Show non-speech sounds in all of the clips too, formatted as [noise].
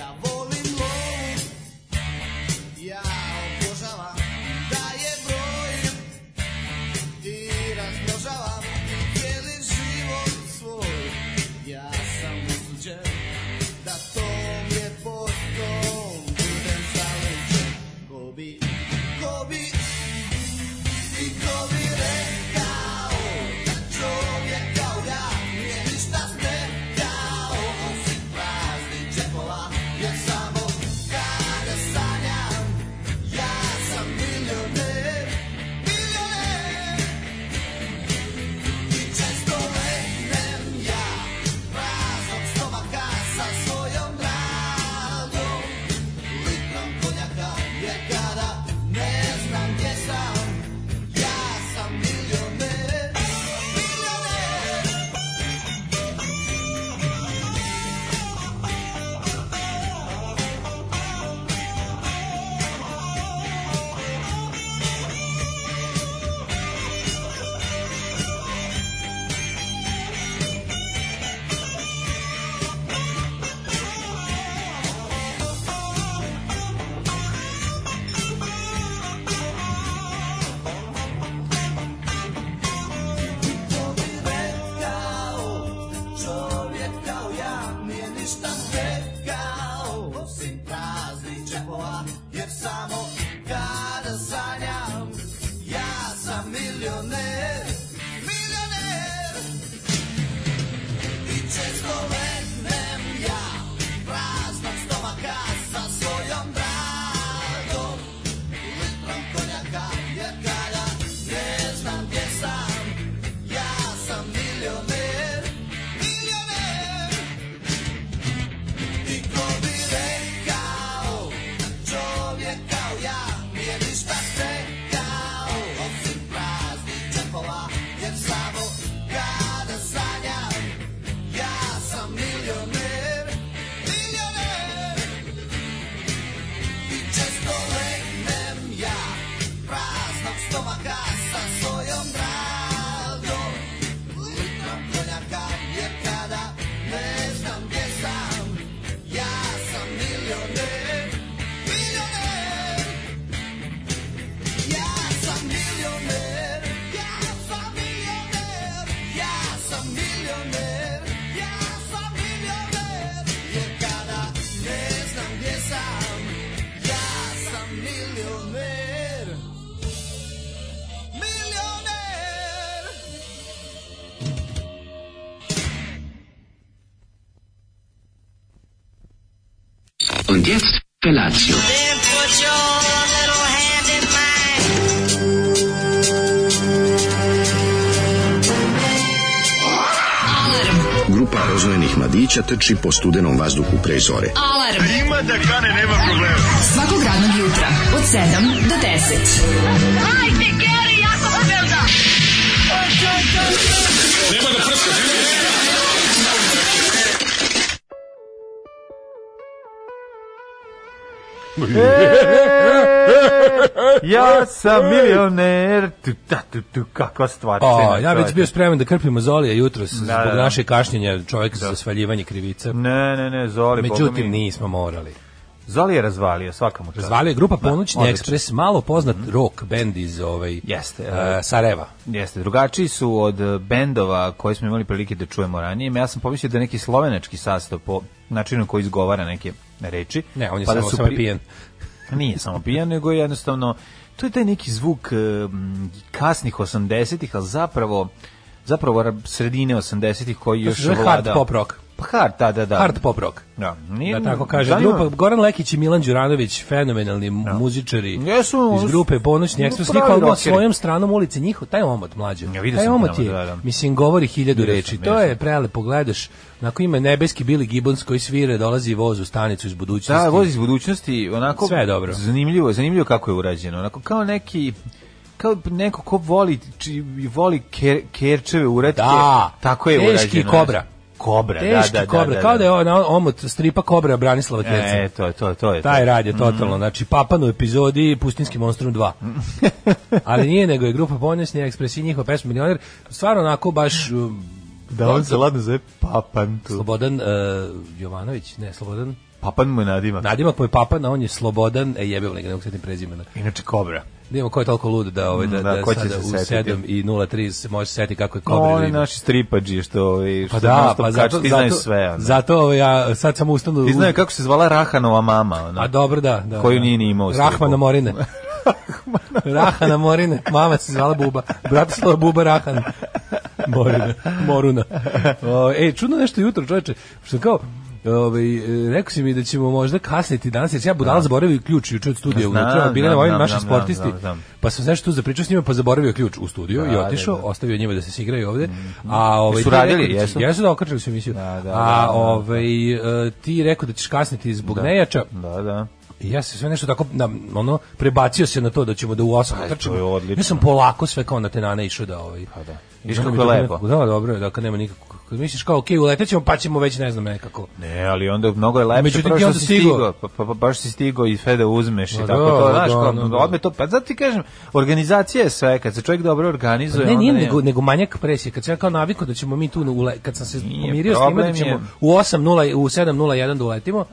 da da tom je postom budem zaluđen. Ko bi, ko bi i ko bi rekao da čovjek kao ja nije ništa smetao, osim praznih džepova, jer samo kada sanjam, ja sam milioner, milioner. I često legnem ja praznog stomaka sa svojom dragom. Lipam konjaka jer kada ne znam gdje sam, ja sam milioner, milioner. Ko bi rekao, čovjek kao ja nije ništa stekao, osim praznih džepova, jer samo kada sanjam, ja sam milioner, milioner. I često legnem ja, praznog stomaka sa svojom dragom, litrom konjaka, jer kada ne znam gdje sam, ja sam milioner, milioner. I ko bi rekao, čovjek kao ja nije ništa stekao, osim praznih džepova, jer samo kada sanjam, ja sam milioner, milioner. I često legnem ja praznog stomaka sa svojom dragom Litram konjaka jer kada ne znam gdje sam Ja sam milioner, milioner Ja sam milioner, ja sam milioner Ja sam milioner, ja sam milioner Jer kada ne znam gdje sam Ja sam milioner Milioner Und jetzt Felatio. Then put your little hand in mine. Grupa roznojenih mladića trči po studenom vazduhu pre zore. Alarm. Ima da kane, nema problema. Svakog radnog jutra, od 7 do 10. Hajde, Geri, jako pobjelda! Ja sam milioner, tu, ta, tu, tu, kakva stvar. O, cena, Pa, ja bih čoveče. bio spreman da krpimo Zolija jutros da, zbog da. naše kašnjenja čovjek za svaljivanje krivice. Ne, ne, ne, Zoli, Boga mi. Međutim, nismo morali. Zoli je razvalio, svaka mu čast. Da, Razvalio je grupa Ponoćni odlično. Mm. ekspres, malo poznat rock band iz ovaj, Jeste, eh, eh, Sarajeva. Jeste, drugačiji su od eh, bendova koje smo imali prilike da čujemo ranije. Ja sam pomislio da je neki slovenački sastav po načinu na koji izgovara neke reči. Ne, on je Pa da samo, su samo pri- pijen. Nije samo pijan, nego je jednostavno to je taj neki zvuk eh, m, kasnih 80-ih, ali zapravo zapravo ra- sredine 80-ih koji još zove vlada. hard pop rock. Pa hard, da, da, da. Hard pop rock. Da, Da tako kaže zanima- grupa Goran Lekić i Milan Đuranović, fenomenalni mu- muzičari Jesu, iz grupe Ponoćni no, ekspres, pravi njihov album rockeri. svojom stranom ulici, njihov taj omot mlađe. Ja vidio taj sam omot tamo, je, da, da. mislim govori hiljadu Vidio sam, reči. vidio to je sam. prelepo, gledaš. Onako ima nebeski Billy Gibbons koji svire, dolazi voz u stanicu iz budućnosti. Da, voz iz budućnosti, onako Sve je dobro. Zanimljivo, zanimljivo kako je urađeno. Onako kao neki kao neko ko voli či, voli ker, kerčeve uretke. Da. tako je Teški urađeno. znaš. kobra. Kobra, Teški da, da, kobra, da, da, kao da je ona omot stripa kobra Branislava Kjerca. E, mhm. to je, to je, to je. Taj rad je totalno, znači Papan u epizodi Pustinski [laughs] monstrum 2. Ali nije, nego je grupa Ponesni Ekspres i njihova pesma Milioner. Stvarno onako baš um, Da on se ladno zove Papantu. Slobodan e, Jovanović, ne, Slobodan Papan mu je nadimak. Nadimak mu je Papana, on je slobodan, e jebe ga, ne mogu setim prezimena. Inače kobra. Da imamo ko je toliko lud da, ovaj, da, Da, da, ko će sada se u setiti? 7 i 03 se može setiti kako je Kobra Kobra naši stripađi što, ovaj, što Pa da, non-stop pa kači, zato, ti znaju zato, sve. ono. zato ovaj, ja sad sam ustanu... Ti znaju kako se zvala Rahanova mama. Ono. A dobro, da. da Koju da. nije ni imao u stripu. Rahmana Morine. [laughs] Rahana Morine. Mama se zvala Buba. Bratislava Buba Rahan. Morina. Moruna. O, e, čudno nešto jutro, čoveče. Što kao, Ovaj e, rekao si mi da ćemo možda kasniti danas, jer sam ja budala zaboravio ključ juče od studija Da. Znam, ujutro, a bili znam, na ovim znam, naši znam, sportisti. znam, znam. Pa sam nešto tu zapričao s njima, pa zaboravio ključ u studiju Da, i da, otišao, da. Mhm. ostavio njima da se sigraju ovde. A ovaj Jesu ti radili, rekao da će- jesu? Jesu da okačili su emisiju. Da, da, da, a da. ovaj e, ti rekao da ćeš kasniti zbog nejača. Da, da. I ja se sve nešto tako na, ono prebacio se na to da ćemo da u 8 Aj, trčimo. to je odlično. Ja sam polako sve kao na tenane išao da ovaj. Pa da. Viš kako je lepo. Da, dobro, je, da kad nema nikako. Kad misliš kao okej, okay, uletećemo pa ćemo već ne znam nekako. Ne, ali onda mnogo je lepše Međutim, prvo ti što onda si stigao. Pa, pa, pa baš si stigao i sve da uzmeš i Pa tako da, to, pa znaš, da, kao, da, da. odme to, pa zato ti kažem, organizacija je sve, kad se čovjek dobro organizuje, Pa Ne, onda nije nema. nego, nego manjak presije. Kad sam ja kao navikao da ćemo mi tu, na ule, kad sam se Nije, pomirio s time da problem ćemo je- u 8.0, u 7.01 da uletimo,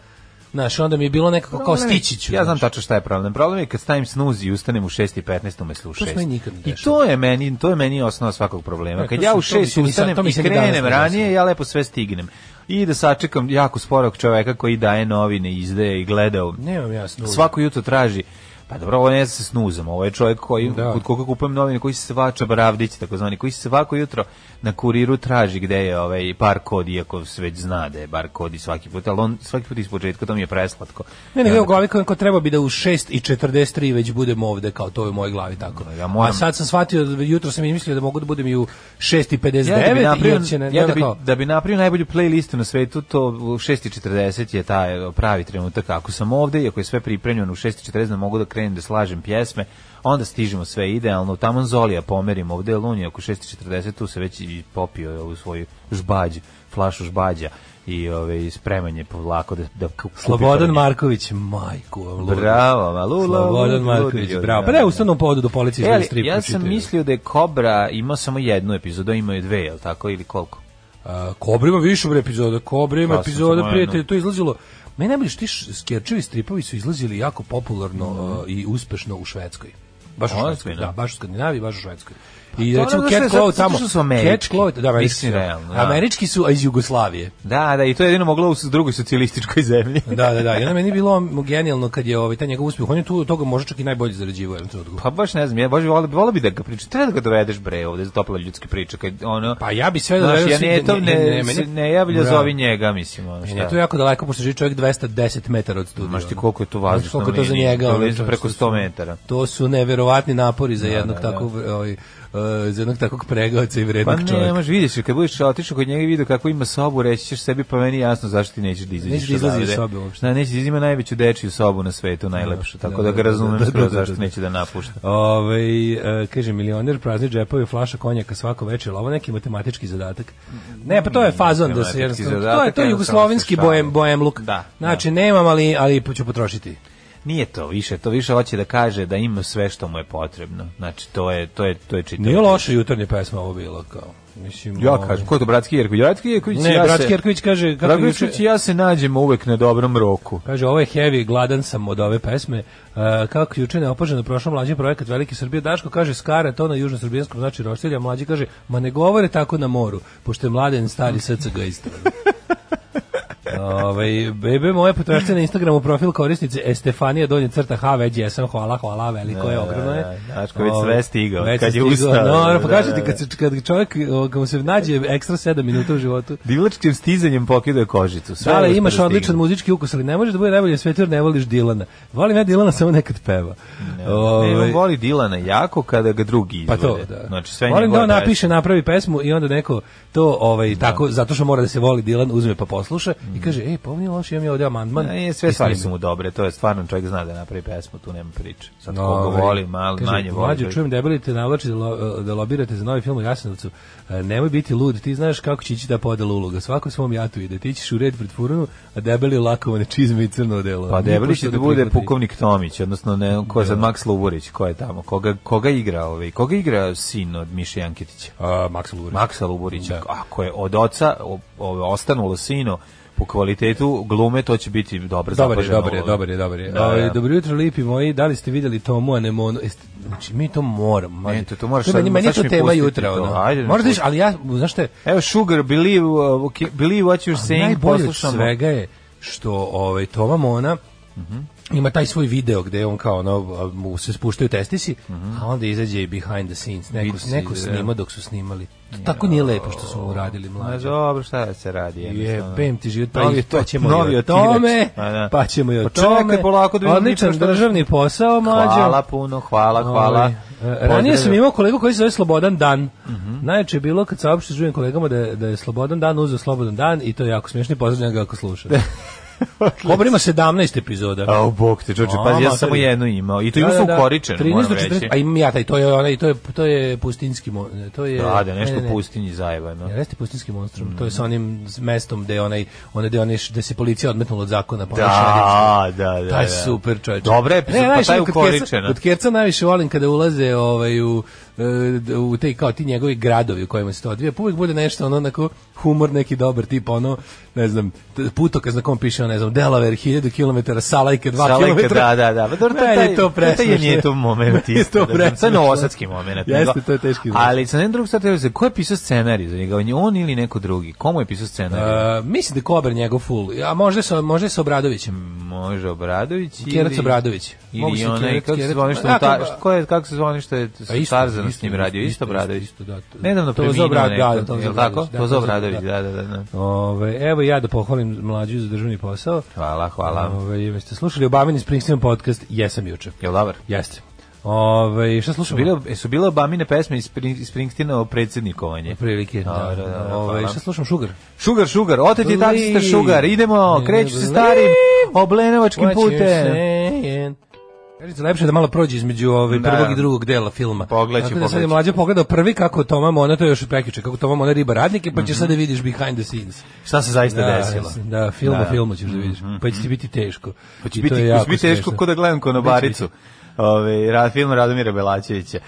znaš, onda mi je bilo nekako Pa kao Problem je- stići ću. Ja znaš. znam tačno šta je problem. Problem je kad stavim snooze i ustanem u 6:15 umesto u 6. se meni nikad ne I dešava. to je meni, to je meni osnova svakog problema. Ne, Kad to ja se- u to mi se 6 ni sad- ustanem to mi i se ni danas krenem ne ranije, dešava. ja lepo sve stignem. I da sačekam jako sporog čoveka koji daje novine, izdaje i gleda. u- Nemam jasno. Svako jutro traži Pa dobro, ovo ne sa snuzom, ovo je čovjek koji, Da. kod koga kupujem novine, koji svača bravdić, takozvani, koji svako jutro na kuriru traži gde je ovaj par kod, iako se već zna da je bar kod i svaki put, ali on svaki put iz početka, to mi je preslatko. Ne, I nego onda ja u glavi kao kao treba bi da u 6 i 43 već budemo ovde, kao to je u mojoj glavi tako. Da, Ja moram- A sad sam shvatio, da- jutro sam izmislio da mogu da budem i u 6 i Ja 59 da bi i napravio, onda će ne, ja da, onda bi, kao, da bi napravio najbolju playlistu na svetu, to u 6.40 je taj e, pravi trenutak. Ako sam ovde, i ako je sve pripremljeno u 6.40, da mogu da krenem da slažem pjesme, onda stižemo sve idealno. Taman Zolija pomerim ovde, jer on je oko 6.40, tu se već i popio u svoju žbađ, flašu žbađa i ove, spreman je polako da, da ku- kupi Slobodan prvi. Marković, majku vam ludo. Bravo, ma, lula, lula, Slobodan lula, Marković, ljudi, bravo. Pa da. ne, ustanom povodu do policije E, izgleda ali, strip. ja sam mislio da je Kobra imao samo jednu epizodu, a imao je dve, je li tako, ili koliko? A, Kobra ima više bre epizoda, Kobra ima Ja sam epizoda, samo prijatelji, jednu. to je izlazilo. Meni najbolje što ti š- skerčevi stripovi su izlazili jako popularno Mhm. a, i uspešno u Švedskoj. Baš u Ozbiljno? Švedskoj, da, baš u Skandinaviji, baš u Švedskoj. I Pa to ono recimo zato što je- Cat Claw zato što tamo, su američki. Cat Claw, da, američki, su, Mislim, realno, da. američki su a iz Jugoslavije. Da, da, i to je jedino moglo u s- drugoj socijalističkoj zemlji. [laughs] Da, da, da. I onda meni je bilo genijalno kad je ovaj, taj njegov uspjeh, on je tu od toga možda čak i najbolje zarađivao u jednom trenutku. Pa baš ne znam, ja baš volio, volio bi da ga pričam. Treba da ga dovedeš bre ovde za tople ljudske priče. Kad, ono, Pa ja bi sve da znaš, dovedem ja svi- ne, to ne, ne, meni- se ne javlja Bravo. zovi njega, mislim. Ono, Meni je šta. to jako daleko, pošto živi čovjek 210 metara od studija. Znaš ti ono. koliko je to vazdušno Znaš Koliko je to za linije? njega? To ono, je preko što su- 100 metara. To su neverovatni napori za jednog da, da. takvog ovaj, e, za jednog takvog pregaoca i Pa vrednog ne, čovjeka. možeš vidiš, kad budeš otišao kod njega i vidio kako ima sobu, reći ćeš sebi, pa meni je jasno zašto ti nećeš da izađeš. Nećeš da izlaziš iz odavde. sobe uopšte. Da, nećeš da ima najveću dečiju sobu na svetu, najlepšu, tako da ga razumem da, da, skroz da, da, zašto da. neće da napušta. Ovaj e, kaže milioner prazni džepovi flaša konjaka svako večer, ali ovo je neki matematički zadatak. Ne, pa to je fazon da se Matematički jednostavno zadatak, to je to je jednostavno se jugoslovenski šali. bojem bojem luk. Da, Znači nemam ali ali ću potrošiti. Nije to više, to više hoće da kaže da ima sve što mu je potrebno. Znači, to je, to je, to je čitav. Nije loše jutarnje pesma ovo bilo kao. Mislim Ja ovaj, kažem, ko je to Bratski Jerković? Bratski Jerković i Ne, ja Bratski se, Jerković kaže kako Bratski juče- Jerković i ja se nađemo uvek na dobrom roku. Kaže, ovo je heavy, gladan sam od ove pesme. E, kako juče neopaženo prošao mlađi projekat Velike Srbije, Daško kaže skara, to na južnosrbijanskom znači roštilja, a mlađi kaže, ma ne govore tako na moru, pošto je mladen stari SCG isto. Ove, Ovaj, bebe moje potražite na Instagramu profil korisnice Estefanija donje crta H, već jesam, hvala, hvala, veliko je, Da, ogromno je. da, Daško već Ove, sve stigao, već kad se je stigao. ustao. No, Da, pa kažete, da, da. kad, se- kad čovjek, o, kad mu se nađe ekstra 7 minuta u životu, Divlačkim stizanjem pokidao je kožicu. Sve da, je ali uspeo imaš stigne. odličan muzički ukus, ali ne može da bude najbolje sve jer ne voliš Dilana. Volim ja Dilana, samo nekad peva. Ne, on Ovaj, voli Dilana jako kada ga drugi pa izvode. to, da. Znači, sve Volim da njegove on pesme. napiše, napravi pesmu i onda neko to, ovaj, tako, zato što mora da se voli Dilan, uzme pa posluša i kaže, ej, pa ovo nije loše, imam ja ovdje amandman. Mm. Ne, E, sve I stvari snimi. su mu dobre, to je stvarno čovjek zna da napravi pesmu, tu nema priče. Sad koga Ovaj, voli, malo, kaže, manje voli. Mlađo, čovjek- čujem debeli te navlači da, lo- da lobirate za novi film u Jasenovcu. E, nemoj biti lud, ti znaš kako će ići ta podela uloga. Svako svom jatu ide. Ti ćeš u red pred furunu, a debeli lakovane čizme i crno odelo. Pa debeli Nipošto će da bude prihvati. Da. pukovnik Tomić, odnosno ne, ko je sad Max Luburić, ko je tamo, koga, koga igra ovaj, koga igra sin od Miše Janketića? A, Max Lugurić. Maksa Luburića, Da. ako je od oca o- o- ostanulo sino, po kvalitetu glume to će biti dobra Dobar je, zapažena dobar je, uloga. dobar je, dobar je. Da, Ovaj, da. Dobro jutro, lipi moji, da li ste vidjeli Tomu anemonu? Jeste, znači, mi to moramo. mlađe. Ne, to- to moraš je meni, sad- meni sad je ćeš to mi tema pustiti jutra. to. Ono. Ajde, Ajde, ne Možda, pusti. ali ja, znaš te, Evo Sugar, believe, uh, okay, believe what you're saying, najbolje od poslušamo. svega je što ovaj, Toma Mona Mhm. ima taj svoj video gde on kao ono, mu se spuštaju testisi, a onda izađe i behind the scenes. Neko, Vidi Mhm. se, neko da. snima dok su snimali. To Tako nije lepo što su mu uradili Ma mlađe. dobro, šta da se radi? jednostavno. Jebem ti život, pa, Novi i to ot- ćemo novi i o otimač. tome, Pa da. pa ćemo i o Pa čekaj tome. polako da vidim Odličan nikad što- državni posao, mlađo. Hvala puno, hvala, Ovaj, hvala. e, Ranije sam imao kolegu koji se zove Slobodan Dan. Mhm. Najjače je bilo kad saopšte s drugim kolegama da je, da je Slobodan Dan uzeo Slobodan Dan i to je jako smiješno i pozdravljam ga ako [laughs] sluša. Kobra ima 17 epizoda. A, bog te, čoče, pa A, ja sam mater. samo jednu imao. I to Da, imao da, sam da. ukoričen, 13 moram do reći. 14, a imam ja taj, to je onaj, to je, to je pustinski, mo- to je... Da, da, nešto ne, ne, ne. u pustinji zajebano. Ja, Jeste pustinski monstrum, to je sa onim mestom gde je onaj, onaj gde onaj š- gde se policija odmetnula od zakona, pa Da, da, da. taj da. super čovjek. Dobra je, pa taj je ukoričena. Od Kerca najviše volim kada ulaze ovaj, u, e, d- u te, kao ti njegovi gradovi u kojima se to odvija, pa uvijek bude nešto ono onako humor neki dobar, tipa ono, ne znam, t- putokaz na kom piše, ono, ne znam, Delaware 1000 km, Salajke 2 Salajka, km. da, da, da. Pa dobro, to je Meni taj- to to taj je presmešno. njetov moment [laughs] Meni je isto, to da, da. To je presmešno. novosadski moment, nego- Jeste, to je teški. izraz. Ali sa jednom drugom stvar treba se, ko je pisao scenarij za njega? On je- On ili neko drugi? Komu je pisao scenarij? E, mislim da je Kober njegov full, a možda sa, možda sa Obradovićem. Može Obradović ili... Kjerac Obradović. Mogu Ili se onaj, Kjerac- kako se Kjerac- zvoni što... Da, mu ta- to- što- ko je, kako se zvoni što je Pa isto, Tarzan s isto, njim radio? isto, Isto isto, Obradović. isto, da, to- Nedavno Tozo preminuo Obrad- da, neko, Tozo jel tako? Obradović, da, Tozo Tozo Obradović, Obrad- da, da, da, da. Ove, evo i ja da pohvalim mlađu za državni posao. Hvala, hvala. Ove, jeste slušali Obamini Springsteen podcast? Jesam juče. Jel dobar? Jeste. Ove, šta slušamo? Bilo, su bile Obamine pesme iz Spring- iz Springsteena o predsjednikovanje. [laughs] prilike. Da, Da, da, da, da, Ove, hvala. šta slušam? Sugar. Šugar, šugar, otet je taksista Believe. šugar, idemo, Ne, kreću se believe. starim oblenovačkim putem. Kažete, lepše da malo prođe između ove Da. prvog i drugog dela filma. Pogledat ću, Tako da sad pogledat je ću. mlađa pogledao prvi kako Toma Mona, to je još od prekjuče, kako Toma Mona riba radnike, pa ćeš sad da vidiš behind the scenes. Šta se zaista desilo? Da, film Da. mhm. o filmu ćeš da vidiš. Pa će ti biti teško. Pa će I to biti, je će jako biti teško smešno. ko da gledam konobaricu. Ove, ra, film Radomira Belačevića.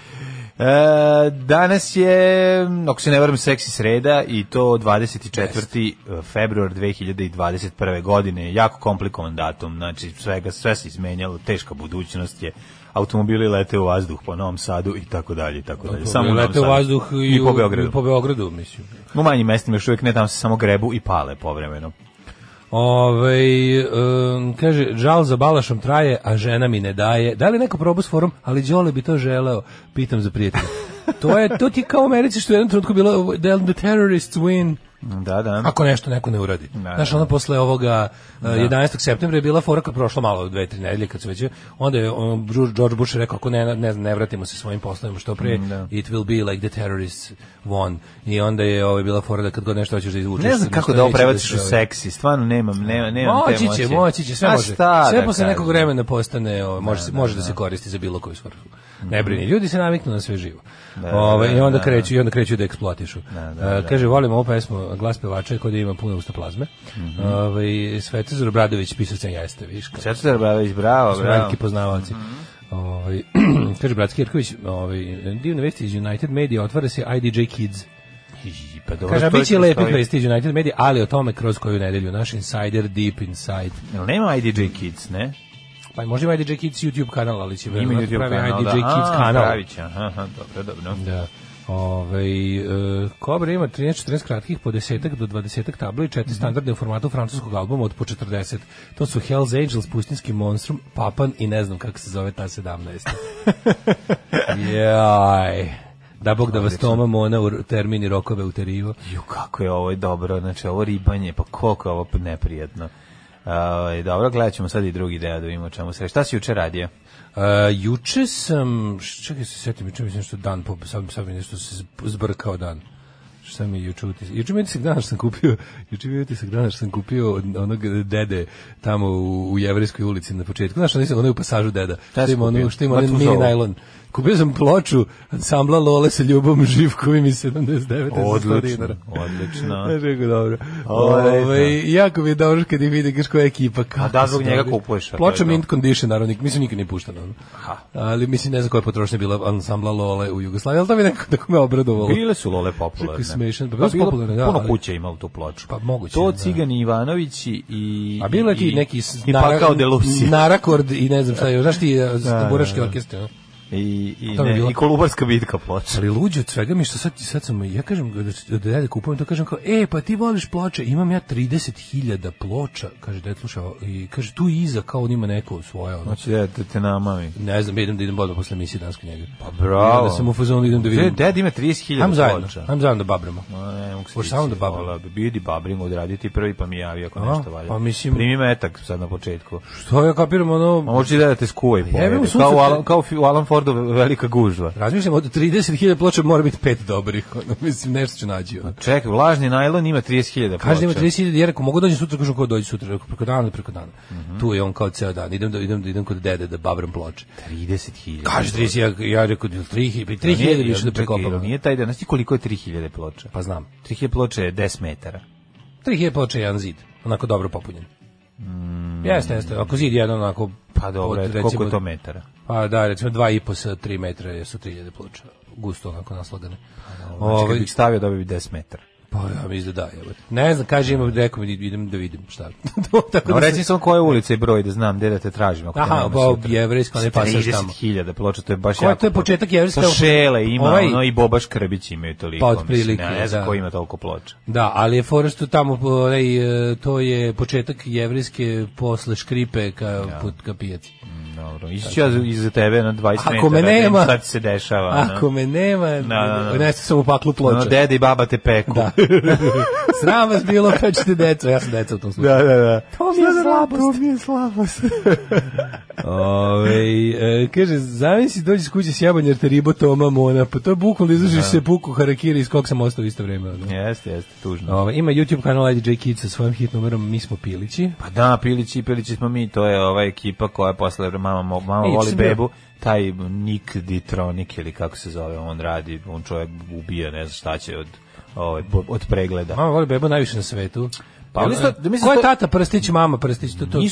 E, danas je, ako se ne varam, seksi sreda i to 24. februar 2021. godine. Jako komplikovan datum, znači svega, sve se izmenjalo, teška budućnost je automobili lete u vazduh po Novom Sadu i tako dalje i tako dalje. Samo u Novom lete u Sadu. vazduh i, i po Beogradu. i po Beogradu, mislim. U manjim mestima još uvijek ne tamo se samo grebu i pale povremeno. Ove, um, kaže, žal za Balašom traje, a žena mi ne daje. Da li neko probao s forum, ali Đole bi to želeo? Pitam za prijatelja. To je, to ti kao u Americi što je u jednom trenutku bilo the, the terrorists win. Da, da. Ako nešto neko ne uradi. Da, Znaš, da. ono posle ovoga uh, 11. septembra je bila fora kad je prošlo malo dve, tri nedelje kad su već onda je um, George- George Bush rekao ako ne, ne, ne vratimo se svojim poslovima što pre da. it will be like the terrorists won i onda je ovaj bila fora da kad god nešto hoćeš da izvučeš Ne znam nešto kako da ovo neće prebaciš se, u ovaj, seksi, stvarno nemam, nema, nemam te Moći će, emocije. moći će, sve A može. šta Sve da posle nekog kažem? vremena postane, ovaj, može, se, može da se koristi za bilo koju svrhu. Ne brini, ljudi se naviknu na sve živo. Da, Ovaj, I onda kreću, i onda kreću da eksploatišu. E, kaže, volim ovu pesmu, glas pevača, kod ima puno usta plazme. Mhm. Ovaj, Svetozar Obradović, pisac sam jeste, viš, kako Svetozar Bravić, bravo, su bravo. Mhm. veliki poznavalci. Ovaj, [clears throat] kaže, bratski Jerković, ovaj, divne vesti iz United Media, otvara se IDJ Kids. I, Pa dobro, Kaže, a to bit će je- lepih to je- vesti iz United Media, ali o tome kroz koju nedelju, naš insider, deep inside. Jel nema IDJ Kids, ne? Pa možda ima IDJ Kids YouTube kanal, ali će Ima verovatno YouTube pravi kanal, IDJ da. Kids A, kanal. Pravit će, aha, aha, dobro, dobro. Da. Ove, e, Kobra ima 13-14 kratkih po desetak do 20 tabla i četiri Mhm. standardne u formatu francuskog albuma od po 40. To su Hells Angels, Pustinski monstrum, Papan i ne znam kako se zove [laughs] ta 17. Jaj. Da bog da vas Toma Mona u termini rokove uterivo. Ju, kako je ovo dobro, znači ovo ribanje, pa koliko je ovo neprijatno. Ovaj, dobro, gledat ćemo sad i drugi deo da vidimo o čemu se. Šta si juče radio? Uh, juče sam, š- čekaj se setim, juče mi se nešto dan, pop- sad, sad mi nešto se zb- zbrkao dan. Šta mi je juče utisak? Juče mi je utisak dana što sam kupio, [laughs] juče mi je utisak dana što sam kupio od onog dede tamo u, u Jevrijskoj ulici na početku. Znaš, nisam onaj u pasažu deda. Šta si ima kupio? ono, što ima Mrtvu onaj mini zovu. najlon. Kupio sam ploču ansambla Lole sa Ljubom [laughs] Živkovim i 79. Odlično, odlično. Rekao, dobro. Ovaj, Ove, jako mi je dobro kad ih vidi kako je ekipa. Kako A da, su zbog njega dobri. kupuješ, a to je Ploča to. Mint Condition, naravno, mislim nikad nije puštena. ono. Ali mislim, ne znam koja je potrošnja bila ansambla Lole u Jugoslaviji, ali to mi je nekako tako me obradovalo. Bile su lole popularne. Kako je smešan. Pa, bilo- Puno puno kuća imalo tu ploču. To To Cigani Ivanovići i... Pa, da. A bilo je ti neki I pakao Delusi. narakord i ne znam šta je, znaš ti e, tamburaški da, da. orkestri, no? I, i, To bi ne, bilo. i Kolubarska bitka ploča. Ali luđe od svega mi je što sad, sad sam, ja kažem, da, da ja kupujem, to kažem kao, e, pa ti voliš ploče, imam ja 30.000 ploča, kaže, da je slušao, i kaže, tu iza, kao on ima neko svoje, ono, Znači, da te, te namami. ne znam, idem da idem bodba posle emisije danas kod njega. Pa bravo. Da sam u fazonu, idem da Gde vidim. ded ima 30.000 Ajmo zajedno, ploča. ajmo zajedno da babramo. Ma, ne mogu se Možeš samo da babrim. Bi bio di babrim odraditi prvi pa mi javi ako A, nešto valja. pa mislim- Primi metak sad na početku. Što ja kapiram, A ono, možeš i da da te skuva i pojede. mu Kao, sunce u te- Alan, kao fi- u Alan Fordu velika gužva. razmišljam, od 30.000 ploča mora biti pet dobrih, [laughs] ono, mislim, nešto ću nađi, ono. Čekaj, vlažni najlon ima 30.000 ploča. Kaže da ima 30.000, ja rekao, mogu dođem sutra, kažem ko dođe sutra, rekao, preko dana, preko dana. Mhm. Tu je on kao ceo dan, idem, da, idem, da idem kod dede da babram ploče. 30.000. Kaže 30, ja, ja rekao 3000, 3000 bi išao da Čekaj, prekopam. Pa Nije taj dan. Znaš ti koliko je 3.000 ploča? Pa znam. 3.000 ploča je 10 metara. 3000 ploča je jedan zid, onako dobro popunjen. Jeste, jeste. Ako zid jedan onako Mm. Pa dobro, od, eto, koliko je to metara? Pa da, recimo 2,5 sa 3 metra su 3000 ploča. Gusto onako naslagane. Znači, kad Ovaj, bih stavio, dobio bi 10 metara. pa ja mislim da da, evo. Ne znam, kaže imam rekao mi idem da vidim šta. [laughs] To tako No, da se- reci sam koja je ulica i broj da znam gde da te tražim. Ako te Aha, nema pa sutra. jevrejsko ne pasaš tamo. 30.000 ploča, to je baš Koja- jako. to je početak puno. jevrejske- To Šele ima, Ovaj- ono, i Boba Škrbić imaju toliko. Pa, mislim, otprilike, ne, ne znam da. ko ima toliko ploča. Da, ali je fora što tamo onaj, e, to je početak jevrijske posle škripe ka Da. put ka pijaci. Dobro, ići ću ja iza tebe na 20 metara. Ako me da vidim nema- Šta ti se dešava. ono. Ako me nema, Pa, da, da. nešto sam u paklu ploča. Ono, dede i baba te peku. Da. [laughs] Sram vas bilo, pećete deco. Ja sam deca u tom [laughs] slučaju. da, da. To mi je slabost. To mi je [laughs] slabost. Ove, e, kaže, zamisli dođi s kuće s jabanj, jer te ribo toma mona. Pa to je bukvalno Da. izražiš se puku harakiri iz kog sam ostao u isto vreme. ono. Jeste, jeste, tužno. Ove, ima YouTube kanal IDJ Kids sa svojim hit numerom Mi smo pilići. Pa da, Pilići i Pilići smo mi, to je ova ekipa koja je posle mama, mo- mama E, juče voli sam bio- bebu, taj Nik Ditronik ili kako se zove, on radi, on čovjek ubija, ne znam šta će od, ovaj, po- od pregleda. Mama voli bebu najviše na svetu. Pa, Jel ali isto- da mislim ko je to- tata prstić, mama prstić, to, to, tu bi-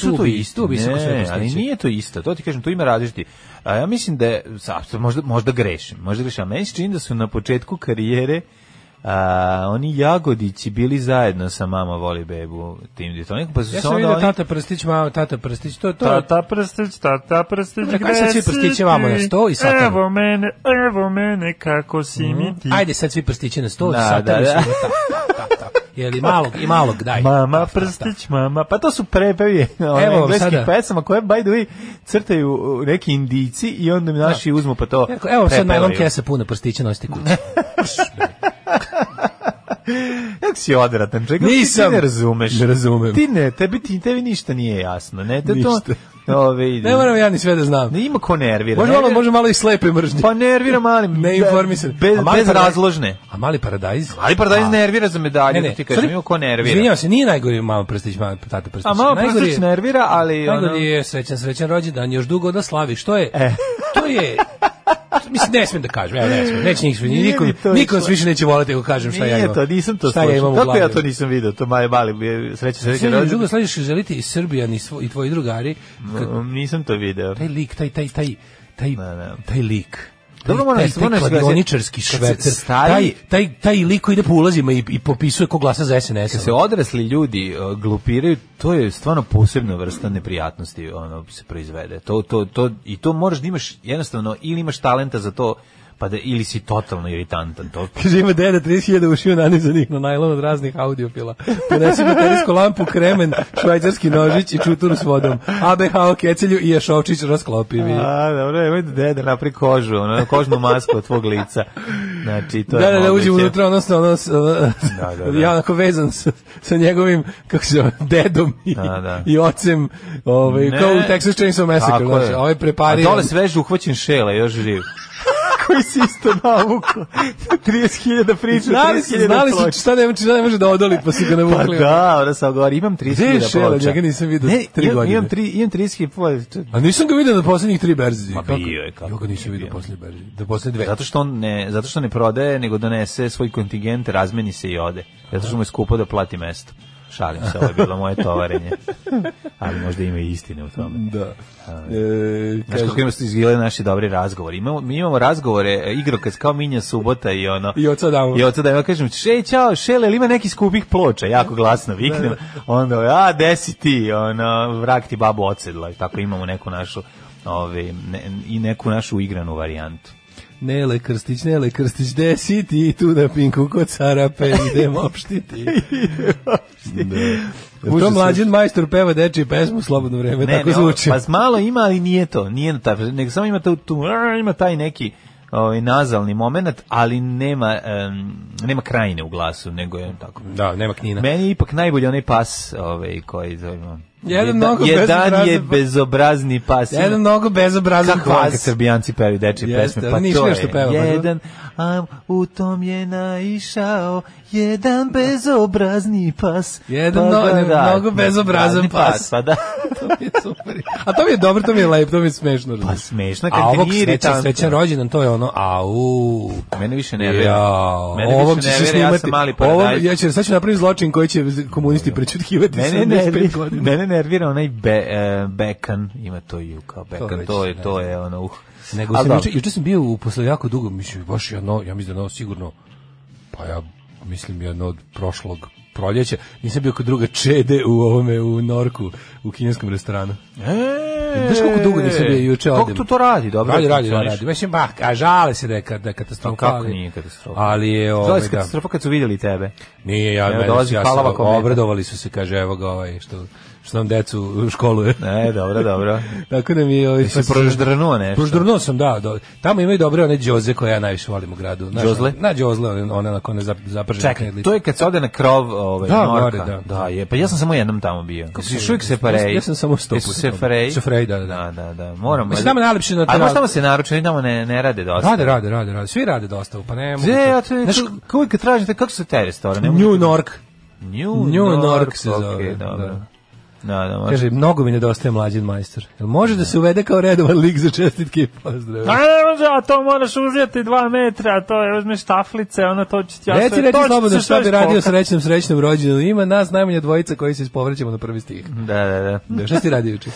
tu bi se ko sve ne, prstići. ali nije to isto, to ti kažem, tu ima različiti. A ja mislim da, je, sa- sa- možda, možda grešim, možda grešim, a meni se čini da su na početku karijere a, oni jagodići bili zajedno sa mama voli bebu tim Ditronikom, pa su se Ja sam onda vidio oni... tata prstić, mama, tata prstić, to, to, Tata prstić, tata prstić, Čekaj, sad svi prstići vamo na sto i satanu. Evo mene, evo mene, kako si mi ti. Mm. Ajde sad svi prstići na sto, Da, da, sad da, da, da. da. Jeli malog i malog daj. Mama, Ta, ta, ta. prstić, mama. Pa to su [laughs] prepevi da. Evo vam engleskih sada. pesama koje, by the way, crtaju uh, neki indici i onda mi naši uzmu pa to Ja rekao, Da. Evo sad najlon prepevaju. kese puna prstića nosite kući. Kako si odratan, čega ti Nisam. ne razumeš. [laughs] Ne razumem. Ti ne, tebi, ti, tebi ništa nije jasno. Ne, te Ništa. to... Ove, Ne moram ja ni sve da znam. Ne ima ko nervira. Može malo, Nervira- može malo i slepe mržnje. Pa nervira mali. Neinformisan. Bez, A mali bez paradajz- razložne. A mali paradajz? Ali paradajz A. nervira za medalju, Ne, ne, ne, da ti kažem, sorry, ima ko nervira. Izvinjavam se, nije najgori mama prstić, mama tata prstić. A malo Najgori prstić je- nervira, ali ono... E. Najgori je srećan, srećan rođendan, još dugo da slavi. Što je? To je... Mislim, ne smem da kažem, ja ne smem, neće njih sve, E. Nije niko, mi to niko išlo. nas više neće volati ako kažem šta ja imam. Nije to, nisam to šta ja imam u Kako ja glavi. to nisam video? To mali, mali, sreće, sreće, Sve rođen. drugo slažeš želiti i Srbija ni svo, i tvoji drugari kad Mm, Nisam to video. taj lik taj taj taj taj da. taj lik Dobro, moram- taj, taj, moram taj se- kladioničarski kad se švercer, stari- taj, taj, taj lik koji ide po ulazima i, i popisuje ko glasa za SNS. Kad da se odrasli ljudi uh, glupiraju, to je stvarno posebna vrsta neprijatnosti ono se proizvede. To, to, to, I to moraš da imaš jednostavno ili imaš talenta za to, pa da, ili si totalno iritantan. To, Kaže, ima deda 30.000 ušiju nanizanih na najlon od raznih audiofila. Ponesi baterijsku lampu, kremen, švajcarski nožić i čuturu s vodom. ABH o kecelju i jašovčić rasklopivi. A, dobro, evo da deda napri kožu, ono, kožnu masku od tvog lica. Znači, to Da, je da, da, moguće. uđem unutra, odnosno, ono, s- ono, Da, da, da. ja onako vezan sa, sa njegovim, kako se zove, dedom i, Da, da. i ocem, ovaj, Ne. kao u Texas Chainsaw Massacre, Tako znači, je. ovaj prepariran. [laughs] A dole sveže uhvaćen šela, još živ. koji si isto [laughs] navuko. 30.000 priča, Znali su, 30.000 znali ploča. su šta ne, šta ne može da odoli, pa su Pa ga navukli. da, ona sam govori, imam 30.000 Gde je ploča. Šela? Njega nisam vidio tri imam- godine. Imam, tri, imam 30.000 ploča. A nisam ga vidio na poslednjih tri berzi. Ma bio je, kako Ja ga nisam nije vidio bio. poslednje berzi. Da poslednje dve. Zato što on ne, zato što ne prodaje, nego donese svoj kontingent, razmeni se i ode. Zato što mu je skupo da plati mesto. Šalim se, ovo je bilo moje [laughs] tovarenje. Ali možda ima i istine u tome. Da. Znaš kako ima su izgledali naši dobri razgovori. Imamo, mi imamo razgovore, e, igrokaz kao Minja Subota i ono... I oca damo. I oca da ima, kažem, šej, čao, šele, ili ima neki skupih ploča, jako glasno Da, viknem. Onda, a, desi ti, ono, vrak ti babu odsedla. I tako imamo neku našu, ove, ne, i neku našu igranu varijantu. Nele Krstić, Nele Krstić, gde si ti tu na pinku kod [laughs] Sarape, idem opštiti. da. To Užas mlađen majstor peva dečiju pesmu u slobodno vreme, tako ne, zvuči. ovo- Pa malo ima, ali nije to. Nije ta, nego samo ima, tu, tu, ar, ima taj neki ovaj, nazalni moment, ali nema, em, nema krajine u glasu, nego je tako. Da, nema knjina. Meni je ipak najbolji onaj pas ovaj, koji zovemo. Jedan Jedan, mnogo jedan je bezobrazni pa- bezobrazni pas. Jedan mnogo bezobrazan Kako vas kad kvas. srbijanci pevaju dečje Jeste, pesme, ali pa niš to nešto je. peva, pa dobro. jedan, a u tom je naišao jedan bezobrazni pas. Jedan pa no- ga da- mnogo bezobrazan pas. Pa da. [laughs] to mi je super. A to mi je dobro, to mi je lepo, to mi je smešno. Pa razumiješ. smešno kad A ovog nije srećan, iritantno. srećan rođendan, to je ono, au. Mene više ne vjeruje. Ja, Mene ovog više će ne se vjeruje, ja snimati. sam mali Ovom, paradajz. ja ću, sad ću napraviti zločin koji će komunisti prećutkivati Mene 75 nervira, godina. mene nervira onaj be, e, bekan, ima to i kao bekan, već to ne je, to je ono, uh. Nego Ali sam dobro. juče, juče sam bio u posle jako dugo, mislim, baš jedno, ja mislim da je ono sigurno, pa ja mislim jedno od prošlog proljeća, nisam bio kod druga čede u ovome, u Norku, u kineskom restoranu. E, Znaš koliko dugo nisam bio juče Kako ovdje? to to radi? Dobro, radi, radi, da, funkcioniš. radi. Mislim, bah, a žale se da je, ka- da je katastrofa. Kako ali- nije katastrofa? Ali je, Zove ovaj, se da, katastrofa kad su vidjeli tebe. nije, ja, Evo, mene, dolazi ja Palava sam, kometa. obradovali su se, kaže, evo ga ovaj, što, što nam decu [laughs] školuje. E, dobro, dobro. Tako da mi je... Ovaj, Jesi pa- proždrnuo nešto? Proždrnuo sam, da. Do, tamo imaju dobre one džoze koje ja najviše volim u gradu. Znaš, Džozle? Na džozle, one, one na kone zapržene. Čekaj, to je kad se ode na krov ovaj, Da, Norka. gore, da. je. Pa ja sam samo jednom tamo bio. Kako Još uvijek se pareji. Ja sam samo sto Jesu puta se tamo. fareji? Sefareji, da, da, da. Da, da, da. Moram. Mislim, tamo je najlepše na A terasi. možda tamo se naruče, oni tamo ne, ne rade dosta. Rade, rade, rade, rade. Svi rade dosta, pa ne mogu. Gde, to- ja te, Znaš, kako uvijek tražite, kako se te restorane? New Nork. New, New Nork, Nork se okej, zove, dobro. da. Da, da, može. Kaže, mnogo mi nedostaje mlađen majstor. Jel može da se uvede kao redovan lik za čestitke i pozdrave? A ne može, a to moraš uzeti dva metra, a to je, uzmeš taflice, ono to će ti... ja Reci, sve- reci to će slobodno se šta sve bi radio spokati. srećnom, srećnom rođenu. Ima nas najmanje dvojica koji se ispovrećemo na prvi stih. Da, da, da. Da, šta si radio juče?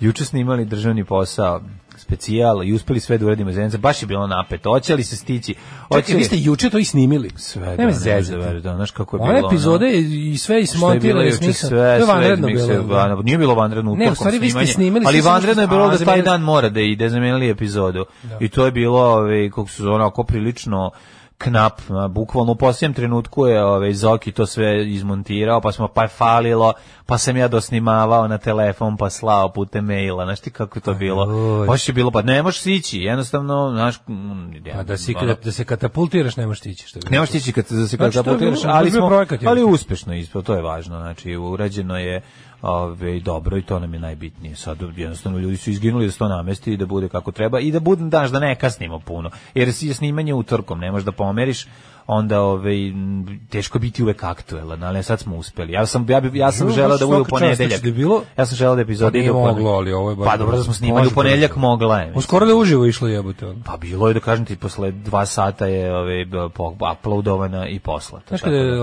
Juče snimali državni posao specijal i uspeli sve da uradimo iz jednice. Baš je bilo napeto. Hoće li se stići? Hoće Čekaj, vi ste juče to i snimili. sve da, Nema ne zezati. znam da verujem, da, znaš kako je bilo. Ove ono. epizode i sve Što je bilo ismontirane juče sve, smisla. sve, to je vanredno izmikse, bilo. da. van- nije bilo vanredno u Ne, u stvari vi ste snimali, ali svi samo što- vanredno je a, bilo da taj zamenili- dan mora da ide, zamenili epizodu. Da. I to je bilo, ovaj, kako se zove, onako prilično knap, a, bukvalno u posljednjem trenutku je ovaj, Zoki to sve izmontirao, pa smo pa je falilo, pa sam ja dosnimavao na telefon, pa slao putem maila, znaš ti kako je to bilo? joj. Baš je bilo, pa ne možeš sići, jednostavno, znaš... mm, Pa da, si, ono, da, da se katapultiraš nemaš tići. Što bi ne možeš tići kad se se Znači, znači, to je kapotiraš, bilo- to je ali bio smo projekat, je. ali uspešno ispao, to je važno. Znači urađeno je ovaj dobro i to nam je najbitnije. Sad jednostavno ljudi su izginuli da se to namesti i da bude kako treba i da bude daš da ne kasnimo puno. Jer si je snimanje utorkom, ne možeš da pomeriš onda ovaj m, teško je biti uvek aktuelan, ali sad smo uspeli. Ja sam ja, bi, ja sam Jo, želeo baš da bude u svaka čast da ponedeljak. ste bilo. Ja sam želeo da epizoda Pa nije ide u ponedeljak. moglo, ali ovo je baš Pa dobro da smo snimali u Može ponedeljak prosto. mogla je. mislim. Uskoro da uživo išlo jebote. ono. Pa bilo je da kažem ti posle dva sata je ovaj b- po- uploadovana i poslata. Znaš tako kada da. e,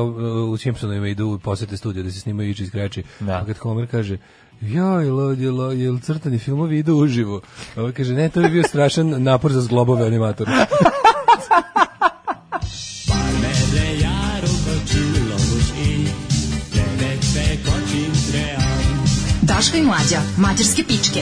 u Simpsonovima idu i posete studio da se snimaju ići iz kreći, Da. a kad Homer kaže Joj, lo, jel, jel crtani filmovi idu uživo? A Ovo kaže, ne, to bi bio strašan napor za zglobove animatore. Daška i mlađa, mađarske pičke.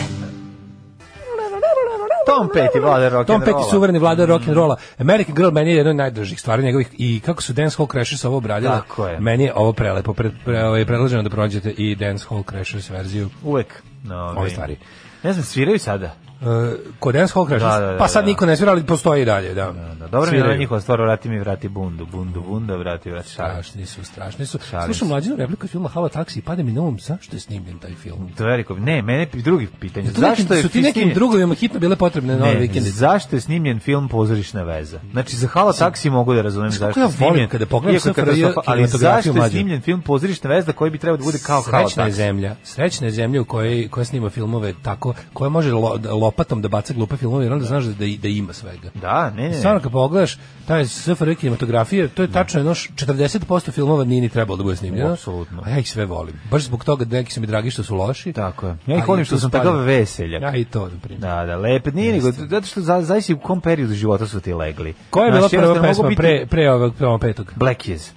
Tom Petty vlada rock Tom Petty suvereni Mm. vladar rock and rolla. American Girl meni je jedna od najdražih stvari njegovih i kako su Dance Hall Crashers ovo obradila. Tako je. Meni je ovo prelepo. Pre, pre, ovaj, predlažem da pronađete i Dance Hall Crashers verziju. Uvek. No, Ove stvari. Ne znam, sviraju sada. E, kod Dance Hall Crashers, Da, da, da, pa sad da. niko ne svira, ali postoji i dalje, da. Da, dobro mi je Sviraju. da njihova stvar, vrati mi, vrati bundu, bundu, bunda, vrati, vrati šar. Strašni su, strašni su. Šalim Slušam se. mlađenu repliku iz filma Hava taksi i pade mi na um, zašto je snimljen taj film? To je rekao, ne, mene je drugi pitanje. Zašto Zašto je su ti nekim Kristine- drugovima hitno bile nepotrebne nove vikende. zašto je snimljen film Pozorišna veza? Znači, za Hala taksi mogu da razumem Znaš zašto kako ja je volim snimljen. kada pogledam iako je SFRJ katastrofa, ali kinematografiju zašto je mlađu? snimljen film Pozorišna vezda koji bi trebao da bude kao Hala Srećna je taksi? zemlja, srećna je zemlja u kojoj koja snima filmove tako, koja može lo- da- lopatom da baca glupe filmove, jer onda znaš da, da, da ima svega. Da, ne, ne, Stvarno ne. kad pogledaš, taj SFRJ kinematografije, Da. to je tačno jedno š- 40% filmova nije ni trebalo da bude snimljeno. Apsolutno. A ja ih sve volim. Baš zbog toga da neki su mi dragi što su loši. Tako je. Ja A ih volim i što tu sam spada- takav veseljak. Ja i to, na primjer. Da, da, lepe. Nije nego, zato što za, zavisi u kom periodu života su ti legli. Koja je bila Znaš, prva jednostavno pesma mogu biti- pre, pre ovog prvom petog? Black Keys.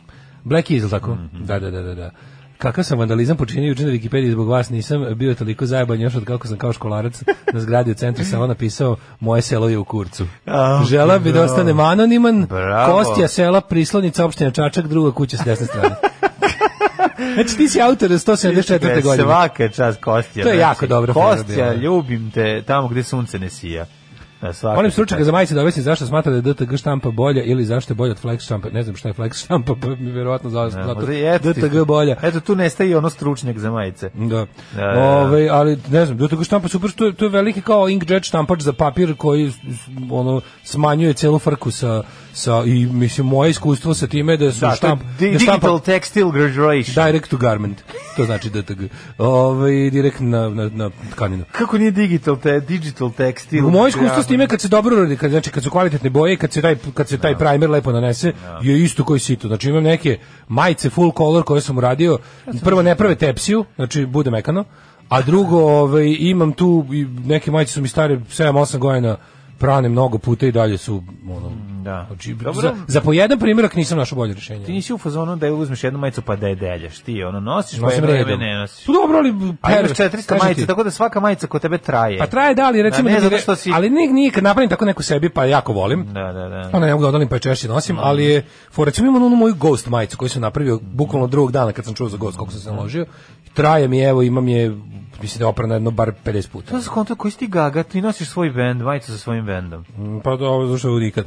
Black Eagle, tako? Mhm. Da, da, da, da, da. Kakav sam vandalizam počinio juče na Wikipediji zbog vas nisam bio toliko zajeban još od kako sam kao školarac na zgradi u centru samo napisao moje selo je u kurcu. A, Žela bi da bravo. ostanem anoniman, Bravo. Kostja sela, prislonica opština Čačak, druga kuća s [laughs] desne strane. znači ti si autor 174. godine. Svaka čast Kostja. To je znači, jako dobra fora Kostja, bila. ljubim te tamo gde sunce ne sija. Da, svaka Molim ti stručnjaka čast. za majice da objasni zašto smatra da je DTG štampa bolja ili zašto je bolja od flex štampa. Ne znam šta je flex štampa, pa mi verovatno za- Da, zato možda i eto ti- DTG bolja. Eto, tu nestaje i ono stručnjak za majice. Da. Da, da, da. Ovaj, ali ne znam, do toga štampa super, to je, to je veliki kao inkjet štampač za papir koji s- s- ono smanjuje celu frku sa, sa i mislim moje iskustvo sa time je da su Da, to je štamp, di- da štampa digital textile graduation. direct to garment. To znači DTG. Ovaj direkt na na na tkaninu. Kako nije digital, te, digital textile? U moje iskustvo s time kad se dobro uradi, kad znači kad su kvalitetne boje, i kad se taj kad se Da. taj primer lepo nanese, je isto koji sito. Znači imam neke majice full color koje sam uradio, prvo ne prave tepsiju, znači bude mekano, a drugo, ovaj imam tu i neke majice su mi stare 7-8 godina prane mnogo puta i dalje su ono Da. Znači, Dobro. za, za po jedan primjerak nisam našao bolje rješenje. Ti nisi u fazonu da je uzmeš jednu majicu pa da je deljaš. Ti ono nosiš, Nosim pa jedno vreme redom. ne nosiš. Pa dobro, ali A imaš per- 400 kažem majica, ti, tako da svaka majica kod tebe traje. Pa traje da, ali recimo ne da mi zato re- što si- ali nik nije kad napravim tako neku sebi pa jako volim. Da, da, da. Ona ne mogu da odolim pa je češće nosim, ali je, for recimo imam onu moju Ghost majicu koju sam napravio bukvalno drugog dana kad sam čuo za Ghost, koliko sam se naložio. Traje mi, evo, imam je, mislim da je oprana jedno bar 50 puta. To su konto koji si ti gaga, ti nosiš svoj bend, majicu sa svojim bendom. Mm, Pa dobro, zašto nikad.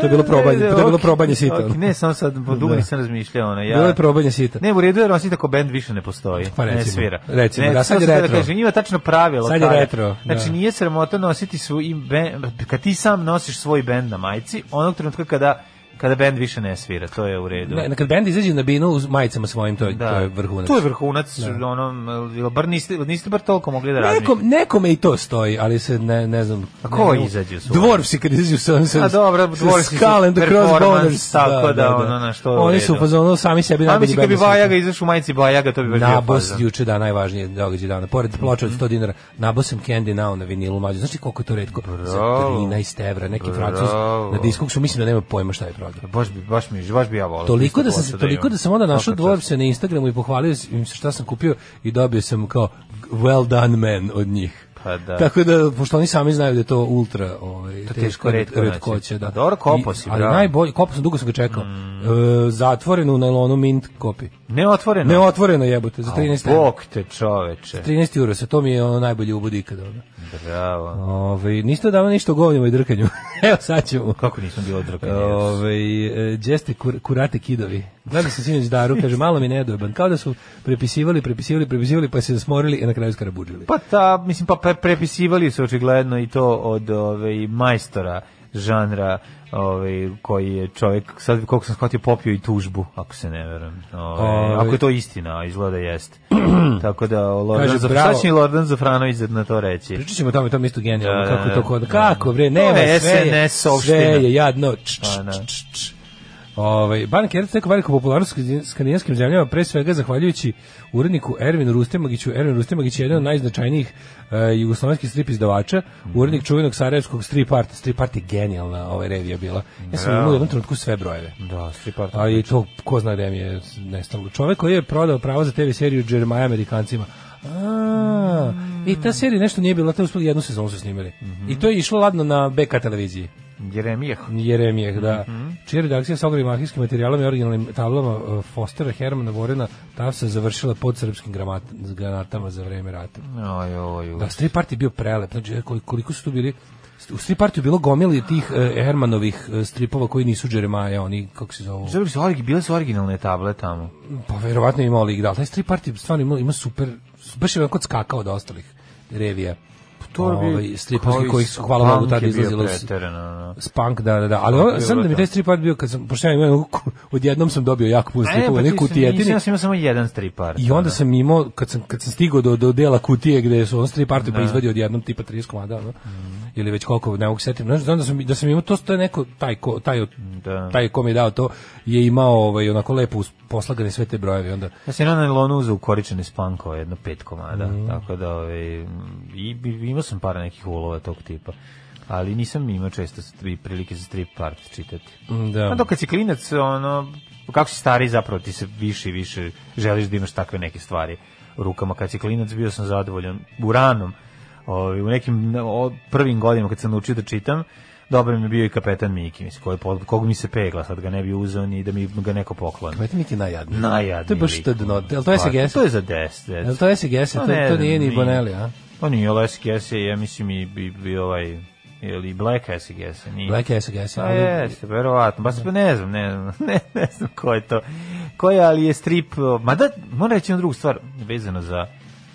to je bilo probanje, ne, to je bilo okej, probanje sita. okej, ne, samo sad, po dugo Da. nisam razmišljao. Ono, ja, Bilo je probanje sita. Ne, u redu je Rosi tako bend više ne postoji. Pa ne recimo, svira. recimo, ne, da, to sad je sam teo retro. kažem, ima tačno pravilo. Sad je kada- retro, da. Znači, nije sramota nositi svoj, bend, kad ti sam nosiš svoj bend na majici, onog trenutka kada kada bend više ne svira, to je u redu. Ne, kad bend izađe na binu uz majicama svojim, to je, Da. to je vrhunac. To Da. je vrhunac, ono, jel bar niste, niste bar toliko mogli da razmišljate. Nekom, nekome i to stoji, ali se ne, ne znam. A ko ne, ne- izađe u svojim? Dvorfsi kad izađu sa sa- A dobro, sa Dvorfsi su Skull and the performance, Crossbones. tako da, ono, na što je u Oni redu. su u fazonu sami sebi A najbolji mislim kad bi bend na Bajaga svijetu. izašao u majici Bajaga, to bi baš bio Nabos fazon. Mhm. juče da najvažniji događaj dana. Pored ploče od 100 dinara, nabosam Candy Now na vinilu mlađe. Znači koliko je to retko? Za 13 evra, neki francus Bravo. na diskoksu, mislim da nema pojma šta je prodao. Baš bi, baš mi, baš bi ja volao. Toliko isto da sam ploču se toliko imam. da sam onda našao Svaka čast. dvojce na Instagramu i pohvalio im se šta sam kupio i dobio sam kao well done man od njih. Pa da. Tako da pošto oni sami znaju da je to ultra, ovaj teško, retko naći. retkoće, da. A dobro, kopao si, I- Ali bravo. Mm. najbolji kopao sam dugo sam ga čekao. E, zatvoren u najlonu mint kopi. Ne otvoreno. Ne otvoreno jebote za 13 evra. Pa Bog te čoveče. 13 euro, se to mi je ono najbolji ubod ikada. ono. Bravo. Ovaj niste davno ništa o govnjima i drkanju. [laughs] Evo sad ćemo. Kako nisam bio odrkan. Ove, gdje ste kur, kurate kidovi? Gledam se sinoć Daru, kaže, malo mi nedojeban. Kao da su prepisivali, prepisivali, prepisivali, pa se zasmorili i na kraju skarabuđili. Pa ta, mislim, pa pre- prepisivali su očigledno i to od ove, majstora žanra ove, koji je čovjek, sad koliko sam shvatio, popio i tužbu, ako se ne verujem. Ove, Ove. ako je to istina, a izgleda [clears throat] jeste. Tako da, Lordan, Kaže, Zaf- bravo. šta će Lordan Zafranović na to reći? Pričat ćemo o tome, to mi isto genijalno, Da, kako da, je to da. kod... Kako, bre, To nema, je sve je, sve SNS-ovština. je jadno. Č, č, Pa, da. č, č, č. Ovaj Ban Kerc tako veliku popularnost u skandinavskim zemljama pre svega zahvaljujući uredniku Ervinu Rustemagiću. Ervin Rustemagić je jedan od Mm. najznačajnijih e, jugoslovenskih strip izdavača, urednik čuvenog sarajevskog strip art. Strip art je genijalna ova revija bila. Ja sam imao u jednom trenutku sve brojeve. Da, stripart. A Pa i to ko zna gde mi je nestalo. Čovek koji je prodao pravo za TV seriju Jeremiah Amerikancima. A, I ta serija nešto nije bila, te uspeli jednu sezonu su snimili. I to je išlo ladno na BK televiziji. Jeremijah. Jeremijeh, da. Čija redakcija sa ogromnim arhivskim materijalom i originalnim tablama e, Fostera, Hermana, Vorena, Tavsa završila pod srpskim gramat- granatama za vreme rata. Oj, oj, oj. Da, Street Party je bio prelep. Znači, kol- koliko su tu bili... U Street Partiju je bilo gomili tih e, Hermanovih e, stripova koji nisu Jeremaja, oni, kako se zovu... Zabili su origi, bile su originalne table tamo. Pa verovatno je imao lik, da, ali taj Street Party stvarno ima, ima super, baš je onako skakao od ostalih revija. torbi, ovaj, stripovski Pa, koji koji su, hvala Bogu, punk tada je bio izlazili uz- preterano, ono. Spunk, da, da, da. Ali ovo, sam da mi taj strip art bio, kad sam, pošto ja imam, odjednom sam dobio jako puno A ne, stripova, pa ti ne si- kutijetini. nisi, Ja sam imao samo jedan strip art. I onda sam imao, kad sam, kad sam stigao do, do dela kutije gde su on strip arti Da. pa izvadio odjednom tipa 30 komada, ono, Mhm. ili već koliko, ne mogu se setim. Znaš, znam da sam, da sam imao, to, to je neko, taj, ko, taj, od- Da. taj kom je dao to, je imao ovaj, onako lepo us- poslagane sve te brojeve. i Onda, Ja sam Da na nailonu uzeo ukoričene spankova, jedno pet komada, tako da ovaj, m, i, i- imao sam par nekih ulova tog tipa. Ali nisam imao često stri, prilike za strip art čitati. Mm, da. A Pa dok kad si klinac, ono, kako si stari zapravo ti se više i više želiš da imaš takve neke stvari u rukama. Kad si klinac bio sam zadovoljan u ranom, ovaj, u nekim o, prvim godinama kad sam naučio da čitam, dobro mi je bio i kapetan Miki, mislim, koji, je pod- kog mi se pegla, sad ga ne bi uzeo ni da mi ga neko pokloni. Kmetan Miki je najjadniji. Najjadniji. To je baš lik. to dno. Jel to je Pa, SGS? To je za 10. Jel to SGS? Nu, To, to nije ni Bonelli, a? Pa nije, ali SGS je, ja mislim, i, i, i ovaj, ili Black SGS. Nije. Black SGS. Pa ali- jeste, verovatno. Baš pa ne znam, ne [laughs] znam, ne, ne znam ko je to. Ko je, ali je strip... o, Ma da, moram reći jednu drugu stvar vezano za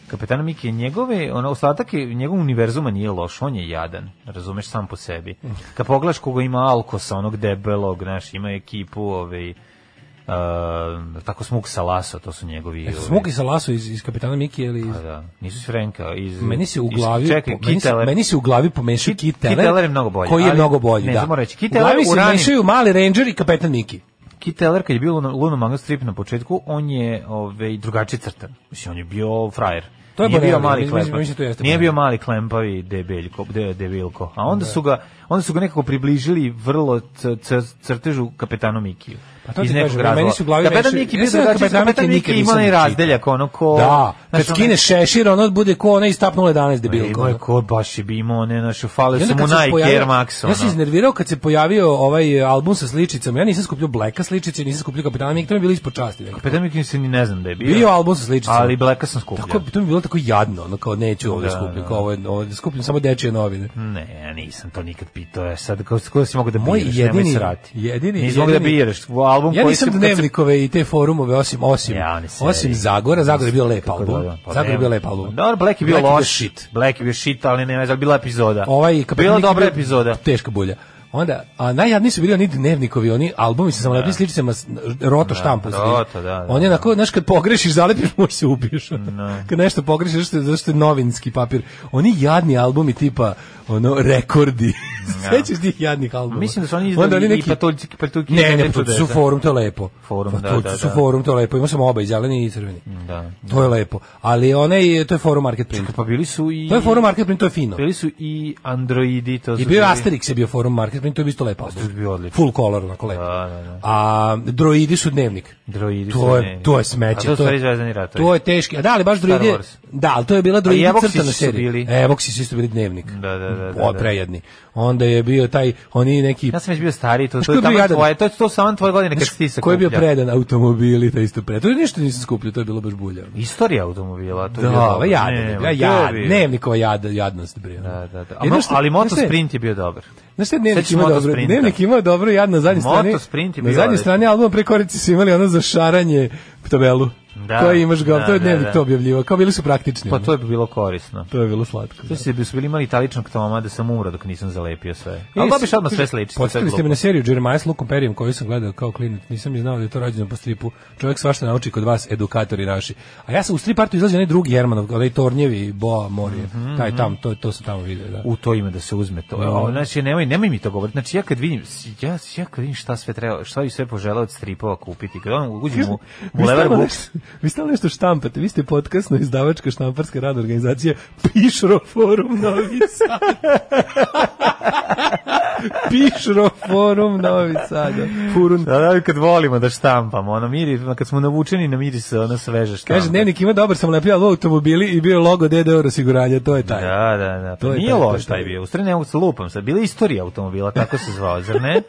kapetana Miki. Njegove, ono, ostatak je, njegov univerzuma nije loš, on je jadan, razumeš, sam po sebi. Kad pogledaš koga ima Alkosa, onog debelog, znaš, ima ekipu, ovaj, Uh, tako Smuk Salaso, to su njegovi... E, ovaj, Smok i Salasu iz, iz Kapitana Miki ili iz... Pa da, nisu iz Frenka, iz... Meni se u iz- glavi Pa, čekaj, po- meni, se, Kiteler. meni se u glavi pomešao Kit- Kit Teller. Kit Teller je mnogo bolji, Koji je ali- mnogo bolji, ne, da. samo reći, Kit u glavi Teller u se ranim- mešaju Mali Ranger i Kapetan Miki. Kit Teller, kad je bio Luno, Luno Manga Strip na početku, on je ovaj, drugačije crtan. Mislim, on je bio frajer. To je Nije bio Bonelli, mali mislim- klempav. mislim, to jeste Nije Bonelli. bio mali klempavi debeljko, de, debilko. A Da. onda su ga onda su ga nekako približili vrlo c, c, crtežu kapetanu Mikiju. Pa to Iz ti nekog kažem, razloga. meni su u glavi Kapetan reši- Miki Ja bio sam na drugačiji, Kapetana kapetan Miki Miki ima nisam onaj ni čitao. razdeljak, ono ko... Da, kad znaš, onaj- skine šešir, ono bude ko onaj iz TAP 011 debilko. Ima je ono. ko baš je bi imao one naše fale I onda su mu kad se Nike pojavio- Air Max. Ja se ono. iznervirao kad se pojavio ovaj album sa sličicama. Ja nisam skupljio Blacka sličice, nisam skupljio Kapitana Miki, to mi je bilo ispod časti. nekako. Kapetan Miki se ni ne znam da je bio. Bio album sa sličicama. Ali Blacka sam skupljao. Tako, to mi je bilo tako jadno, ono kao neću ovdje Da, skupljati, da. kao ovo, je- ovo je- skupljam samo dečije novine. Ne, ja nisam to nikad pitao. Ja sad kako kako si mogu da Moj biraš? jedini- nemoj se rati. jedini- Nisi mogu da jedini- biraš u album Ja koji nisam si- kad si- dnevnikove i te forumove osim osim Ja, oni se- osim Zagora, Zagor je bio lep Kako album. dobro, pa Zagor je nema. bio lep album. Dobro, Black je bio Black loš. shit. Black je bio shit, ali ne, ali bila epizoda. Ovaj Kapetan bila Miki dobra bio epizoda. Teška bulja. Onda, a najjadniji su bili oni dnevnikovi, oni albumi sa samolepnim sličicama, s- roto štampu. roto, da, da. On je onako, znaš, kad pogrešiš, zalepiš, [laughs] možeš se ubiješ. Kad nešto pogrešiš, zašto je, zašto je novinski papir. Oni jadni albumi tipa, ono, rekordi. [laughs] Sećaš tih jadnih albuma? Da. Mislim da su oni Onda izdali i neki- patuljci, patuljki. Ne, ne, Patuljci su forum, to je lepo. Forum, da, Patuljci da, su da. forum, to je lepo. Imao sam oba, i zeleni i crveni. Da. To je lepo. Ali onaj, to je forum market print. Pa bili su i... To je forum market print, to je fino. Bili su i androidi, to su... I bio je bili- Asterix je bio forum market print, to je isto lepo. Asterix je bio odličan. Full color, onako lepo. Da, da, da. A droidi su dnevnik. Droidi To su je, ne. to je smeće. A to su je- stvari Zvezdani ratovi. To je teški. A da, ali baš droidi... je- Wars. Da, ali to je bila droidi Evoxi crtana su serija. bili. Evoxi su isto bili dnevnik. Da, da, da, da, O, da. prejedni. Onda je bio taj, oni neki... Ja sam već bio stariji, to, Znaš to ko je je bio tamo jadan? tvoje, to je to samo tvoje godine kad Znaš, si ti se ko je bio kupljao. predan automobili, taj isto predan. To je ništa nisam skupljio, to je bilo baš bulja. Istorija automobila, to je bilo Da, dobro. ova jadna, pa Ne, ne, ma, ja, to ja, je bio- dnevnikova jad, jadnost, bre. Da, da, da. A, Jedno mo- što- ali znaš šta je- motosprint je bio dobar. Znaš šta je dnevnik Sećaš imao dobro? Motosprinta? Dnevnik imao dobro jad na zadnjoj strani. Motosprint je na bio zadnjoj odličan. strani albuma pre korici su imali ono za šaranje tabelu. Da, to je imaš gov, da, to je da, dnevnik da. to objavljivo. Kao bili su praktični. Pa ono. to je bilo korisno. to je bilo slatko. da. To se bi su bili imali italičnog toma da sam umro dok nisam zalepio sve. E, Ali dobiš s- odmah sve sličice. to je Podsjetili ste me glupo. na seriju Jeremiah s Lukom Perijem koju sam gledao kao klinac. Nisam ni znao da je to rađeno po stripu. Čovjek svašta nauči kod vas, edukatori naši. A ja sam u strip artu izlazio onaj drugi Jermanov, onaj Tornjevi, Boa, Morije. Mhm, Taj tam, to, to sam tamo vidio. Da. u to ime da se uzme to. O, znači nemoj nemoj mi to govoriti. Znači ja kad vidim ja ja kad vidim šta sve treba, šta bi sve poželeo od stripova kupiti. Kad on uđe mu Vi mu stalno lever buks. nešto- Vi stalno nešto štampate, vi ste podcastno izdavačka štamparska radna organizacija Pišro forum Novi [laughs] Sad. Pišro forum Novi Sad. Furun. Da, da, kad volimo da štampamo, ono miri, kad smo navučeni na miris, ono sveže štampa. Kaže, dnevnik ima dobar sam lepio automobili i bio je logo DDR osiguranja, to je taj. Da, da, da. To To je nije taj, to je loš taj taj. bio. U stvari ne mogu se lupam sad. Bila je istorija automobila, tako se zvao, [laughs] zar ne?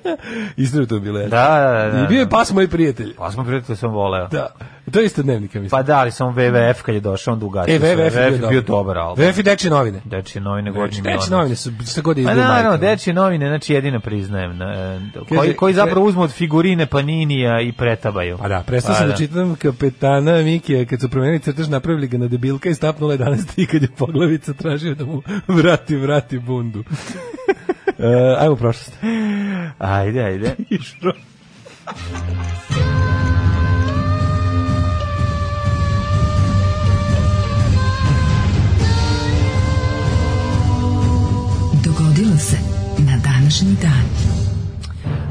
Isto je to bilo. Da, da, da. I bio je pas moj prijatelj. Pa smo prijatelji sam voleo. Da. To je isto dnevnika, mislim. Pa da, ali sam WWF kad je došao, onda ugasio. E, sve. WWF je bio, bio dobar album. WWF i Dečje novine. Dečje novine godine. Dečje novine su šta god je Pa izgleda naravno, majka. dečje novine, znači jedino priznajem. na, e, Kaže, koji, koji zapravo uzmu od figurine Paninija i pretabaju. Pa da, prestao sam da. čitam kapetana Mikija kad su promenili crtež, napravili ga na debilka i stap 011 i kad je poglavica tražio da mu vrati, vrati bundu. [laughs] uh, ajmo u prošlost. [laughs] Ajde, [laughs] ajde. Išro. Dogodilo se na današnji dan.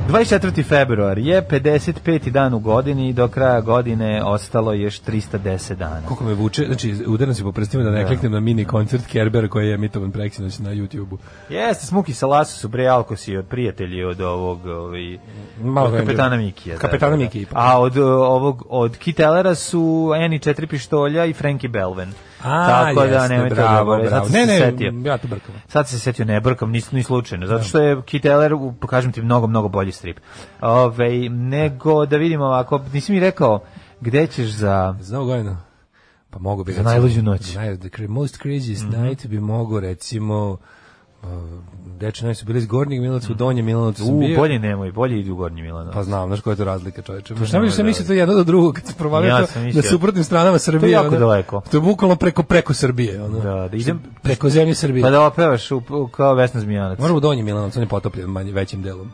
24. februar je 55. dan u godini i do kraja godine ostalo je još 310 dana. Koliko me vuče, znači udaram se po prstima da ne kliknem na mini koncert Kerbera koji je emitovan preksinoć na YouTubeu. Jeste, Smuki sa Lasu su bre alkosi od prijatelji od ovog ovaj, Malo od ga je kapetana bilo. Mikija. da, Kapetana Mikija, pa. A od, e, ovog, od Kitelera su Eni četiri pištolja i Frankie Belven. Tako da jesno, nemojte bravo, da zaboraviti. bravo. Sad sam Ne, se ne, Da. setio. ja to brkam. Sad sam se setio, ne brkam, nis, ni slučajno, zato što je Kit Eller, u- pokažem ti, mnogo, mnogo bolji strip. Ove, nego, da vidimo ovako, nisi mi rekao, gde ćeš za... Znao Gojno? Pa mogu bi Za najluđu noć. Naj, the cra- most craziest night bi mogo recimo uh, Deče noć su bili iz Gornjeg Milanovca Mhm. u Donjem Milanovcu sam U, bio. bolje nemoj, bolje idi u Gornji Milano. Pa znam, znaš koja je to razlika, čoveče. Šta nemoj mi se da- mislite jedno do drugog kad se provalio Ja to sam mislio- na suprotnim stranama Srbije. jako ono, daleko. To je bukvalno preko preko Srbije, ono. Da, da idem- preko zemlje Srbije. Pa da opevaš u, u- kao Vesna Zmijanac. Moramo u Donji Milanovac, on je potopljen manje većim delom.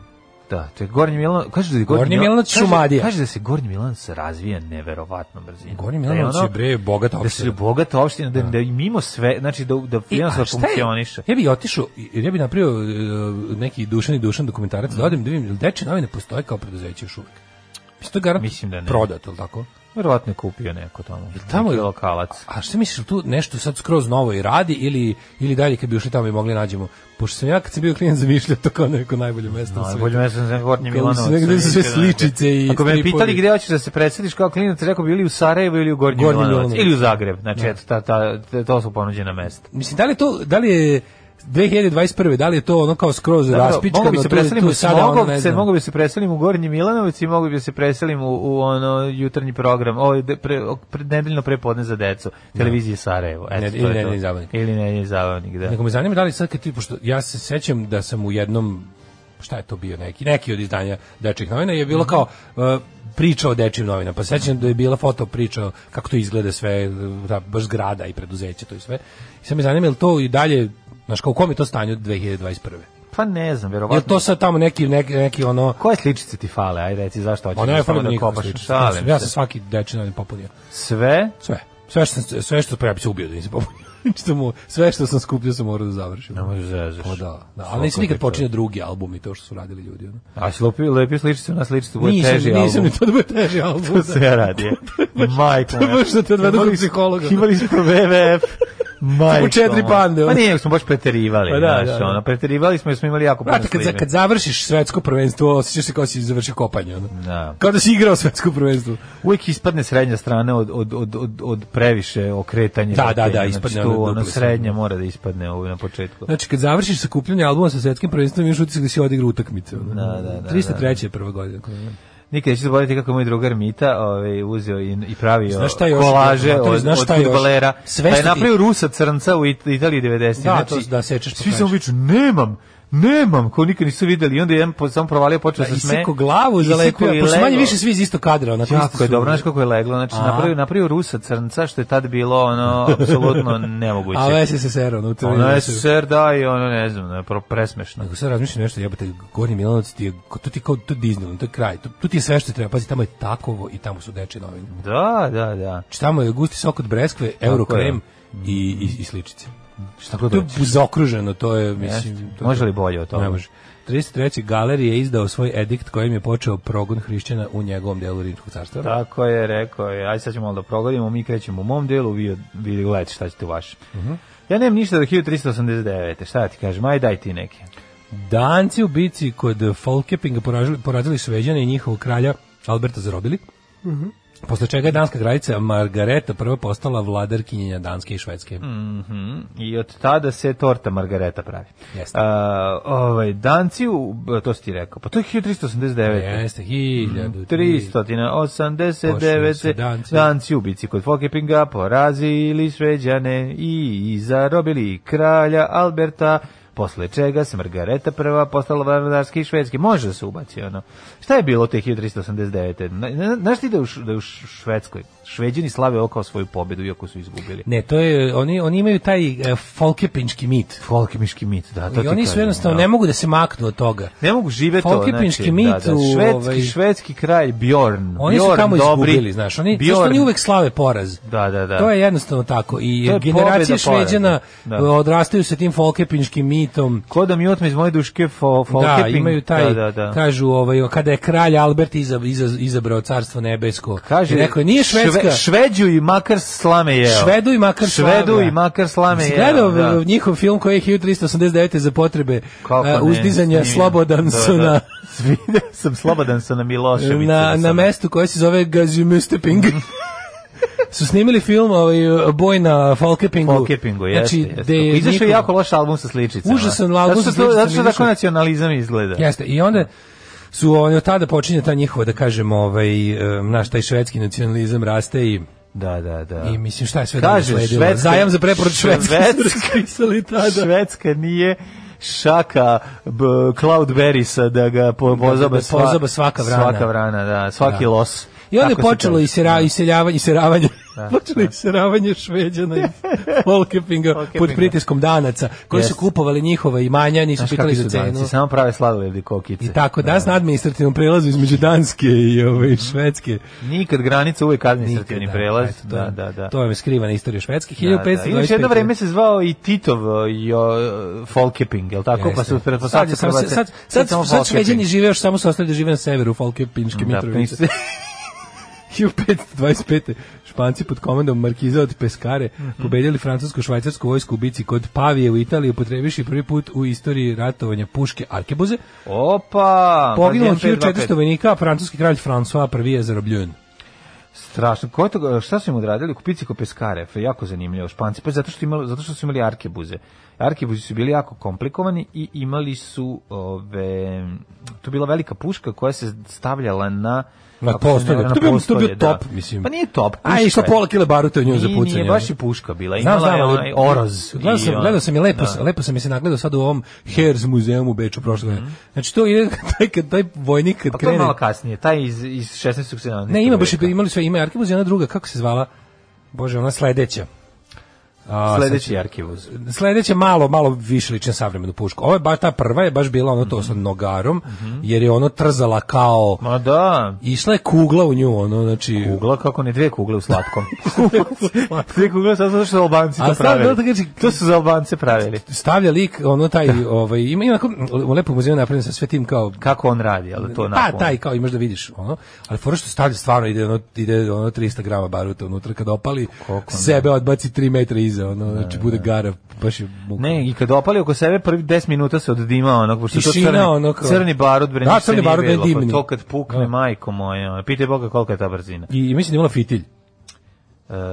Da, to je Gornji Milan, kaže da je Gornji, Gornji Milan- Milanovac kaže- Šumadija. Kaže da se Gornji Milan se razvija neverovatno brzinom. Gornji Da je Milanovac ono- je bre bogata Da se opština. bogata opština, da, da i mimo sve, znači da, da I- a jednostavno šta je- funkcioniše. Ja bih otišao, jer ja bih napravio e, neki dušan i dušan dokumentarac, da odem da vidim, jel deče novine postoje kao preduzeće još uvijek? Mislim, to je garant Mislim da ne. prodat, jel tako? Verovatno je kupio neko tamo. tamo neki je- lokalac. A šta misliš, jel tu nešto sad skroz novo i radi ili, ili dalje kad bi ušli tamo i mogli nađemo? Pošto sam ja kad sam bio klijent zamišljao to kao neko najbolje mesto na Najbolje mesto Da, za Gornji Kao Milanovac. mislim, negde su sve Mislim da ne. sličice i Ako me stripovi. pitali gde hoćeš da se preseliš kao klinac, rekao bi ili u Sarajevo ili u Gornji, Gornji Milanovac, Milanovac. Da. ili u Zagreb. Znači, eto, ta, ta, ta- to su ponuđena mesta. Mislim, da li je to, da li je 2021. da li je to ono kao skroz raspičkano mogu da, bi se tu- preselim tu u sada, ono, Smogov, ne se znam. mogu bi se preselim u Gornji Milanovac i mogu bi se preselim u, u ono jutarnji program, ovaj de, pre, o- pre, nedeljno prepodne za decu, televizije Sarajevo. Eto, Ne- to Da. ili je to. nedeljni zabavnik. Ili nedeljni zabavnik, da. Nego me zanima da li sad kad ti, pošto ja se sećam da sam u jednom, šta je to bio neki, neki od izdanja dečjih novina je Mhm. bilo kao uh, priča o dečjim novina, pa sećam da je bila foto priča o kako to izgleda sve, ta baš zgrada i preduzeće, to i sve. I sad me zanima je li to i dalje, znaš, kao u kom je to stanju od 2021. Pa ne znam, Je li verovatno. to sad tamo neki, neki, neki ono, Koje sličice ti fale? Ajde, reci, zašto hoćeš ono je da samo fali da nikakva kopaš? sličica. Šalim Ja se. sam svaki dečji novin popunio. Sve? Sve. Sve što, sam- sve što, pa ja bi se ubio da nisam popunio. [laughs] Što mu- sve što sam skupio sam morao da završim. Ne možeš zezaš. Pa da, da. ali nisam nikad počinio drugi album i to što su radili ljudi. Ono. A si lepio, lepio sličicu na sličicu, bude Nisam, teži nisam album. ni to da bude teži album. To [laughs] se ja radi. Majko. to je [laughs] baš da te odvedu Imali kod smo- psihologa. [laughs] Imali smo WWF. Majko. U četiri moja. bande, Pa ono. nije, smo baš preterivali. Pa da, znaš, da, da. Ono, preterivali smo jer smo imali jako puno Brate, kad, za- slime. kad završiš svetsko prvenstvo, osjećaš se kao si završio kopanje. Ono. Da. Kao da si igrao svetsko prvenstvo. Uvijek ispadne srednja strana od, od, od, od, od previše okretanja. Da, da, da, Znači, ispadne ono tu, ono, duplo srednja mora da ispadne ovaj, na početku. Znači, kad završiš sakupljanje albuma sa svetskim prvenstvom, imaš utisak da si odigra utakmice. Ono. Da, da, da, 303. je prva godina. Nikad neću zaboraviti kako je moj drugar Mita ovaj, uzeo i, i pravio Znaš šta još? kolaže Maturi, od, znaš od šta još? fudbalera. Sve pa je što ti- napravio Rusa crnca u It- Italiji 90. Da, to da sečeš po Svi krajičku. samo viču, nemam, nemam, kao nikad nisu videli. I onda je jedan po- samo provalio, počeo Da, se smeje. iseko glavu, Isekao zalepio, i pošto manje legao. više svi iz istog kadra. Onako, isto Jako je su- dobro, znaš kako je leglo, znači A. napravio, napravio Rusa crnca, što je tad bilo [laughs] ono, apsolutno nemoguće. A SSSR, ono, u crvenim Ono je nosovima. ser, da, i ono, ne znam, ono, pro- presmešno. Ako sad razmišljam nešto, jebate, Gornji Milanovac ti je, to ti je kao, to je Disneyland, to je kraj, to, tu ti je sve što treba, pazi, tamo je takovo i tamo su dečje novine. Da, da, da. Znači, tamo je gusti sok od breskve, eurokrem i, i, i sličice. Šta god To je zaokruženo, to je, mislim... Jeste. to- Može da li bolje od toga? Ne može. 33. Galerij je izdao svoj edikt kojim je počeo progon hrišćana u njegovom delu Rimskog carstva. Tako je, rekao je, aj sad ćemo malo da progodimo, mi krećemo u mom delu, vi, od- vi gledajte šta ćete u vašem. Mhm. Ja nemam ništa do 1389. Šta ja ti kažem, aj daj ti neke. Danci u Mhm. bici kod Folkepinga porazili, porazili Šveđane i njihovog kralja Alberta zarobili. Posle čega je danska kraljica Margareta prva postala vladarkinjenja Danske i Švedske. I od tada se torta margareta pravi. Jeste. A, ovaj, Danci, u, to si ti rekao, pa to je 1389. Jeste, Mhm. 1300. 389 Pošli se su Danci. Danci u bici kod Fokepinga porazili Šveđane i zarobili kralja Alberta posle čega se Margareta prva postala vladarski i švedski. Može da se ubaci ono. Šta je bilo te 1389. Na- na- Znaš ti da u, Š- da u Š- Švedskoj Šveđani slave ovo kao svoju pobedu iako su izgubili. Ne, to je, oni, oni imaju taj e, folkepinjski mit. Folkemiški mit, da, to I ti oni su kažem, jednostavno, da. ne mogu da se maknu od toga. Ne mogu živeti to, Folkepinški znači, mit da, da, u, švedski, ovaj- švedski kralj Bjorn. Oni Bjorn, su tamo dobri, izgubili, znaš. Oni, Bjorn, Bjorn, oni uvek slave poraz. Da, da, da. To je jednostavno tako. I To je pobeda generacije Šveđana poraza. Da. odrastaju sa tim folkepinjskim mitom. Ko da mi otme iz moje duške fo, Da, Folkeping. imaju Da, taj, da, da. kažu, ovaj, kada je kralj Albert iza, iza, izabrao carstvo nebesko, Kaže, i rekao je, nije Švedska, Šve, šveđu i makar slame jeo. Švedu i makar slame. Švedu i makar slame Jesi jeo. gledao da. v- njihov film koji je 1389. za potrebe Kako a, ne, uzdizanja snimio. Slobodan su Da, [laughs] da. na, Vidio sam Slobodan su na Miloševicu. na, na mestu koje se zove [laughs] Gazimesteping. su snimili film ovaj, Boj na Folkepingu. Folkepingu, jeste. jeste. Znači, gde je Izašao je niko- jako loš album sa sličicama. Užasan album Zato što sa to- sličicama Zato što tako izašao. nacionalizam izgleda. Jeste, i onda su oni od tada počinje ta njihova, da kažem, ovaj, em, naš taj švedski nacionalizam raste i Da, da, da. I mislim šta je sve Kaže, dalje sledilo. Švedska- Zajam za preporod Švedske. Švedska- su [laughs] raspisali tada. Švedska nije šaka b, Cloudberrysa da ga po, pozaba, da sva- pozaba svaka vrana. Svaka vrana, da, svaki Da. los. I onda je Tako se Da. počelo kaže. isera, iseljavanje, iseravanje, [laughs] da. počelo iseravanje [laughs] Šveđana i Folkepinga pod Folkepinga. pritiskom Danaca, koji su Jest. kupovali njihova imanja, nisu Znaš pitali kakvi su za cenu. danci, Da, samo prave sladoledi kokice. I tako, danas na administrativnom prelazu između Danske i ove, Švedske. Nikad granica, uvijek Mhm. administrativni Nikada, prelaz. eto, to da, je- da, da. To je skrivana istorija Švedske. Da, da. 1525. Inače, jedno vreme se zvao i Titov uh, jo, Folkeping, jel tako? Pa Jeste. su pretpostavljali sad, je samo se- Hrvate- sad, sad, samo sad, sad Folkeping. Šveđani žive još samo su ostali da žive na severu Folkepinške Da, Mitrovice. pa nisu- 1525. Španci pod komandom Markiza od Peskare Mhm. pobedjeli francusko-švajcarsku vojsku u bici kod Pavije u Italiji, upotrebiši prvi put u istoriji ratovanja puške Arkebuze. [laughs] Opa! Poginulo pa 1525. 1400 vojnika, a francuski kralj François I je zarobljen. Strašno. Ko je to, šta su im odradili? Kupici ko peskare. f- Jako zanimljivo. Španci. Pa zato što, imali, zato što su imali arkebuze. Arkebuzi su bili jako komplikovani i imali su ove, to je bila velika puška koja se stavljala na Na ako se ne postolje. varam, na To bi- to bi postolje, bio da. top, mislim. Pa nije top. puška A i što je. pola kile baruta u nju za Nije, pucanje. Nije baš i puška bila. Imala je ali onaj oroz. Gledao i ovaj- sam, ono- Pa gledao sam i lepo, da. lepo sam mi se nagledao sad u ovom Hers muzeum u Beču prošle godine. Znači to je [laughs] taj, kad taj vojnik kad Pa Mhm. to je krene. malo kasnije. Taj iz, iz 16. 17. Ne, ima baš veka. imali sve, ima i arkebuz i ona druga, kako se zvala? Bože, ona sledeća. A, sad Sledeći ću- arkebuz. Sledeća malo, malo više liče na savremenu pušku. Ovo je baš ta prva je baš bila ono to sa nogarom, jer je ono trzala kao Ma da. Išla je kugla u nju, ono, znači... Kugla, kako ne, dve kugle u [laughs] slatkom. dve kugle, sad zato što su Albanci A to sad, da, da pravili. kaži- To su za Albance pravili. stavlja lik ono taj Da. ovaj ima ima onako u lepom muzeju napravljen sa sve tim kao Kako on radi, ali to onako... Pa taj kao imaš da vidiš ono, ali fora što stavlja stvarno ide ono ide ono 300 grama baruta unutra kad opali Koliko ne? Da, sebe odbaci 3 metra iza ono znači bude gara baš je muka. Ne, i kad opali oko sebe, prvi 10 minuta se oddima onog, pošto je to Tišina, crni, ono kao- crni barut, bre, Da, ništa crni nije barut je bilo, pa divni. to kad pukne, Da. majko moja, pite Boga kolika je ta brzina. I, i mislim da je imala fitilj.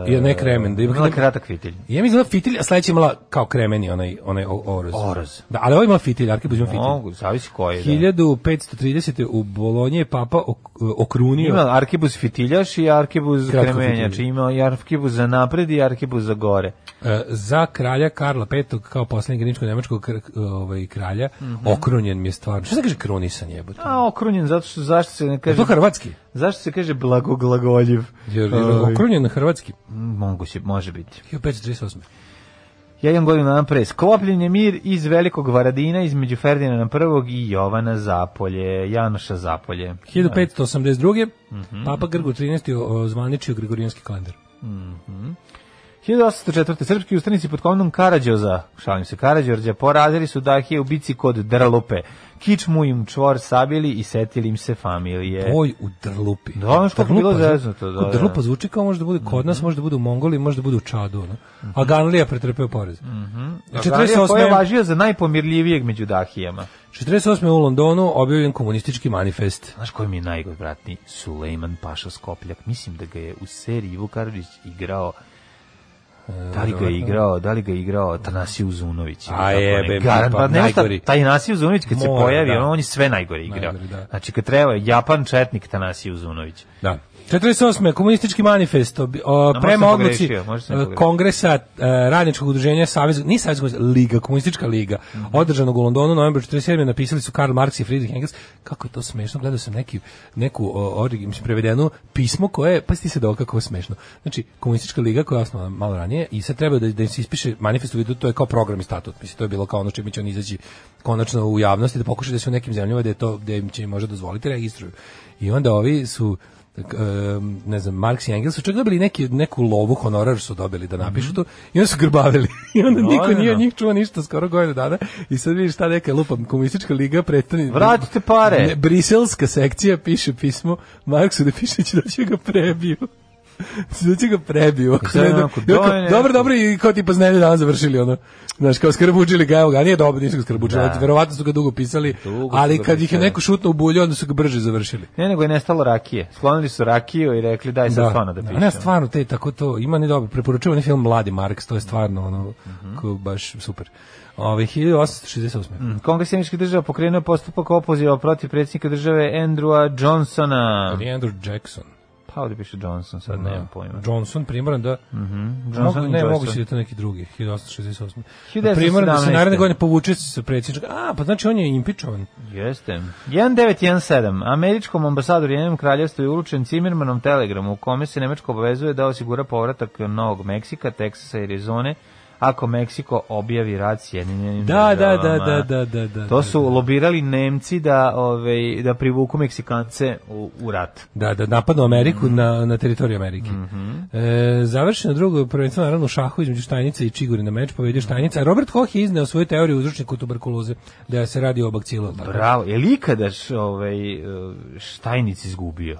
Jer ne kremen, da ima- E, Imala kratak fitilj. I ja mislim da je imala fitilj, a sledeća je imala kao kremeni onaj onaj o- oroz. Oroz. Da, ali ovo ima fitilj, arkebuz ima fitilj. Mogu, zavisi koji, da. 1530. u Bolonji je papa ok- okrunio Ima arkebuz fitiljaš i arkebuz Kratko kremenjač, fitilje. ima i arkebuz za napred i arkebuz za gore. E, za kralja Karla V kao poslednjeg grčko-nemačkog kr- ovaj kralja okrunjen mi je stvarno. Šta se kaže krunisan jebote? Mhm. A okrunjen, zato što zašto se ne Je Pa to kaže... hrvatski? Zašto se kaže blagoglagoljiv? Jer je Ovaj, okrunjen na hrvatski. Moguće, može biti. 1538. Da. Ja imam godinu dana pre. Sklopljen je mir iz Velikog Varadina između Ferdinana I i Jovana Zapolje, Janoša Zapolje. 1582. Mhm. Papa Grgo 13. o- ozvaničio Gregorijanski kalendar. Da. 1804. Srpski ustanici pod komandom Karađoza, šalim se Karađorđa, porazili su Dahije u bici kod Drlupe. Kičmu im čvor sabili i setili im se familije. Boj u Drlupi. E. Da, ono što je Drlupa bilo zvu- zeznuto, da, Mhm. kod da. Drlupa Mhm. zvuči kao može da bude kod nas, može da bude u Mongoliji, može da bude u Čadu. Ono. A Ganlija pretrpeo porez. 48. Ko Mhm. je 48.. važio za najpomirljivijeg među dahijama? 48. u Londonu objavljen komunistički manifest. Znaš koji mi je najgodvratniji? Sulejman Paša Skopljak. Mislim da ga je u seriji Vukarđić igrao Da li ga je igrao, da li ga je igrao Atanasiju Zunović? ili A tako ne? jebe, Garan- pa pa nešto, najgori. Taj Tanasiju Zunović kad se Mora, pojavi, da. on je sve najgore igrao. Najgori, da. Znači kad treba, Japan četnik Tanasiju Zunović. Da. 48. komunistički manifest obi- o, sam prema odluci pogrešio, možda sam e, pogrešio. kongresa e, radničkog udruženja Savez ni Savez Liga komunistička liga Mhm. održanog u Londonu novembra 47 napisali su Karl Marx i Friedrich Engels kako je to smešno gledao sam neki neku o, origi- mislim prevedenu pismo koje pa ti se da kako je smešno znači komunistička liga koja je osnovana malo ranije i sad treba da da im se ispiše manifest u vidu to je kao program i statut mislim to je bilo kao ono čime će oni izaći konačno u javnosti da pokušaju da se u nekim zemljama da je to da im će im možda dozvoliti registruju i onda ovi su tak, em, ne znam, Marx i Engels su čak dobili neki, neku lovu, honorar su dobili da napišu Mhm. to, i onda su grbavili. [laughs] I onda Da, niko nije od njih čuo ništa skoro godinu dana. I sad vidiš ta neka lupam, komunistička liga pretani... Vratite pare. Ne, briselska sekcija piše pismo Marksu da piše će da će ga prebiju. [laughs] da će ga prebiju. Ako sad ne da- onako, i onako, dojne- dobro, dobro, i kao ti pa zneli dan završili ono. Znaš, kao skrbuđili ga, evo ga, nije dobro, nisu ga skrbuđili, Da. verovatno su ga dugo pisali, Dugo su ali ga kad ih je pisali. neko šutno u bulju, onda su ga brže završili. Ne, nego je nestalo rakije. Sklonili su rakiju i rekli daj sad stvarno da pišem. Ne, stvarno, te tako to, ima ne dobro, preporučujem onaj film Mladi Marks, to je stvarno ono, Mhm. ko, baš super. Ove, 1868. Mm, Kongres Sjemičkih država pokrenuo postupak opoziva protiv predsjednika države Andrewa Johnsona. Ali Andrew Jackson. Pa ovdje piše Johnson, sad Da. nemam pojma. Johnson primoran da... Johnson mogu, i ne, Johnson. mogu si da je to neki drugi, 1868. 1917. Primoran da se naredne godine povuče sa predsjednička. A, pa znači on je impičovan. Jeste. 1917. Američkom ambasadoru Jedinom kraljevstvu je uručen Cimermanom telegram u kome se Nemačko obavezuje da osigura povratak Novog Meksika, Teksasa i Arizone ako Meksiko objavi rad Sjedinjenim Da, da, državama. da, da, da, da, da. To su lobirali Nemci da, ovaj, da privuku Meksikance u, u rat. Da, da napadnu Ameriku Mhm. na, na teritoriju Amerike. e, završeno drugo prvenstvo naravno u šahu između Štajnice i Čigurina meč, povedio Mhm. Štajnica. a Robert Koch je izneo svoju teoriju uzročniku tuberkuloze, da se radi o bakcilu. jel tako? Bravo. Je li ikada š- ovaj, eh, Štajnic izgubio?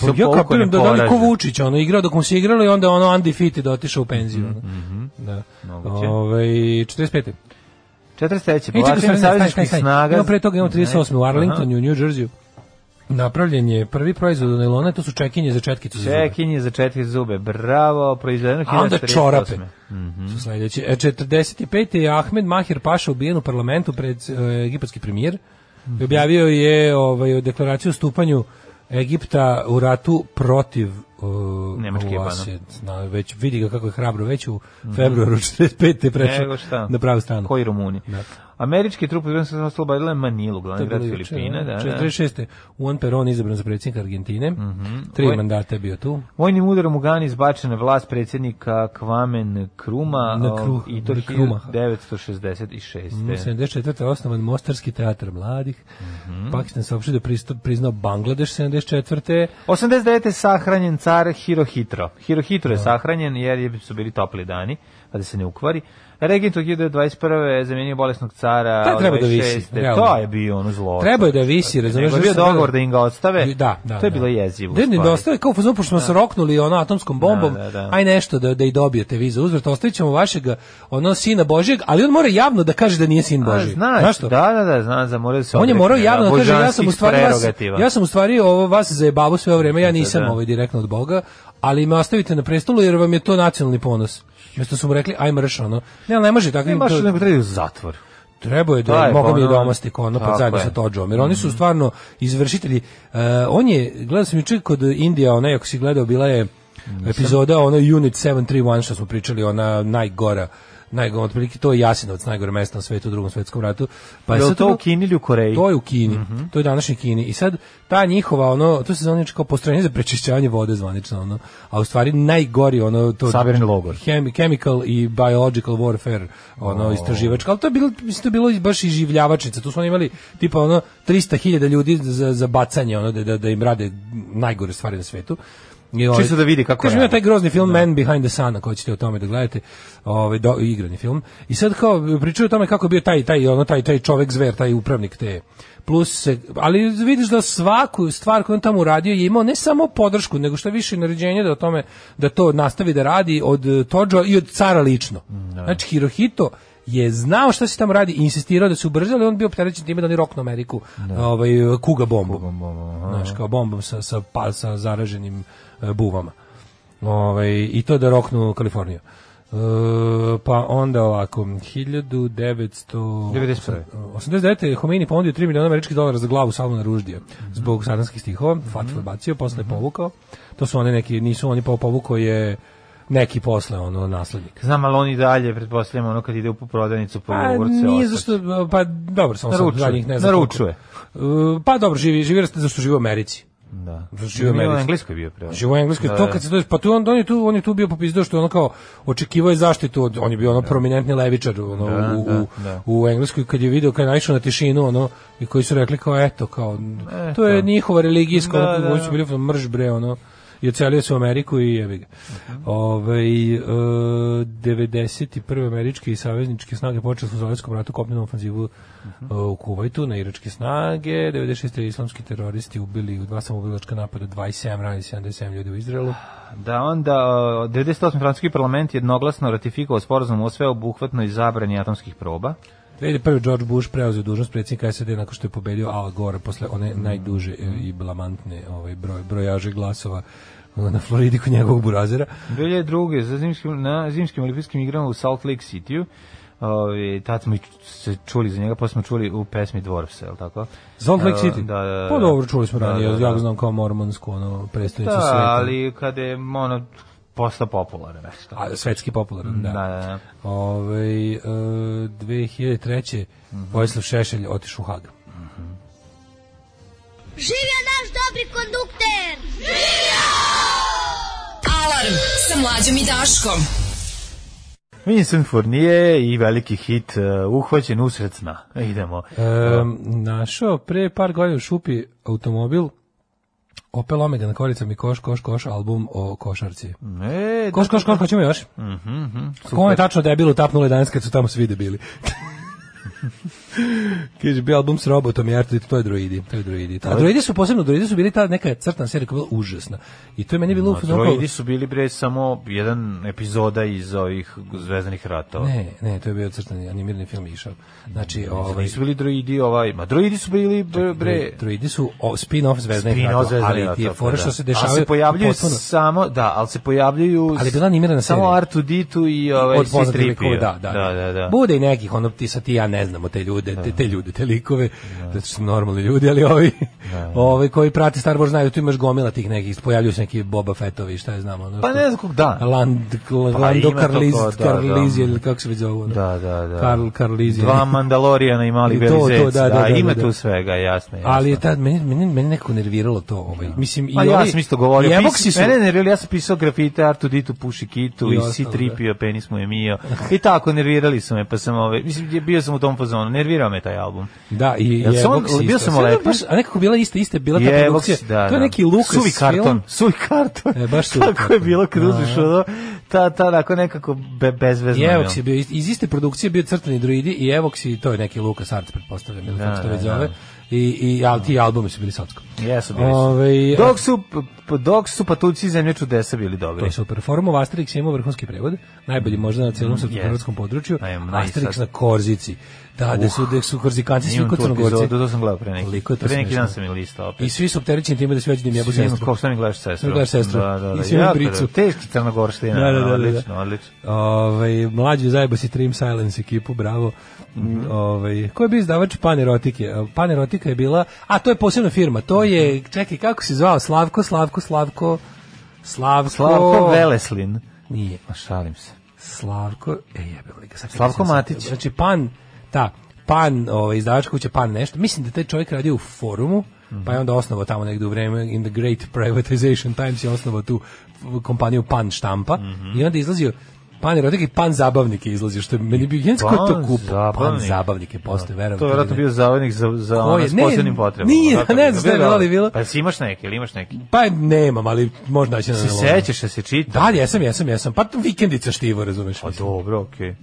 Pa Sa ja koliko kapiram da da neporažen. li ko Vučić, ono igrao dok mu se igralo i onda ono undefeated otišao u penziju. ono. Da. Mhm, Moguće. Ovaj 45. 43. E, čekaj, Povlačenje stani, stani, stani, savezničkih stani. snaga. Imamo pre toga, imamo 38. u Aha. Arlingtonu, u New Jersey. Napravljen je prvi proizvod od nailona, to su čekinje za četkicu. za zube. Čekinje za četiri zube, bravo, proizvedeno A onda 1948. čorape. Su sledeći. E, 45. je Ahmed Mahir Paša ubijen u parlamentu pred e, egipatski premijer. Mhm. Objavio je ovaj, deklaraciju o stupanju Egipta u ratu protiv uh, Nemačke i Japana. Mhm. Na, već vidi ga kako je hrabro već u februaru 45. Nego prešao šta? na pravu stranu. Koji Rumuni? Da. Američki trup Iranske strane oslobodila je Manilu, To glavni je grad bilo juče, Filipina. Da, da. 46. Juan Perón izabran za predsjednika Argentine. Tri Ovaj- mandata je bio tu. Vojnim udarom u Gani izbačena je vlast predsjednika Kvamen Kruma Na o, Kru- i to na Krumaha. 1966. 74. osnovan Mostarski teatar mladih. Mhm. Pakistan saopštio da je pristup- priznao Bangladeš 74. 89. je sahranjen car Hirohitro. Hirohitro Da. je sahranjen jer je- su bili topli dani, pa da se ne ukvari. Regent od 1921. je zamenio bolesnog cara Taj od treba da visi, 26.. realno. To je bio ono zlo. Trebao je da visi, razumeš? Nego je bio da se- dogovor da im ga odstave. Da, da. To je da. bilo jezivo. u Da, ne, stvari. da ostave kao fuzon, pošto smo se roknuli ono atomskom bombom, Da, da, da. aj nešto da, da i dobijete vi za uzvrat, ostavit ćemo vašeg ono sina Božijeg, ali on mora javno da kaže da nije sin A, Božiji. znaš, Znaš to? da, da, da, zna, za moraju se On je odrekne, morao javno da kaže ja sam božanskih u stvari vas, prerogativa. ja sam u stvari ovo vas zajebavo sve ovo vreme, ja nisam da. ovaj direktno od Boga, ali me ostavite na prestolu jer vam je to nacionalni ponos. Mesto su mu rekli aj mrš ono. Ne, ali ne može tako. Ne im baš to- nego treba da u zatvor. Trebao je da, Da, da je, mogu pa mi je ono- da omastiko ono pod Tako zajedno je. Mhm. sa Todžom, jer oni su stvarno izvršitelji. E, on je, gledao sam juče kod Indija, onaj, ako si gledao, bila je epizoda, ono Unit 731 što smo pričali, ona najgora najgore, otprilike to je Jasenovac, najgore mesto na svetu u drugom svetskom ratu. Pa Jel sad to ono- u Kini ili u Koreji? To je u Kini, Mhm. to je današnji Kini. I sad ta njihova, ono, to se zvanično kao postrojenje za prečišćavanje vode zvanično, ono, a u stvari najgori, ono, to... Sabirni logor. Chem- chemical i biological warfare, ono, istraživačka, ali to je bilo, mislim, to je bilo i baš iživljavačnica, tu su oni imali, tipa, ono, 300.000 ljudi za, za bacanje, ono, da, da, da im rade najgore stvari na svetu. I, ovaj, Čisto da vidi kako Da. Kažem, rade. ima taj grozni film Man Behind the Sun, ako ćete o tome da gledate, ovaj do, igrani film. I sad kao pričaju o tome kako je bio taj taj ono taj taj čovek zver, taj upravnik te plus se, ali vidiš da svaku stvar koju on tamo uradio je imao ne samo podršku, nego što više i naređenje da o e, Mm, tome da to nastavi da radi od Tođo i od cara lično. Znači Hirohito je znao šta se tamo radi i insistirao da se ubrza, ali on bio opterećen time da oni roknu Ameriku Da. ovaj, kuga bombom. Znaš, kao bombom sa, sa, pa, sa zaraženim e, buvama. Ovaj, I to da roknu Kaliforniju. E, pa onda ovako 1900 91.. 89. je Khomeini ponudio 3 miliona američkih dolara za glavu Salmana Ruždija zbog satanskih stihova, fatvu je bacio, posle je povukao. To su one neki, nisu oni po povukao je neki posle ono naslednik. Znam, ali on i dalje, pretpostavljam, ono kad ide u prodavnicu po Pa jogurt se nije ostaće. zašto, pa dobro, samo sam Naručuje, zadnjih ne znam. koliko. naručuje. E, Pa dobro, živi, živi zašto živi u Americi. Da. Živi u Nije, Americi. Engleskoj je bio preo. Živo u Engleskoj, Da, to kad se dođe, pa tu on, on je tu, on je tu bio popizdao što ono kao očekivao je zaštitu, od, on je bio ono prominentni levičar ono, u, u, da. u Engleskoj kad je video kad je naišao na tišinu ono i koji su rekli kao eto kao E, to je njihova religijska Da, ono, da. koji su bili mrž bre ono i ocelio se u Ameriku i jebi ga. Mhm. Ovaj, e, 91. američke i savezničke snage počeli su u Zalivskom ratu kopnenu ofanzivu Mhm. e, u Kuvajtu na iračke snage. 96. islamski teroristi ubili u dva samoubilačka napada 27 rani 77 ljudi u Izraelu. Da, onda o, 98. francuski parlament jednoglasno ratifikovao sporazum o sveobuhvatnoj zabrani atomskih proba. 2001. George Bush preuzeo dužnost predsjednika SAD nakon što je pobedio Al Gore posle one Mhm. najduže e, i blamantne ovaj broj brojaže glasova e, na Floridi kod njegovog burazera. 2002. za zimskim, na zimskim olimpijskim igrama u Salt Lake City-u. Ovi, tad smo i ču- se čuli za njega, pa smo čuli u pesmi Dwarfs, je li tako? Salt Lake E, City. Da, da, da. Pa dobro, čuli smo Da, ranije, da, da. ja ga znam kao mormonsku ono predstavnicu Da, sveta. ali kada je ono postao popularan nešto. A, svetski popularan, da. Da, da, da. Ovaj, e, 2003. Mhm. Vojislav Šešelj otišao u E, Hag. Živio naš dobri kondukter! Živio! Alarm sa mlađom i Daškom. Vincent Fournier i veliki hit uh, uhvaćen usred sna. E, Idemo. Da. Um, našao pre par godina u šupi automobil Opel Omega na koricama i koš, koš, koš, album o košarci. E, Koš, koš, koš, hoćemo još? Mhm, Kome je tačno debilu tapnulo 11 kad su tamo svi debili? [laughs] Kaže, bio album s robotom i Artrit, to je droidi, to je droidi. A droidi su posebno, droidi su bili ta neka crtana serija koja je bila užasna. I to je meni bilo... u fazonu kao- Droidi su bili bre samo jedan epizoda iz ovih zvezdanih ratova. Ne, ne, to je bio crtani animirani film išao. Znači, ovaj, Nisu bili droidi ovaj, ma droidi su bili bre, bre Droidi su o, spin-off zvezdanih Pino ratova, zvezdanih ali ti je ratova, fora što da. se dešavaju Ali se pojavljuju potpuno- samo, da, ali se pojavljuju Ali je bila animirana samo serija. R2D2 i ovaj, od poznatih likova, C-3PO. da, da, da, da, da. Bude i nekih, ono, ti sad ti i ja ne znamo te ljude, te, te ljude, te likove, da su normalni ljudi, ali ovi, Da. ovi koji prate Star Wars znaju, da tu imaš gomila tih nekih, pojavljuju se neki Boba Fettovi, šta je znamo. Ono, Pa što- ne znam kog da. Land, Pa Lando ima to Carliz, ko, da, da. Carliz, ili kako se već zove, ono? Da, da, da. Karl Carliz. Dva Mandalorijana i mali I [laughs] to, beli to, zec, da, da, da, ima da. tu svega, jasno, jasno. Ali je tad, meni, meni, meni neko nerviralo to. Ovaj. Mislim, Ma i Pa ja ovi- sam isto govorio. jebok pis- si su- Mene nervirali, ja sam pisao grafite, Artu Ditu, Puši Kitu I i ostalo, da. C-3PO, penis mu je mio. I tako, nervirali su me, pa sam ove, mislim, je- bio sam u tom fazonu, nervirao me taj album. Da, i Jel sam Jeboks on- isto. bio sam Sve je olepljen? Baš, a nekako bila ista, ista je bila ta Jeboks, produkcija. da, to je da. neki Lukas suvi karton, film. suvi karton. E, [laughs] baš suvi Tako je karton. bilo kad Da, uzmeš da. ono, ta, ta, tako nekako be, bezvezno. je. Jevox je bio iz- iz iste produkcije bio crtani druidi i Evox i to je neki Lucas Arts pretpostavljam ili kako se to da, već da. zove. I i al ti albumi su bili socsko. Jesu bili su. Ovaj, a- Dok su, p- dok su patuljci i zemlje čudesa bili To dobri. je super. Forum of Asterix ima vrhunski prevod, Mm, najbolji možda na celom srpsko-hrvatskom Yes. području. I am Asterix nice. na Korzici. Da, da su, da su Korzikanci svi Uh, Imam kod tu Crnogorci. epizodu, to sam gledao pre neki. Koliko je to Pre neki smešno. dan sam je listao opet. I svi su opterećeni time da sve hoće da im jebu Svima, sestru. Kao što mi gledaš sestru? Ne gledaš sestru. Da, da, da. I svima Jako bricu. Da, teški crnogorština. Da, da, da, da, da. Odlično, odlično. Ovaj mlađi zajebo si Trim Silence ekipu, bravo. Ovaj ko je bio izdavač Panerotike? Panerotika je bila, a to je posebna firma. To je čekaj kako se zvao Slavko, Slavko, Slavko. Slavko, Slavko Veleslin. Nije. Ma šalim se. Slavko, e jebe li ga sad. Slavko sam se- Matić. Znači pan, ta, pan, ovaj izdavačka kuća pan nešto. Mislim da taj čovjek radio u forumu, pa je onda osnovao tamo negde u vreme in the great privatization times je osnovao tu kompaniju Pan štampa i onda je izlazio Pan erotik i pan zabavnik je izlazio, što je meni bio jedinsko ko je to Pan kupo. Pan zabavnik. Da. zabavnik je postao, verovatno. To je vjerojatno bio zavodnik za, za Ko je? ono s Ne, posebnim potrebama. nije, Zato ne je znam šta je bilo, ali bilo. Pa si imaš neki, ili imaš neki? Pa nemam, ali možda će na Se nalogom. sećaš da se čita? Da, jesam, jesam, jesam. Pa vikendica štivo, razumeš. Pa mislim. dobro, okej.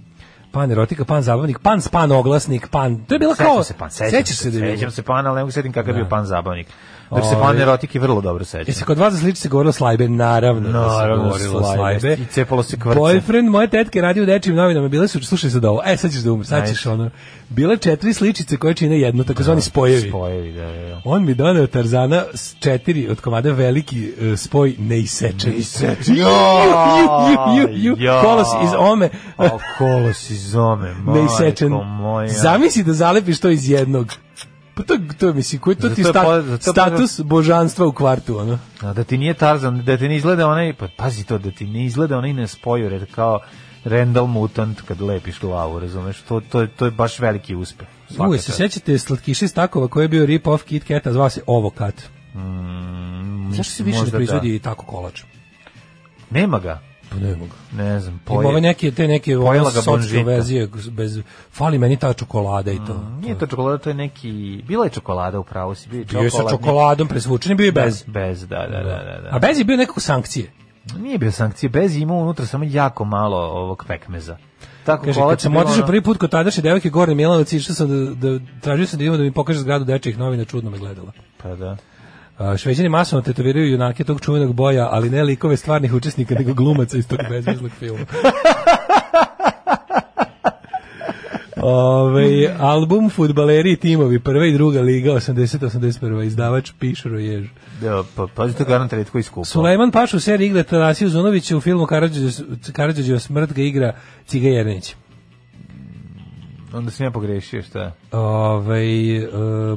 pan erotika, pan zabavnik, pan span oglasnik, pan. To je bilo kao Sećam se pan, sećam Sećaš se, se da je Da. bilo? sećam se pan, ali ne mogu se setim kakav je bio pan zabavnik. Dok se Ovaj. pan erotike vrlo dobro sećam. Je se kod vas za sliči se govorilo slajbe, E, naravno. da se Naravno, govorilo slajbe. I cepalo se kvrce. Boyfriend moje tetke radi u dečijim novinama, bile su, slušaj sad ovo, e sad ćeš da umri, sad ćeš ono. Bile četiri sličice koje čine jednu, takozvani spojevi. Spojevi, da, da, da. On mi doneo Tarzana s četiri od komada veliki e, spoj neisečeni. Neisečeni. Jo, ju, ju, ju, jo. kolos iz ome. A kolo si [laughs] zome, neisečen. majko moja. Zamisli da zalepiš to iz jednog. Pa to, to je, misli, koji to Za ti to je sta, po- za to je- status božanstva u kvartu, ono. A da ti nije Tarzan, da ti ne izgleda onaj, pa pazi to, da ti ne izgleda onaj nespojure kao Randall Mutant kad lepiš glavu, razumeš? To, to, je- to je baš veliki uspeh. Svaka Uvijek se čast. sećate slatkiša iz takova koji je bio rip-off Kit Kata, zvao se Ovokat. Zašto se više ne možda da. proizvodi tako kolač? Nema ga. Pa ne mogu. Ne znam, Ima ove poje. neke, te neke pojela ono ga sotske Bonžita. verzije, bez, fali meni ta čokolada i to. Nije to čokolada, to je neki... Bila je čokolada u pravu, si bio je Bio je sa čokoladni- čokoladom presvučen, bio je bez. Bez, da, da, da, da. da. A bez je bio nekako sankcije. Pa Nije bio sankcije, bez je imao unutra samo jako malo ovog pekmeza. Tako Kaže, kolač kad sam je bilo otišao ono- prvi put kod tadašnje devojke Gore Milanović, išao sam da, da tražio sam da idemo da mi pokaže zgradu dečijih novina, čudno me gledala. Pa da. A, Šveđani masovno tetoviraju junake tog čuvenog boja, ali ne likove stvarnih učesnika, nego glumaca iz tog bezveznog filma. Ove, album Futbaleri i timovi, prva i druga liga, 80-81, izdavač Pišro Jež. Da, pa, pazi to garanta retko iskupo. Sulejman Paša u seriji igra Tanasiju Zunovića u filmu Karadžođe- Karadžođeva smrt ga igra Ciga Jernić. Onda sam ja pogrešio, šta je? Ovaj, e,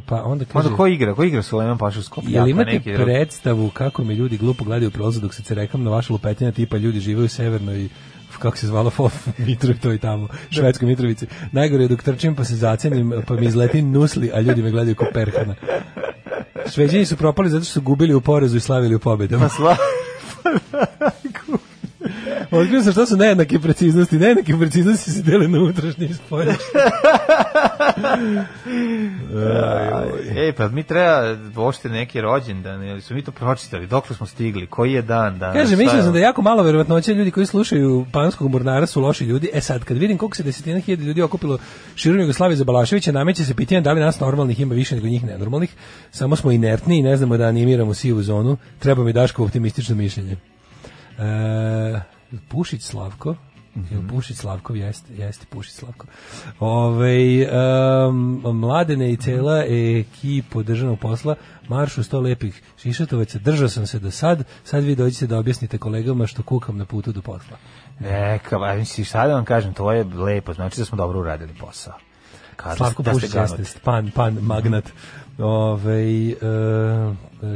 pa onda kaže... Onda ko igra? Ko igra Sulejman Paša u Skoplju? Jel imate predstavu kako me ljudi glupo gledaju u prolazu dok se cerekam na vašu lupetnja tipa ljudi žive u severnoj kako se zvala [laughs] Fof, Mitro to i tamo, Švedskoj Mitrovici. Najgore je dok trčim pa se zacenim, pa mi izleti nusli, a ljudi me gledaju kao perhana. Šveđani su propali zato što su gubili u porezu i slavili u [laughs] pobedama. Sla... Otkrio sam šta su nejednake preciznosti. Nejednake preciznosti se dele na unutrašnje i spoljne. e, pa mi treba uopšte neki rođendan, ili su mi to pročitali, dokle smo stigli, koji je dan danas? Kaže, šta mislio je sam da ono? je jako malo verovatnoće ljudi koji slušaju Panskog mornara su loši ljudi. E sad, kad vidim koliko se desetina hiljada ljudi okupilo širom Jugoslavije za Balaševića, nameće se pitanje da li nas normalnih ima više nego njih nenormalnih. Samo smo inertni i ne znamo da animiramo sivu zonu. Treba mi Daško optimistično mišljenje. E, Pušić Slavko, Jel Pušić Slavkov jeste, jeste Pušić Slavkov. Ovaj em, mladene i cela ekipa državnog posla maršu sto lepih šišatovaca. Držao sam se do sad, sad vi dođite da objasnite kolegama što kukam na putu do posla. Neka, ba, mislim, šta da vam kažem, to je lepo, znači da smo dobro uradili posao. Kada, Slavko da ste Pušić jeste, ganuti. pan, pan, magnat. Ovaj, e,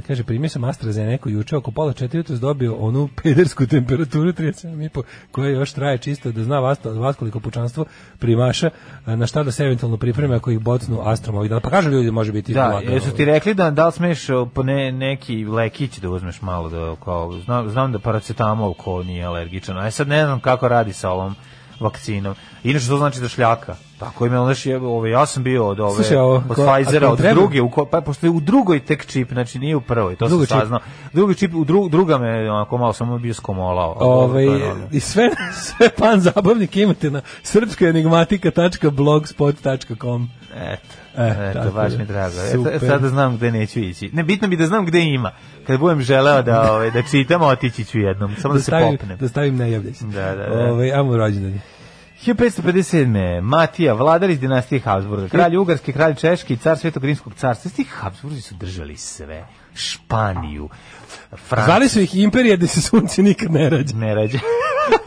kaže, primio sam AstraZeneca juče, oko pola četiri jutros dobio onu pedersku temperaturu 37,5, koja još traje čisto da zna vas, vas koliko pučanstvo primaša, e, na šta da se eventualno pripreme ako ih bocnu astrom ovih dana. Pa kažu ljudi, može biti Da, lagano. jesu ti rekli da da li smeš o, po ne, neki lekić da uzmeš malo da kao znam, znam da paracetamol ko nije alergičan. A ja sad ne znam kako radi sa ovom vakcinom. Inače to znači da šljaka. Tako ime znači je ove ja sam bio od ove Slušaj, ovo, od ko- Pfizera ako od treba- druge u ko, pa pošto je u drugoj tek čip, znači nije u prvoj, to Drugi sam čip. saznao. Drugi čip u dru, druga me onako malo samo bio skomolao. ali dobro, Ove, to je normalno. i sve, sve pan zabavnik imate na srpskoenigmatika.blogspot.com Eto, E, eto, tako baš da. mi drago. Super. Eto, sada znam gde neću ići. Ne, bitno mi da znam gde ima. Kad budem želeo da, ovaj, da čitam, otići ću jednom, samo da, se stavim, popnem. da stavim najavljaj se. Da, da, da. Ovaj, ajmo u rođendan. 1557. Matija, vladar iz dinastije Habsburga, kralj Ugarske, kralj Češki, car Svetog Rimskog carstva. Svi Habsburgi su držali sve. Španiju, Francusku. Zvali su ih imperije da se sunce nikad [laughs] ne rađa. Ne [laughs] rađe.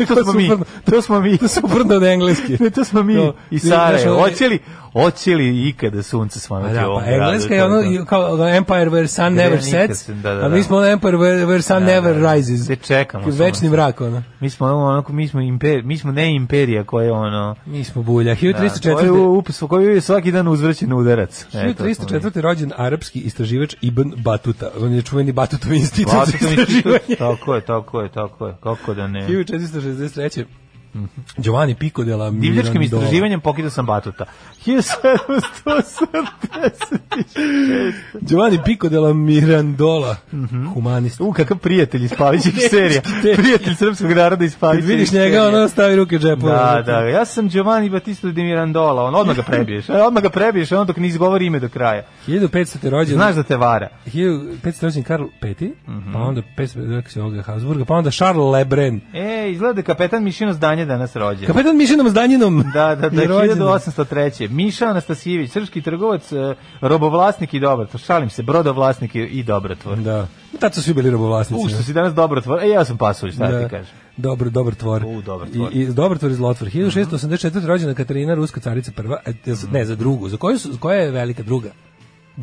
To to smo mi. suprotno- To smo mi. To se obrnuo od engleski. Ne, [laughs] to smo mi To, i znaš, Sarajevo. ono- Hoće li, hoće li ikada sunce Pa svanuti Da, u ovom pa gradu? engleska To je ono to. you- kao ono Empire where sun Gde never nikad sets, se- da, da, a mi da. smo ono Empire where, where sun Da, never da, da. rises. Gde čekamo samo Večni sad. mrak, ono. Mi smo ono, onako, mi smo, imper, mi smo ne imperija koja je ono... Mi smo bulja. Da, koju, 1304. up- koju je svaki dan uzvrćen udarac. E, to smo mi. 1304. rođen arapski istraživač Ibn Batuta. On je čuveni Batutov institut [laughs] za Vlasotom institut, istraživanje. da Tako je, tako je, tako je. Kako da ne? 1463. Giovanni Pico della Divljačkim istraživanjem pokidao sam batuta. 1786. Giovanni Pico della Mirandola, humanist. Mhm. U, kakav prijatelj iz Pavićih serija. te- Prijatelj srpskog naroda iz Kad Pavićih vidiš njega, ono stavi ruke džepu. Da, da, ja sam Giovanni Battista di Mirandola, on odmah ga prebiješ, e, odmah ga prebiješ, ono dok ne izgovori ime do kraja. 1500. rođen. Znaš Mhm. da te vara. 1500. Karl V, pa onda 500. ovoga Habsburga, pa onda Charles Lebrun. E, izgleda da je kapetan Mišino zdanje danas rođen. Kapetan Mišinom [laughs] Zdanjinom. Da, da, da, je rođen. 1803. Miša Anastasijević, srpski trgovac, e, robovlasnik i dobrotvor. Šalim se, brodovlasnik i- i dobrotvor. Da. Tad su svi bili robovlasnici. Da. U, što si danas dobrotvor? E, ja sam pasulj, šta ti kažem. Dobro, dobar tvor. U, dobar tvor. Mhm. I, i dobar tvor iz Lotvor. 1684. rođena Katarina, ruska carica prva, e, jel su- ne, za drugu. Za koju, su- koja je velika druga?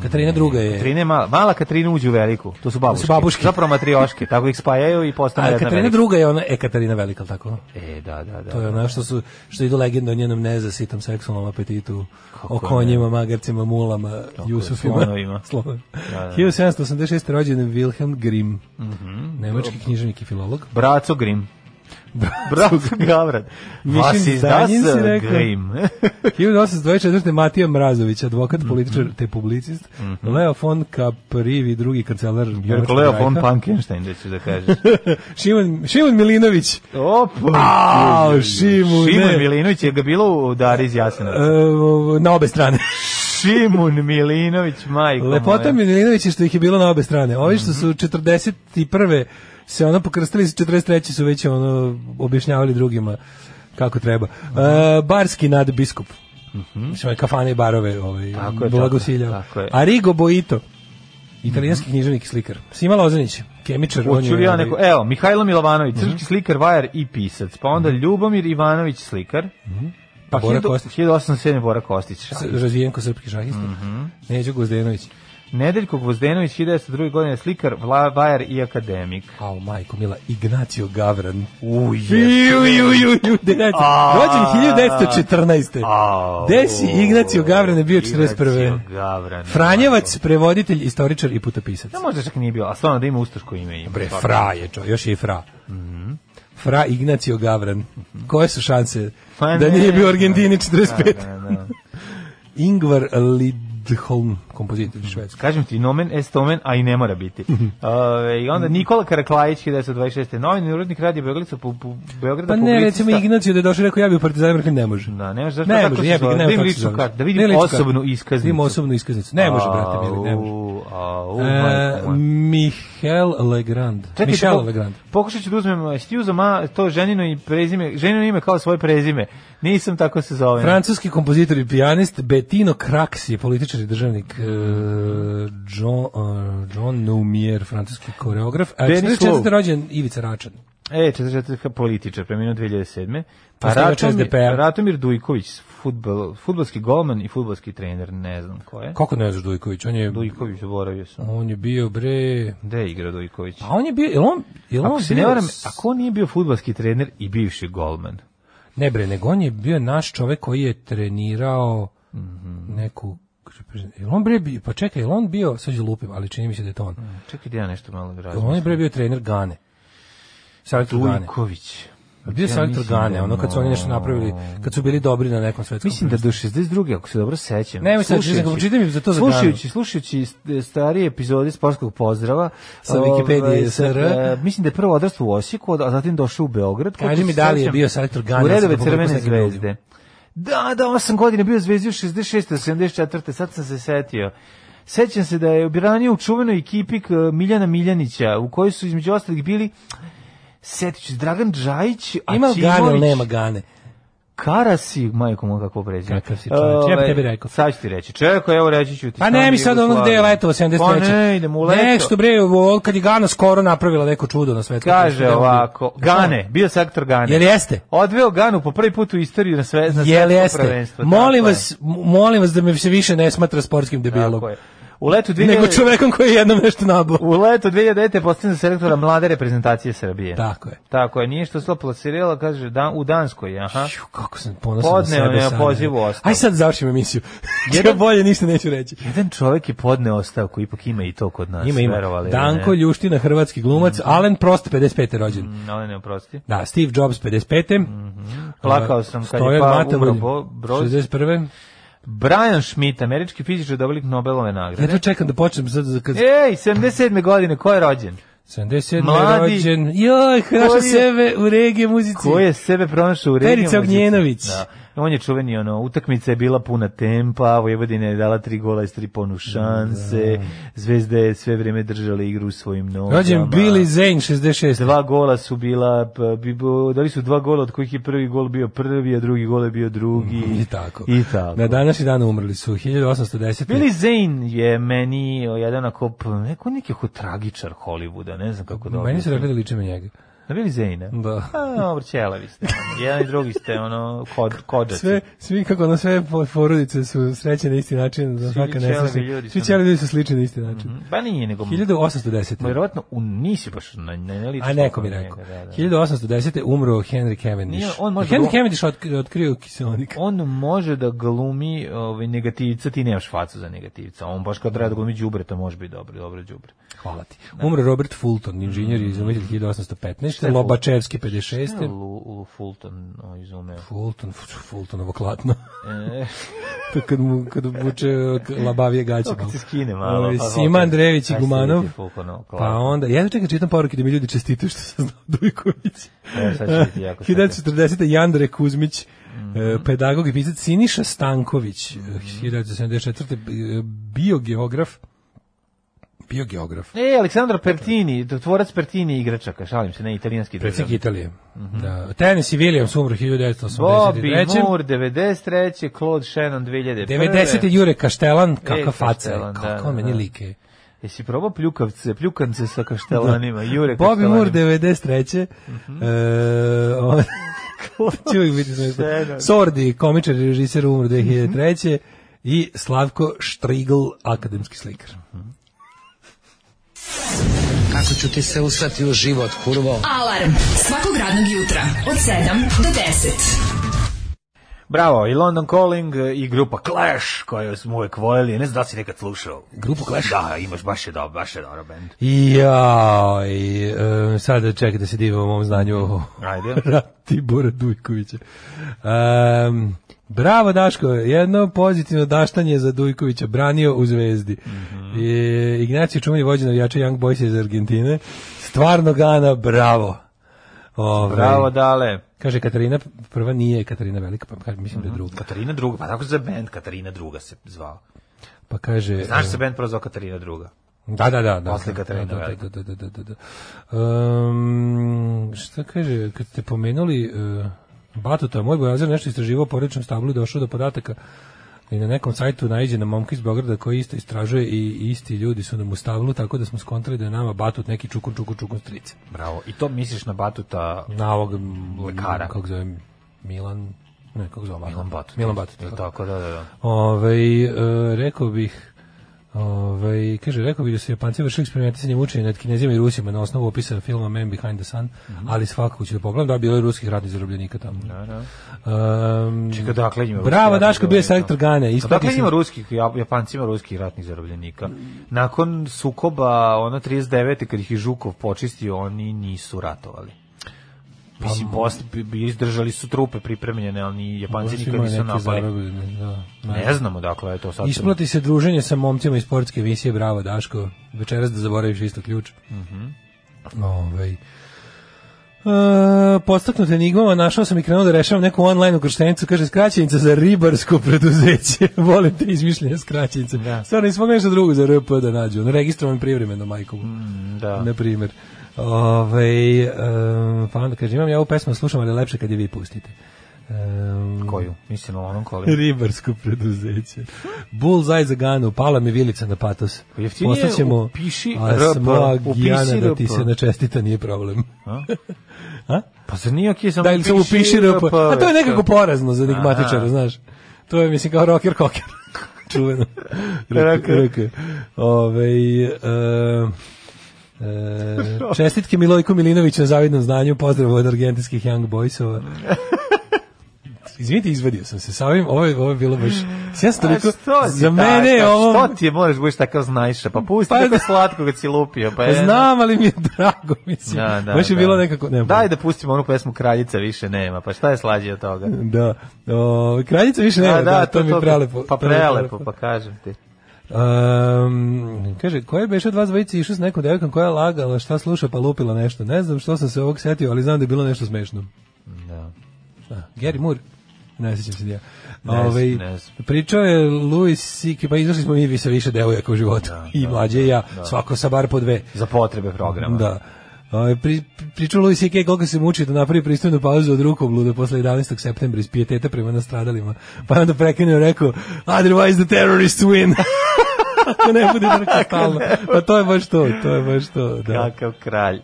Katarina druga je. Katrina je mala, mala Katrina uđe u veliku. To su babuške. su babuške. Zapravo matrioške, tako ih spajaju i postane A jedna Katarina velika. druga je ona, e, Katarina velika, ali tako? E, da, da, da. To je ona što, su, što idu legende o njenom nezasitom seksualnom apetitu, o konjima, magarcima, mulama, Jusufima. [laughs] slonovima. Slonovima. da, da. 1786. rođen je Wilhelm Grimm, Mhm. nemački književnik i filolog. [laughs] Braco Grim. Braco Gavran. Mislim, Vas iz das Danjin si rekao. Grim. 1824. Matija Mrazović, advokat, Mhm. političar te publicist. Leo von Caprivi, drugi kancelar. Jerko Mhm. Nemačkog Leo von Rajha. Pankenstein, da ću da [laughs] kažeš. Šimon, Šimon Milinović. Opa! Au, Šimu, Šimon ne. Milinović je ga bilo u Dari iz Jasenovca. E, na obe strane. Šimun Milinović, majko Lepota Milinović je što ih je bilo na obe strane. Ovi što su 41. se ono pokrstili, 43. su već ono objašnjavali drugima kako treba. E, barski nadbiskup. Mislim, kafane i barove ovaj, Mhm. Tako je, blagosiljao. tako je, tako je. Arrigo Boito, italijanski književnik i slikar. Sima Lozanić, kemičar. on je, Mhm. Hoću li ja ovaj, neko... e, Evo, Mihajlo Milovanović, srpski slikar, vajar i pisac. Pa onda Ljubomir Ivanović, slikar. Pa Mhm. Bora 1000 Kostić. 1807. Bora Kostić. s- razvijen ko srpski šahista. Mhm. Neđo Gozdenović. Nedeljko Gvozdenović, 1902. godine, slikar, vla- vajar i akademik. Au, majko, mila, Ignacio Gavran. Uje. Ju, ju, ju, ju, devet- A. Rođen 1914. Au. Gde si Ignacio Gavran je bio 41. Ignacio Gavran. Franjevac, prevoditelj, istoričar i putopisac. Da možda čak nije bio, a stvarno da ima ustaško ime. pa- Ima. Bre, [laughs] fra je čo, još je i fra. Mhm. Fra Ignacio Gavran. Koje su šanse Pa da ne, nije bio u Argentini Da, 45? da, da. Ingvar Lidholm, kompozitor Mhm. iz Švedske. Kažem ti, nomen est omen, a i ne mora [laughs] biti. Ove, I onda Nikola Karaklajić, 1926. Novin urodnik radi Beograda, pu, pu, Beograda Pa ne, publicista. recimo Ignacio da je došao i rekao ja bi u Partizanu, rekli ne može. Da, ne može, zašto Ne tako može, se jebi ga, zove? Da ne može. im kako se ličnu zove. kartu, da vidim Ne ličnu osobnu kartu. iskaznicu. Da vidim osobnu iskaznicu. Ne može, brate, mili, ne može. Au, au, E, majko moja. Michel Legrand. Čekaj, Michel po- Legrand. Pokušat ću da uzmem, e, ti uzem a, to ženino i prezime, ženino ime kao svoje prezime. Nisam tako se zove. Francuski kompozitor i pijanist Bettino Craxi, političar i državnik e, John, uh, John Noumier, francuski koreograf. A Denis 44. Lou. rođen Ivica Račan. E, 44 političar, preminuo 2007. Pa Osnivač Ratomir, SDP-a. Ratomir Dujković, futbol, futbolski golman i futbolski trener, ne znam ko je. Kako ne znaš Dujković? On je, Dujković, zaboravio sam. on je bio bre... Gde je igrao Dujković? Da. A on je bio, jel on, jel Ako on se bio ne varam, s- ako on nije bio futbalski trener i bivši golman. Ne bre, nego on je bio naš čovek koji je trenirao Mhm. neku Jel on bre bio, pa čekaj, jel on bio, sad ću lupim, ali čini mi se da je to on. Čekaj da ja nešto malo Jel on je razmišljam. bre bio trener Gane. Selektor Gane. Dujković. Pa Bio selektor mislim Gane, da ono kad su oni nešto mo- napravili, kad su bili dobri na nekom svetskom. Mislim da do 62. ako se dobro sećam. Nemoj sad, čekaj, čitaj mi za to za Ganu. Slušajući, slušajući st- starije epizode sportskog pozdrava Sa ovaj, Wikipedije sa- SR. e, mislim da je prvo odrastao u Osijeku, a zatim došao u Beograd. Kaži Koliko mi se da li je sećam, bio selektor da Gane, U redove sad sam Crvene pogledao nekim zvezde. Da, da, 8 godina bio u zvezdi od 66. do 74. Sad sam se setio. Sećam se da je obranio u čuvenoj ekipi k- Miljana Miljanića, u kojoj su između ostalih bili Setić, Dragan Džajić, a Ima li Gane ili Čimović- nema Gane? Karasi, majko moj, kako prezime. Kakav si čovječ, ja bi Ovaj, tebi rekao. Sad ću ti reći, čekaj, evo reći ću ti. Pa stanje ne mi sad ono gde Jugoslavije. je letovo 73. Pa ne, idemo u leto. Nešto bre, ovo, kad je Gana skoro napravila neko čudo na svetskom. Kaže prvenstvu, ovako, da, ono- Gane, bio sektor Gane. Jel jeste? Odveo Ganu po prvi put u istoriji na sve na Jel svetsko jeste? prvenstvo, tako Molim je. vas, m- molim vas da me se više ne smatra sportskim Tako debilom. je. U letu 2000... nego čovekom koji je jednom nešto nabao. U letu 2009. je postavljena selektora mlade reprezentacije Srbije. Tako je. Tako je, nije što se to plasirala, kaže, da, u Danskoj, aha. Ju, kako sam ponosan na Podneo sebe je sad. poziv u ostavku. Aj sad završimo emisiju. ja bolje ništa neću reći. Jedan čovjek je podneo ostavku, ipak ima i to kod nas. Ima, ima. verovali ili Danko ne. Mhm. Ljuština, hrvatski glumac, Alen Prost, 55. rođen. No, Mm, ne, ne, oprosti. Da, Steve Jobs, 55. Plakao sam kad je Stojan pa Matavolj, umro Bo- Broz. 61. Brian Schmidt, američki fizičar, dobitnik Nobelove nagrade. Jedva čekam da počnem sad za kad... Ej, 77. godine, ko je rođen? 77. Mladi. rođen. Joj, Ko naša je- sebe u regije muzici. Ko je sebe pronašao u regiju? Perica muzici? Ognjenović. Da. On je čuveni, ono, utakmica je bila puna tempa, Vojvodina je dala tri gola iz tri ponu Da, šanse, Zvezda je sve vrijeme držala igru u svojim nogama. Rođen Billy Zane, 66. Dva gola su bila, pa, bi- bo- dali su dva gola od kojih je prvi gol bio prvi, a drugi gol je bio drugi. I tako. I tako. Na današnji dan umrli su 1810. Billy Zane je meni o, jedan ako p- neko neki ho- tragičar Hollywooda, ne znam kako da Meni su objasnim. rekli da liče me njega. Na Billy Zane-a? Da. A, dobro, ćelavi ste. ono. Jedan i drugi ste, ono, kod, kođaci. Sve, svi kako ono, sve po- porodice su sreće na isti način, za svaka ćelavi nesreća. ljudi Svi su- ćeli ljudi su slični na Mhm. isti način. Ba nije, nego... 1810. Vjerovatno, u, nisi baš na, na, na ličku A neko mi na rekao. njega, da, da. 1810. umro Henry Nije, Cavendish. on da- možda- Henry Cavendish otkrio, otkrio kiselnik. On može da glumi ovaj, negativca, ti nemaš facu za negativca. On baš kad treba da glumi đubre, to može biti dobro, dobro đubre. Hvala ti. da. Umro Robert Fulton, inženjer i izumitelj 1815. Lobačevski Šta je 56. Lu, Lu Fulton o, izumeo? Fulton, Fultonovo klatno. E, [laughs] to kad mu kad obuče labavije gaće. to kad se malo. skine malo. Ovi, pa Sima opet, Andrejević Ovaj, i aj, Gumanov. sidi ti, Fultonov Pa klatno. onda, ja čekam čitam poruke da mi ljudi čestitaju što sam znao Dujković. Evo, E, sad će biti Znači, jako Mhm. slatko. da 1940. Jandre Kuzmić, eh, pedagog i pisac Siniša Stanković, eh, Mhm. 1974. eh, biogeograf, biogeograf, E, Aleksandro Pertini, tvorac Pertini igračaka, šalim se, ne, italijanski predsjednik državnik. Italije. Da. Tennessee Williams umro 1983. Mhm. Bobby Moore, 93. Claude Shannon, 2001. 90. Jure Kaštelan, kakva E, faca je, Kaštelan, da, kako da, on meni da. like je. Jesi probao pljukavce, pljukance sa kaštelanima, Jure Da. Bobby Moore kaštelanima? 93. Mhm. E, [laughs] on- Će uvijek biti smešno. Sjajno. Sordi, komičar i režiser Mhm. umro 2003. I Slavko Štrigl, akademski slikar. Kako ću ti se usrati u život, kurvo? Alarm svakog radnog jutra od 7 do 10. Bravo, i London Calling e, i grupa Clash, koju smo uvek voljeli, ne znam da li si nekad slušao. Grupu Clash? Da, imaš, baš je dobro, baš je dobro band. Jaj, e, sad čekaj da se divimo mom znanju o Ajde. [laughs] Ratibora Dujkovića. Em, bravo Daško, jedno pozitivno daštanje za Dujkovića, branio u zvezdi. Mhm. I, Ignacio Čumanj, vođe navijača Young Boys iz Argentine, stvarno gana, bravo. Ovaj, Bravo, dale. Kaže Katarina, prva nije Katarina Velika, pa kaže, mislim da je druga. Katarina druga, pa tako se band Katarina druga se zvao. Pa kaže... Znaš e, se band prozvao Katarina druga? Da, da, da. da Posle Katarine da, da, Velike. da, da, da, da, da, da. Um, šta kaže, kad ste pomenuli uh, Batuta, moj bojazer nešto istraživao o porodičnom stablu i došao do podataka i na nekom sajtu naiđe na momka iz Beograda koji isto istražuje i isti ljudi su nam u stablu, tako da smo skontrali da je nama Batut neki čukun, čukun, čukun strice. Bravo. I to misliš na Batuta Na ovog m, Lekara. Kako zove, Milan, ne, kako zove? Milan Batut. Milan Batut, Jel tako. Tako, da, da, da. Ovaj e, rekao bih Ovaj kaže rekao bih da su Japanci vršili eksperimentisanje mučenja nad Kinezima i Rusima na osnovu opisa filma Man Behind the Sun, ali svakako ću da pogledam da bilo je ruskih ratnih zarobljenika tamo. Mhm. da. Um, Čekaj, dakle njima Bravo ruski ratni Daško bio je zarobljenik? selektor Gane. A Ispati Dakle sam- njima ruskih, Jap- Japancima ruskih ratnih zarobljenika. Nakon sukoba, ono 39. kad ih je Žukov počistio, oni nisu ratovali. Pa Mislim, posle, bi- bi izdržali su trupe pripremljene, ali ni Japanci Rusi nikad imaju nisu neke napali. zarobljene, da. Ne znamo, dakle, je to sad. Isplati se druženje sa momcima iz sportske emisije Bravo Daško. Večeras da zaboraviš isto ključ. Mhm. Ovaj. E, podstaknut enigmama našao sam i krenuo da rešavam neku online ukrštenicu, kaže skraćenica za ribarsko preduzeće. [laughs] Volim te izmišljene skraćenice. Da. Stvarno nismo mogli nešto drugo za RP da nađu. Ono registrovan privremeno majkovu Da. na primjer. Ovaj, em, pa onda kaže, imam ja ovu pesmu, slušam, ali je lepše kad je vi pustite. Em, Koju? Mislim, na onom kolima. Ribarsko preduzeće. Bullseye za Ganu, pala mi vilica na patos. Jeftinije upiši Asma RP, upiši Gijana da ti RP. se načestita, nije problem. Pa zar nije okej samo Daj Da li se pa- Da. upiši RP? A to je nekako porazno za enigmatičara, Pa, Aha. znaš. To je, mislim, kao rocker koker. [laughs] čuveno. RK. RK. Ovaj, e, e, čestitke Milojku Milinoviću na zavidnom znanju, pozdrav od argentinskih Young Boysova. Izvinite, izvadio sam se sa ovim, ovo je, ovo je bilo baš... Ja sam Pa toliko, za mene je ovo... Što ti je, moraš budeš takav znajša, pa pusti Pa pa, tako da- slatko kad si lupio. Pa, Pa je- znam, ali mi je drago, mislim. Da, da, baš je da. bilo nekako... Nema, Daj da pustimo onu pesmu Kraljica više nema, pa šta je slađe od toga? Da. O, kraljica više nema, A, da, to, mi je prelepo. Pa to mi je prelepo, pa kažem ti. Um, kaže, ko je beše od vas dvojice išao s nekom devojkom koja je lagala, šta sluša pa lupila nešto? Ne znam što sam se ovog setio, ali znam da je bilo nešto smešno. Da. Da. Gary Moore? Ne sjećam se da ja. znam, Ovaj, ne znam. pričao je Louis C.K., pa izašli smo mi vi sa više devojaka u životu. Da, I mlađe i ja, svako sa bar po dve. Za potrebe programa. Da. Ovaj, pri, pričao Louis C.K. koliko se muči da napravi pristojnu pauzu od rukovluda posle 11. septembra iz pijeteta prema nastradalima. Pa je onda prekinuo i rekao, otherwise the terrorists win. [laughs] Ako ne bude trka stalno. Pa to je baš to, to je baš to. Da. Kakav kralj.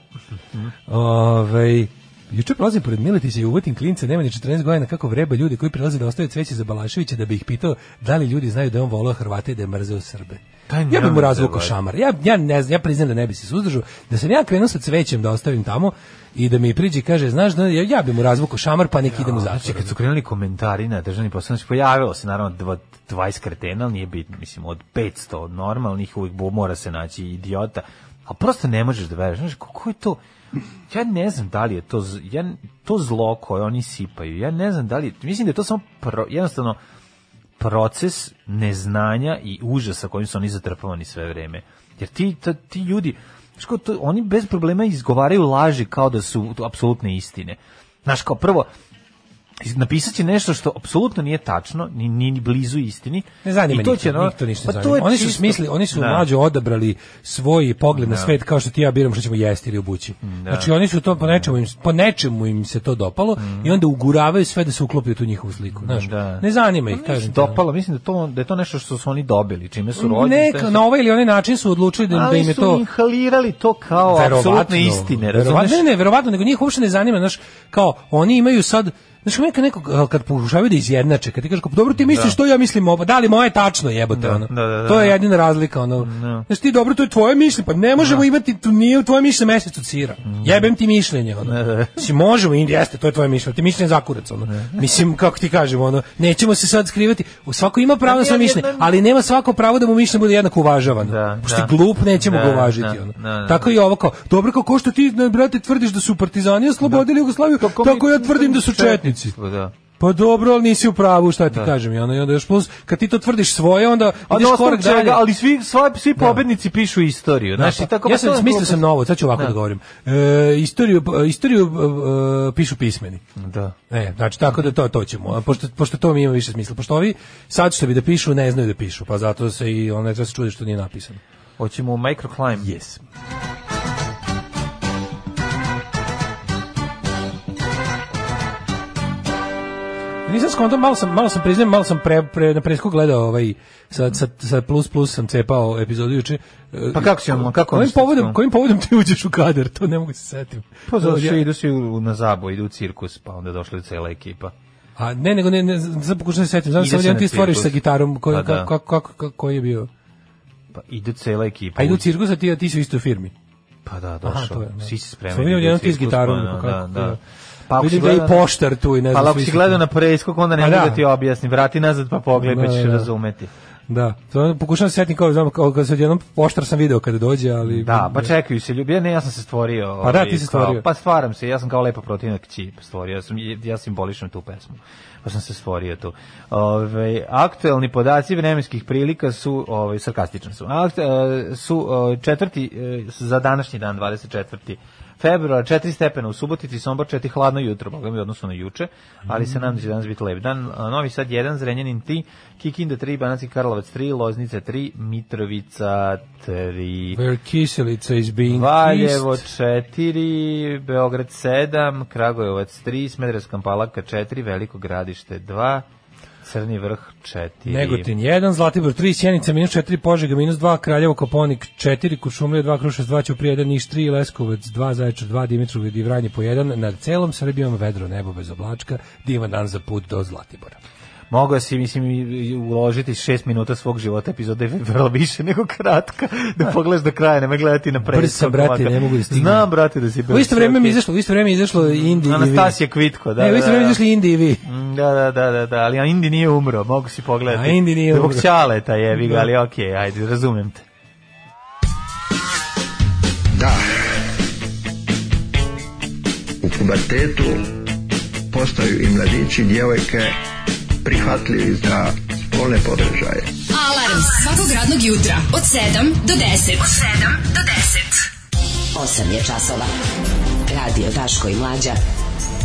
Ove, Ovaj, juče prolazim pored Miletića i uvotim klince, nema ni 14 godina kako vreba ljudi koji prilaze da ostave cveće za Balaševića da bi ih pitao da li ljudi znaju da je on volao Hrvate i da je mrzeo Srbe. Taj ja bi mu nemoj razvukao se, šamar. Ja, ja, ne znam, ja priznam da ne bi se suzdržao. Da sam ja krenuo sa cvećem da ostavim tamo i da mi priđe i kaže, znaš, da, ja, ja bi mu razvukao šamar pa nek idemo za Znači, kad su krenuli komentari na državni posao, znači, pojavilo se naravno dva- 20 kretena, ali nije bitno, mislim, od 500 od normalnih uvijek bo, mora se naći idiota, a prosto ne možeš da veruješ, znači, kako je to, ja ne znam da li je to, z- ja, to zlo koje oni sipaju, ja ne znam da li, mislim da je to samo pro, jednostavno proces neznanja i užasa kojim su oni zatrpavani sve vreme. Jer ti, ta- ti ljudi, znaš kao to, oni bez problema izgovaraju laži kao da su to apsolutne istine. Znaš, kao prvo, iz- napisat će nešto što apsolutno nije tačno, ni, ni, ni blizu istini. Ne zanima I to njih, će, no, njih to ništa ne pa to zanima. je Oni su čisto- smisli, oni su Da. mlađe odabrali svoj pogled na svet kao što ti i ja biram što ćemo jesti ili obući. Da. Znači oni su to po nečemu im, po nečemu im se to dopalo i onda uguravaju sve da se uklopi u tu njihovu sliku, znaš. Mhm. Da. Ne zanima ih, Mislim, kažem. ti, Dopalo, mislim da, to, da je to nešto što su oni dobili, čime su ono. rođeni. Ne, šta ka- su- na ovaj ili onaj način su odlučili da, da ali im je su to inhalirali to kao apsolutne istine, razumeš? verovatno, ne, ne, verovatno, nego njih uopšte ne zanima, znaš, kao, oni imaju sad, znaš, kao neka nekog, al, kad pokušavaju da izjednače, kad ti kažeš, kao, dobro, ti misliš što ja mislim, oba, da li moje je tačno, jebote, ono. da, da, da. to je jedina razlika, ono. Znaš, ti, dobro, to je tvoje mišljenje, pa ne Da. možemo imati, tu nije tvoje mišljenje mesec od sira. Jebem ti mišljenje, ono. Da, Mislim, možemo, i jeste, to je tvoje mišljenje, ti mišljenje zakurac, ono. Da. Mislim, kako ti kažem, ono, nećemo se sad skrivati, svako ima pravo na svoje ali mišljenje, jedno- ali nema svako pravo da mu mišljenje bude jednako uvažavano. Da, Pošto je da. glup, nećemo Da, ga uvažiti, da, ono. da, da. Tako i ovo kao, dobro kao ko što ti, ne, brate, tvrdiš da su partizani oslobodili Jugoslaviju, tako, Da. mi- ja tvrdim da su četnici. Pa Da. Pa dobro, ali nisi u pravu, šta ti kažem, i ono, i onda još plus, kad ti to tvrdiš svoje, onda A ideš Pa na osnovu korak dalje. čega, ali svi, sva, svi pobednici pišu istoriju. Da, Znači, pa, tako, ja pa to sam, je smislio glupost. sam novo, sad ću ovako da, govorim. E, istoriju, istoriju e, pišu pismeni. Da. E, znači tako da to to ćemo. A pošto pošto to mi ima više smisla. Pošto ovi sad što bi da pišu, ne znaju da pišu, pa zato se i onaj se čudi što nije napisano. Hoćemo u microclimb. Yes. Nisam skonto, malo sam, malo sam priznam, malo sam pre, pre, na presku gledao ovaj, sa, sa, sa plus plus sam cepao epizodu juče. Pa kako si ono, kako kojim ono što povodom, smo? kojim povodom ti uđeš u kadar, to ne mogu da se setim. Pa zato što Ja- idu svi u- na zabo, idu u cirkus, pa onda došla je cela ekipa. A ne, nego ne, ne, sad pokušam da se setim, znam Ide sam se jedan na ti stvoriš cirkus. sa gitarom, koji, Pa da. kako, kako, kako, koji je bio? Pa idu cela ekipa. A idu u u- cirkus, a ti, a ti su isto u istoj firmi. Pa da, Aha, to došao. je, da. Svi se Sam spremaju. vidio idu u jedan ti s cirkus, gitarom, pa kako- Da, da. Pa Vidim da je i poštar tu i Pa ne znam. ako svi si su tu. gledao na preskok, onda ne Pa mogu da. da ti objasnim. Vrati nazad pa pogledaj, Da, pa ćeš da. razumeti. Da, to onda pokušavam da se setim kao, znam, kao kad se odjednom poštar sam video kada dođe, ali... Da, pa čekaju se ljubi. Ja ne, ja sam se stvorio. Ovaj, Pa da, ovaj, ti si kao- stvorio. Pa stvaram se, ja sam kao lepa protivna kći stvorio. Ja, sam, ja simbolišem tu pesmu. Pa sam se stvorio tu. Ove, aktuelni podaci vremenskih prilika su, ove, sarkastični su, Akt, e, su e, četvrti, e, za današnji dan, 24 februar, 4 stepena u Subotici, Sombor 4, hladno jutro, boga mi odnosno na juče, ali se nam da će danas biti lep dan. A, Novi Sad 1, Zrenjanin 3, Kikinda 3, Banaci Karlovac 3, Loznica 3, Mitrovica 3. Where kiselica is being Valjevo kissed. 4, Beograd 7, Kragujevac 3, Smederevska palaka 4, Veliko gradište 2, Crni vrh 4. Negotin 1, Zlatibor 3, Sjenica minus 4, Požega minus 2, Kraljevo Koponik 4, Kuršumlija 2, Kruševac 2, Ćuprija 1, Niš 3, Leskovac 2, Zaječar 2, Dimitrovgrad i Vranje po 1, nad celom Srbijom vedro nebo bez oblačka, divan dan za put do Zlatibora. Mogao da si, mislim, i- i uložiti šest minuta svog života, epizoda je vrlo više nego kratka, da pogledaš do kraja, nema gledati na predstavu. Brz sam, brate, ne mogu da stignem. Znam, brate, da si U isto brz, vreme mi okej. izašlo, u isto vreme izašlo Indi i vi. Anastasija Kvitko, da, Ne, u da, isto da, vreme da. izašli Indi i vi. Mm, Da, da, da, da, da, ali Indi nije umro, mogu si pogledati. A Indi nije Zbog umro. Da. Ćaleta jebi ga, ali okej, ajde, razumijem te. Da. U pubertetu postaju i mladići i djevojke prihvatljivi za spolne podržaje. Alarm svakog radnog jutra od 7 do 10. Od 7 do 10. 8 je časova. Radio Daško i Mlađa.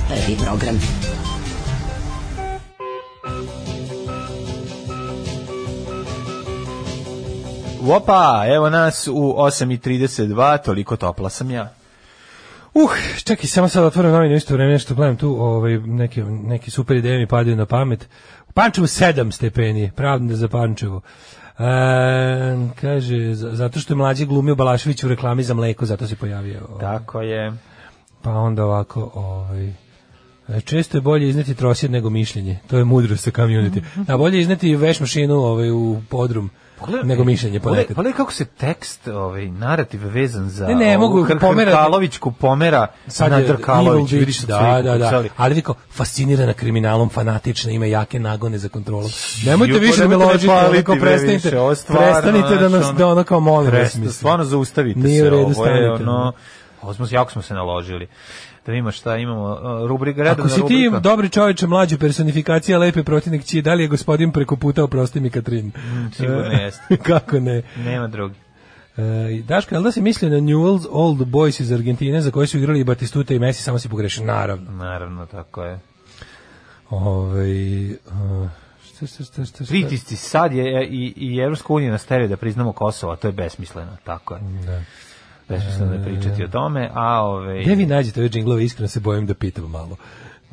Prvi program. Opa, evo nas u 8.32, toliko topla sam ja. Uh, čekaj, samo sad otvorim novine u isto vreme, nešto gledam tu, ovaj, neke, neke super ideje mi padaju na pamet. U Pančevu sedam stepeni, pravda za Pančevo. E, kaže, za- zato što je mlađi glumio Balašević u reklami za mleko, zato se pojavio. Tako je. Pa onda ovako, ovaj, e, često je bolje izneti trosjed nego mišljenje. To je mudrost sa community. Mhm. A bolje je izneti veš mašinu ovaj, u podrum Pogledaj- nego mišljenje Pogledaj, ponekad. pogledaj kako se tekst, ovaj narativ vezan za Ne, ne, ovu mogu Kr- pomera- Hrkalovićku pomera na je Drkalović, Evil vidiš Dick, da, da, sliku, da, da. kucali. Ali vi kao fascinirana kriminalom, fanatična, ima jake nagone za kontrolu. Nemojte više da me nemojte me ložite, paliti, onako bre, prestanite, više, ovo stvarno, prestanite da znaš, nas, ono- da ono kao molim vas, Presta, mislim. stvarno zaustavite Nije se. u redu, ovo je stanite, ono, ono. ovo smo, jako smo se naložili. Da vidimo šta imamo. uh, Rubrika, redovna Ako si ti rubrika. dobri čoveče, mlađa personifikacija, lepe protivnik čije, da li je gospodin preko puta, oprosti mi Katrin? sigurno E, Mm, jeste. [laughs] Kako ne? Nema drugi. E, Daško, je li da se mislio na Newell's Old Boys iz Argentine za koje su igrali i Batistuta i Messi, samo si pogrešio? Naravno. Naravno, tako je. Ove, Ovaj, e, šta, šta, šta, šta, šta? Pritisci sad je e, i, i Evropska unija nastavlja da priznamo Kosovo, a to je besmisleno, tako je. Da. Besmisleno je pričati o tome, a ovaj ove... Gde vi nađete ove džinglove, iskreno se bojim da pitam malo.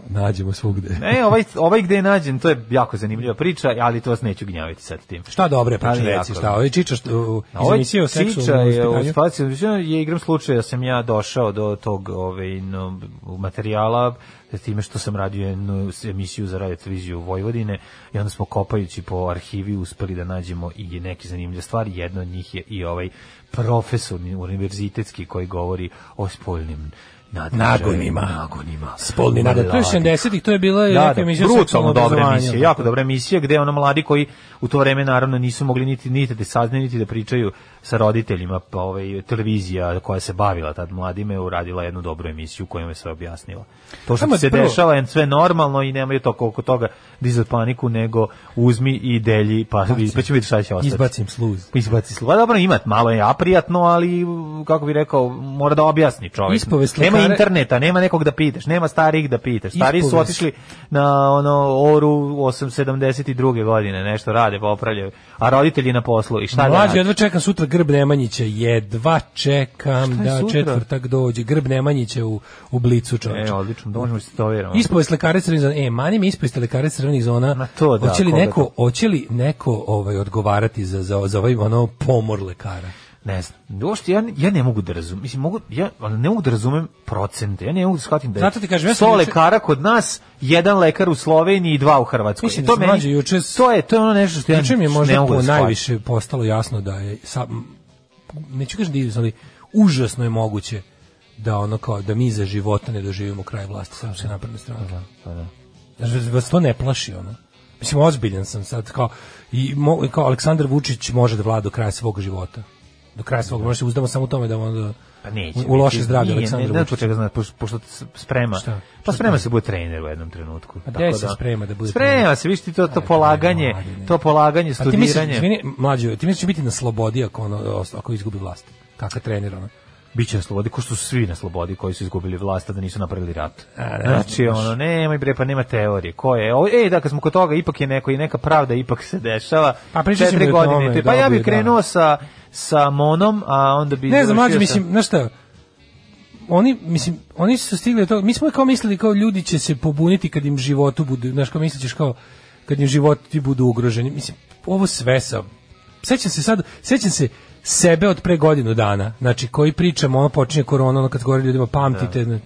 Nađemo svugde. E, ovaj, ovaj gde je nađen, to je jako zanimljiva priča, ali to vas neću gnjaviti sad tim. Šta dobre, pa Ali reci, jako. šta, ovaj čiča što, u, A iz Ovaj emisije o Ciča seksualnom je u vaspitanju? situaciji, je igram slučaja da sam ja došao do tog ovaj, no, materijala s time što sam radio jednu emisiju za radio televiziju Vojvodine i onda smo kopajući po arhivi uspeli da nađemo i neke zanimljive stvari. Jedna od njih je i ovaj profesor univerzitetski koji govori o spoljnim nadređajima. Nagonima. Nagonima. Spolni nadar. To je 70-ih, to je bila Da, i da, neka emisija o brutalno seksualnom dobra obrazovanju. da. emisija, jako dobra emisija gde ono mladi koji u to vreme naravno nisu mogli niti niti da saznaju niti da pričaju sa roditeljima, pa ovaj televizija koja se bavila tad mladima je uradila jednu dobru emisiju u kojoj je sve objasnila. To što Samo ti se prvo- dešava je sve normalno i nemaju to koliko toga dizat paniku, nego uzmi i delji, pa Znači, pa će biti šta će ostati. Izbacim sluz. Izbaci slova, pa dobro, ima, malo je aprijatno, ali kako bi rekao, mora da objasni čovjek. Ispovest nema lekara- interneta, nema nekog da pitaš, nema starih da pitaš. Stari su Ispovest. otišli na ono oru 872. godine, nešto rade, popravljaju, a roditelji na poslu i šta da Mlađe, rade? jedva čekam sutra Grb Nemanjića, jedva čekam Šta je da sutra? četvrtak dođe. Grb Nemanjića u, u blicu čovječe. E, odlično, da možemo se to vjeramo. Ispovest lekare crvenih zona. E, mani mi ispovest lekare crvenih zona. Ma to da, hoće li koga neko, to? hoće li neko ovaj, odgovarati za, za, za ovaj ono, pomor lekara? Ne znam. Uopšte, ja, ja ne mogu da razumem, mislim, mogu, ja, ali ne mogu da razumem procente, ja ne mogu da shvatim da je Zato ti kažem, ja sam sto juče- lekara kod nas, jedan lekar u Sloveniji i dva u Hrvatskoj. Mislim I da to sam mlađe juče s- To je, to je ono nešto što ja Juče mi je ne možda mogu po da shvatim. najviše postalo jasno da je sa, m, neću kažem da je, ali užasno je moguće da ono kao da mi za života ne doživimo kraj vlasti samo se napredne strane. Pa da. Znaš, vas- vas to ne plaši ono. Mislim ozbiljan sam sad kao i mo, kao Aleksandar Vučić može da vlada do kraja svog života. Do kraja svog, može se uzdamo samo u tome da onda Pa neće. u, u loše biti. zdravlje Nije, Aleksandra Ne, ne, Vučića. čega zna, pošto, pošto s- sprema. Šta? Pa Šta sprema sprema? se bude trener u jednom trenutku. gde se sprema da bude Sprema trener? se, vidiš ti to, to Ajde, polaganje, mladine. to polaganje, A ti misliš, studiranje. izvini, mlađe, ti misliš da će biti na slobodi ako ono ost- ako izgubi vlast? Kakav trener ono? Biće na slobodi, ko što su svi na slobodi koji su izgubili vlast, a da nisu napravili rat. A, da, Znači, ono, nemoj bre, pa nema teorije. Ko je? O, ej, da, kad smo kod toga, ipak je neko i neka pravda ipak se dešava. Pa pričat ćemo Četiri i o godine. tome, te- pa ja dobro je, bih da. krenuo sa, sa monom, a onda bi... Ne znam, mlađe, završio sa- mislim, znaš šta, oni, mislim, oni su stigli do toga, mi smo kao mislili kao ljudi će se pobuniti kad im životu budu, znaš, kao misliš kao kad im životi budu ugroženi, mislim, ovo sve sam, sećam se sad, sećam se sebe od pre godinu dana, znači koji pričamo, ono počinje korona, ono kad govori ljudima pamtite, Da.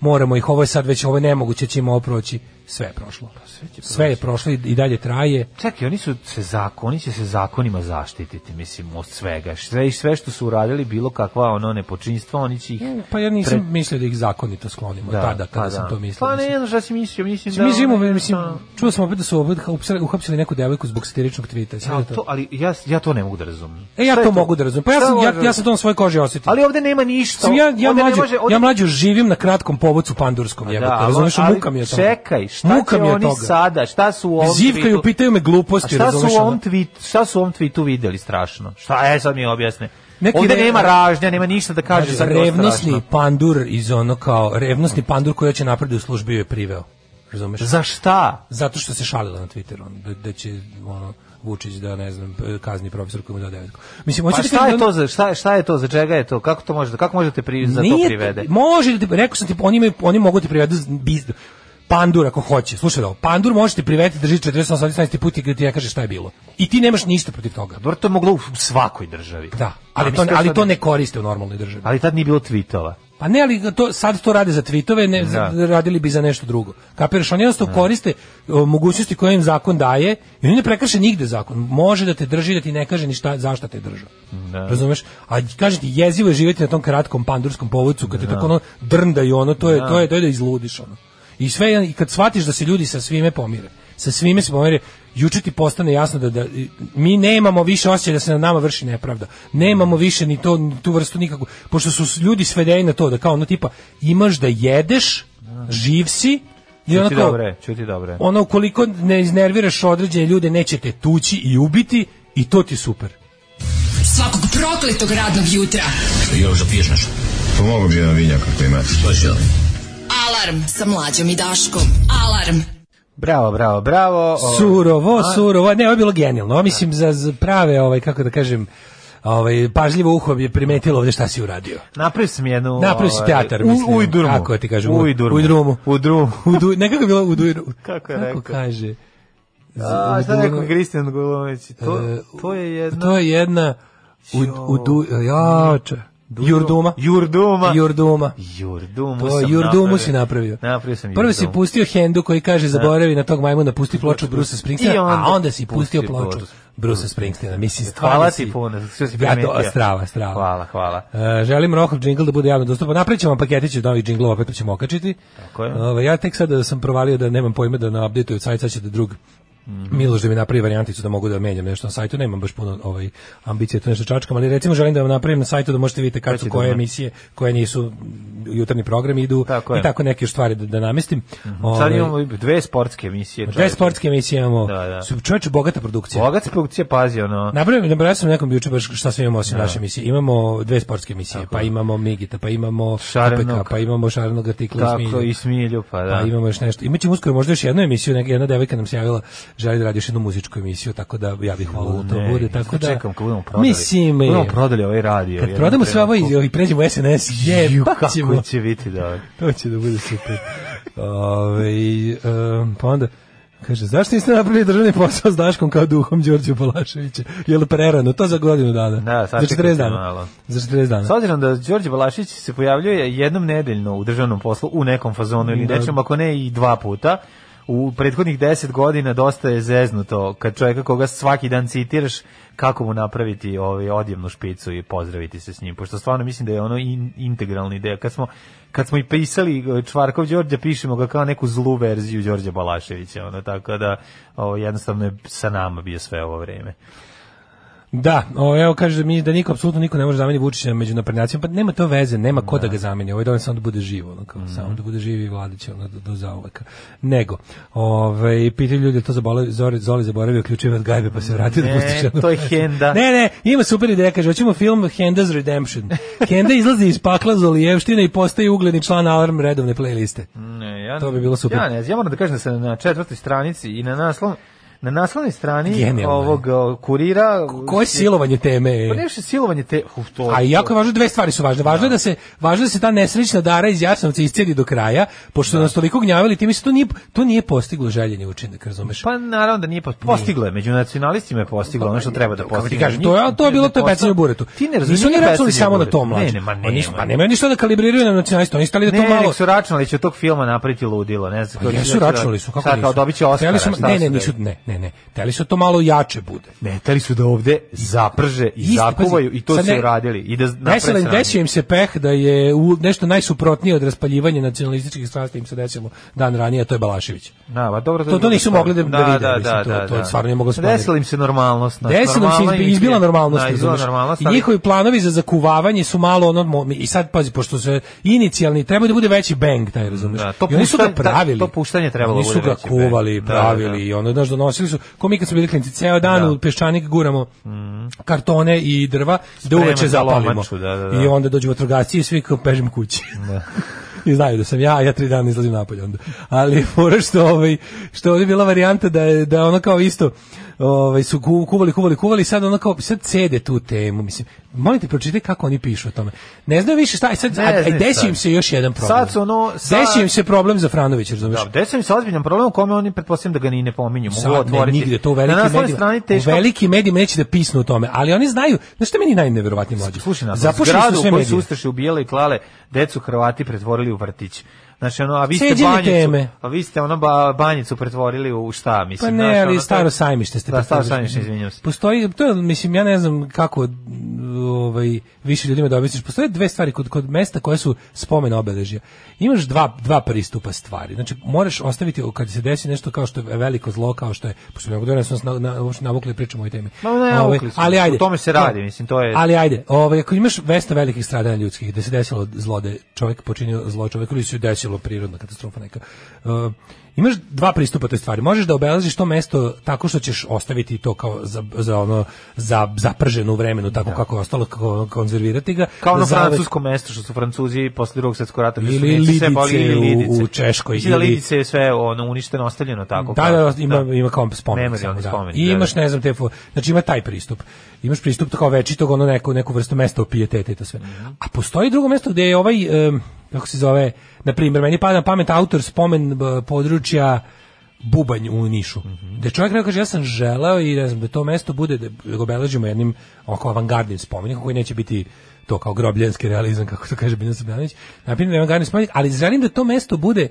moramo ih, ovo je sad već, ovo je nemoguće, ćemo ovo proći, sve je prošlo. Pa Sve je prošlo i, i dalje traje. Čekaj, oni su se zakon, oni će se zakonima zaštititi, mislim, od svega. Sve, sve što su uradili, bilo kakva ono nepočinstva, oni će ih... Pa ja nisam mislio da ih zakonito sklonimo tada kada pa sam da. to mislio. Pa mislim. ne, znam šta si mislio, mislim da... Mislim, mi živimo, ono, mislim, da- čuo sam opet da su opet uhapsili- uhapsili neku devojku zbog satiričnog tvita. Sve Ali to- to, ali ja, ja to ne mogu da razumem. da E, ja Šta je to mogu da razumem. Pa ja Šta sam, ja, možeš- ja sam to na svojoj koži osetio. Ali ovde nema ništa. Mislim, ja, ja, Ovde ne mlađu, može- ovde- ja mlađu živim na kratkom povodcu pandurskom, jebote, da, ali- razumeš, ali muka mi je to. Čekaj, šta Muka će mi je oni toga. sada? Šta su u ovom Zivkaju, tweetu- pitaju me A gluposti, šta su razumeš, u ono. ovom tweet, šta su u ovom tweetu videli strašno? Šta je sad mi objasne? Neki Ovde re- nema ražnja, nema ništa da kaže sad ovo strašno. Revnosni pandur iz ono kao, revnosni pandur koji će napred u službi ju je priveo, razumeš? Za šta? Zato što se šalila na Twitteru, ono, da, da će, ono, Vučić da, ne znam, kazni profesor koji mu da devetku. Mislim, Pa hoćete da šta je to za šta, šta je to za čega je to? Kako to možete? Kako možete pri, za to Nije- privede? Može, da ti- rekao sam ti, oni, imaju, oni mogu da ti privedu z- biz, pandur ako hoće. Slušaj ovo, pandur može ti privesti drži 48 18 put i ti ne kaže šta je bilo. I ti nemaš ništa protiv toga. Dobro, to je moglo u svakoj državi. Da, ali to, mislim, ali sad- to ne koriste u normalnoj državi. Ali tad nije bilo tvitova. Pa ne, ali to, sad to rade za tweetove, ne, za- radili bi za nešto drugo. Kapiraš, oni jednostavno koriste o, mogućnosti koje im zakon daje i oni ne prekrše nigde zakon. Može da te drži, da ti ne kaže ni šta, zašta te drža. Razumeš? A kaže ti, jezivo je živjeti na tom kratkom pandurskom povodcu, kad te tako ono drndaju, ono, to je, to je, to je da izludiš, ono. I sve, je- i kad shvatiš da se ljudi sa svime pomire, sa svime se pomire, juče ti postane jasno da, da i- mi nemamo više osjećaja da se na nama vrši nepravda. Nemamo više ni to ni tu vrstu nikakvu. Pošto su s- ljudi svedeni na to da kao ono tipa imaš da jedeš, živ si i ono Čuti kao, dobre, čuti dobre. ono ukoliko ne iznerviraš određene ljude neće te tući i ubiti i to ti je super. Svakog prokletog radnog jutra. Pomogu Pa bi jedan vinjak ako imate. Alarm sa mlađom i Daškom. Alarm. Bravo, bravo, bravo. O, Surovo, surovo. Ne, ovo je bilo genijalno. Ovo mislim za, za prave, ovaj, kako da kažem, ovaj, pažljivo uho bi primetilo ovde šta si uradio. Napravi sam jednu... Napravi si ovaj, teatar, u- mislim. Ujdurmu. Kako ti kažem? Ujdurmu. Ujdrumu. [laughs] Ujdrumu. Udu, nekako je bilo u dujru. Kako je rekao? kaže? A, šta je Ujdurmu. rekao Kristijan Golović? To, E, to je jedna... To je jedna u, u du, ja, če, Jurduma. Jurduma. Jurduma. Jurdumu To sam Jurdumu si napravio. Napravio sam Prvo si Jurdumu. pustio Hendu koji kaže zaboravi na tog majmuna, pusti ploču Brusa Springsteena, I onda a onda si pustio pusti ploču ploču. Brusa Springsteena. Mislim, stvarno Hvala si- ti puno, što si Ja, primetio. do, strava, strava. Hvala, hvala. E, želim Rohov džingl da bude javno dostupan. Napravit ćemo paketić od novih džinglova, opet pa ćemo okačiti. Tako je. Ove, ja tek sada sam provalio da nemam pojma da na updateuju sajt, sad će da drug Mhm. Miloš da mi napravi varijanticu da mogu da menjam nešto na sajtu, nemam baš puno ovaj, ambicije tu nešto čačkam, ali recimo želim da vam napravim na sajtu da možete vidjeti kad su koje emisije, koje nisu jutarnji program idu Tako je. Mhm. i tako neke još stvari da, da namestim. Sad Ovaj, imamo dve sportske emisije. Dve čoveče. sportske emisije imamo. Da, da. Su čoveče bogata produkcija. Bogat se produkcija, pazi, ono... Napravim, nabrajao sam nekom juče baš šta sve imamo osim Da. naše emisije. Imamo dve sportske emisije, pa imamo Migita, pa imamo Šarenog. UPK, pa imamo Šarenog artikla i Tako, Smilju, i smilju, pa da. Pa imamo još nešto. Imaćemo uskoro možda još jednu emisiju, neka jedna devojka nam se javila, želi da radi još jednu muzičku emisiju, tako da ja bih volao da to Ne, bude, ja tako da. Čekam kad budemo prodali. Mislim, budemo e, prodali ovaj radio. kad jednom prodamo sve ovo i trenutku. ovi pređemo u SNS, je, Ju, pa ćemo. Kako će biti da... To će da bude super. Ove, um, pa onda, kaže, zašto niste napravili državni posao s Daškom kao duhom Đorđe Balaševića? Je li prerano? To za godinu dana. Da, za sačekajte 40 dana. malo. Za 40 dana. S obzirom da Đorđe Balašić se pojavljuje jednom nedeljno u državnom poslu u nekom fazonu ili Da. nečem, ako ne i dva puta, u prethodnih deset godina dosta je zeznuto kad čovjeka koga svaki dan citiraš kako mu napraviti ovaj odjevnu špicu i pozdraviti se s njim, pošto stvarno mislim da je ono in- integralni deo. Kad smo, kad smo i pisali e, Čvarkov Đorđe, pišemo ga kao neku zlu verziju Đorđa Balaševića, ono, tako da ovo, jednostavno je sa nama bio sve ovo vreme. Da, o, evo kaže da mi da niko apsolutno niko ne može zameniti Vučića među naprednjacima, pa nema to veze, nema ko da ga zameni. Ovaj dovoljno samo da bude živo, ono kao Mhm. samo da bude živ i vladaće ono do, do zauvek. Nego, ovaj pitaju ljudi to zaboravi Zori Zoli zaboravio ključeve od gajbe pa se vratio da Ne, pusti još jednu to je pesmu. Henda. Ne, ne, ima super ideja, kaže hoćemo film Henda's Redemption. Henda izlazi iz pakla Zolijevštine i postaje ugledni član Alarm redovne playliste. Ne, ja, To bi bilo super. Ja ne znam, ja moram da kažem da sam na četvrtoj stranici i na naslovu Na naslovnoj strani Genijalno je. ovog o, kurira... Koje silovanje teme? e? Pa nešto je silovanje te... Uf, to, A i jako je važno, dve stvari su važne. Važno je da se, važno je da se ta nesrećna Dara iz Jasenovca iscedi do kraja, pošto Da. nas toliko gnjavili, ti misli, to nije, to nije postiglo željeni učinak, razumeš? Pa naravno da nije post- postiglo je, među nacionalistima je postiglo ono što treba da postigne. Pa, ti kažem, to je to je bilo to je pecanje u buretu. Ti ne razumiješ. Nisu oni pecanje računali u samo na buretu. to mlađe. Ne, ne, ma ne. Oni su- ma pa nemaju ništa da kalibriraju na nacionalista, oni stali da to ne, malo nek su računali će od tog filma napraviti ludilo, ne znam. Pa kako- jesu računali su, kako da- Sad nisu? kao dobit će Oscara. Hteli su, šta ne, su ne, da- nisu, ne, ne, ne. Teli su to malo jače bude. Ne, teli su da ovde zaprže i Isto, zakuvaju pazi, i to sad su ne- uradili. I da naprave Desilo im, sranje. desio im se peh da je u nešto najsuprotnije od raspaljivanja nacionalističkih strasti im se desilo dan ranije, a to je Balašević. Da, pa dobro, To- to je druga nisu stvar. mogli da- da vide, mislim, to- to stvarno nije moglo da splanirati. Pa Desila im se normalnost. znaš, Desilo im se Da, normalno izbi- im je- izbila normalnost. Da, izbila razumeš? normalnost. I ali- njihovi planovi za zakuvavanje su malo ono mo- i sad pazi pošto se inicijalni treba da bude veći bang taj razumeš. Da, to I oni su ga puštanje- da, pravili. to puštanje je trebalo Oni da su bude ga veći bang. kuvali, Da, pravili da. i ono znaš donosili su ko mi kad smo bili klinci ceo dan Da. u peščanik guramo kartone i drva da Spreman uveče za zapalimo. lomaču, da, da, da. I onda dođu vatrogasci i svi kao pežemo kući. [laughs] I znaju da sam ja, ja tri dana izlazim napolje onda. Ali [laughs] fora što ovaj što je ovdje bila varijanta da je da je ono kao isto ovaj su ku- kuvali, kuvali, kuvali, sad ono kao sad cede tu temu, mislim. Molim te pročitaj kako oni pišu o tome. Ne znaju više šta, i sad Ne a, a znaju desio šta. im se još jedan problem. Sad su ono- sad- desio im se problem za Franovića, razumeš? Da, desio im se ozbiljan problem u kome oni pretpostavljam da ga ni ne pominju, mogu Sad ne, otvoriti. nigde, to u Na velikim naslovnoj medijima. strani U teško. velikim medijima neće da pisnu o tome, ali oni znaju. Znaš što je meni najneverovatnije mlađe? Slušaj nas, Zapušili zgradu su u sve kojoj su medije. ustaše ubijale i klale, decu Hrvati pretvorili u vrtić. Znači ono, a vi ste Ceđene banjicu, teme. a vi ste ono ba, banjicu pretvorili u šta, Pa mislim. znaš, ne, ono, to ali je- staro sajmište ste. Da, staro pretpostavili. sajmište, izvinjam se. Postoji, to je, mislim, ja ne znam kako ovaj, više ljudima da objasniš. Postoje dve stvari kod, kod mesta koje su spomen obeležja. Imaš dva, dva pristupa stvari. Znači, moraš ostaviti, kad se desi nešto kao što je veliko zlo, kao što je, pošto ne mogu da nas na, na, uopšte navukli pričamo o ovoj temi. Ma, ne, Ovaj, navukli su ali nas. ajde. O tome se radi, mislim, to je- Ali ajde, ovaj, ako imaš vesta velikih stradanja ljudskih, da se desilo zlo, da je čovjek počinio zlo čovjeku ili se desilo prirodna katastrofa neka, uh, imaš dva pristupa toj stvari. Možeš da obeležiš to mesto tako što ćeš ostaviti to kao za, za ono, za zaprženo u vremenu, tako kako je ostalo, kako ono, konzervirati ga. Da. Kao na Za ove- francusko mesto što su Francuzi posle drugog svetskog rata gde su Ili Nemci sve boli, lidice ili u- lidice. u Češkoj, Mislim da ili- lidice je sve ono uništeno, ostavljeno tako. Da, kao- da, da, ima, ima kao spomenik. Memorialni samo, da. spomenik, I da, imaš, da. ne znam, te, fo- znači ima taj pristup. Imaš pristup kao večitog, ono neko, neku vrstu mesta pijeteta i to sve. Mhm. A postoji drugo mesto gdje je ovaj, em, kako se zove, na primjer, meni pada na pamet autor spomen b- područja Bubanj u Nišu. Mhm. Gde čovjek rekao, kaže, ja sam želeo i ne znam, da to mesto bude, da ga obeležimo jednim oko avangardnim spomenikom koji neće biti to kao grobljanski realizam, kako to kaže Biljana Srbljanić, naprimjer avangardni spomenik, ali želim da to mesto bude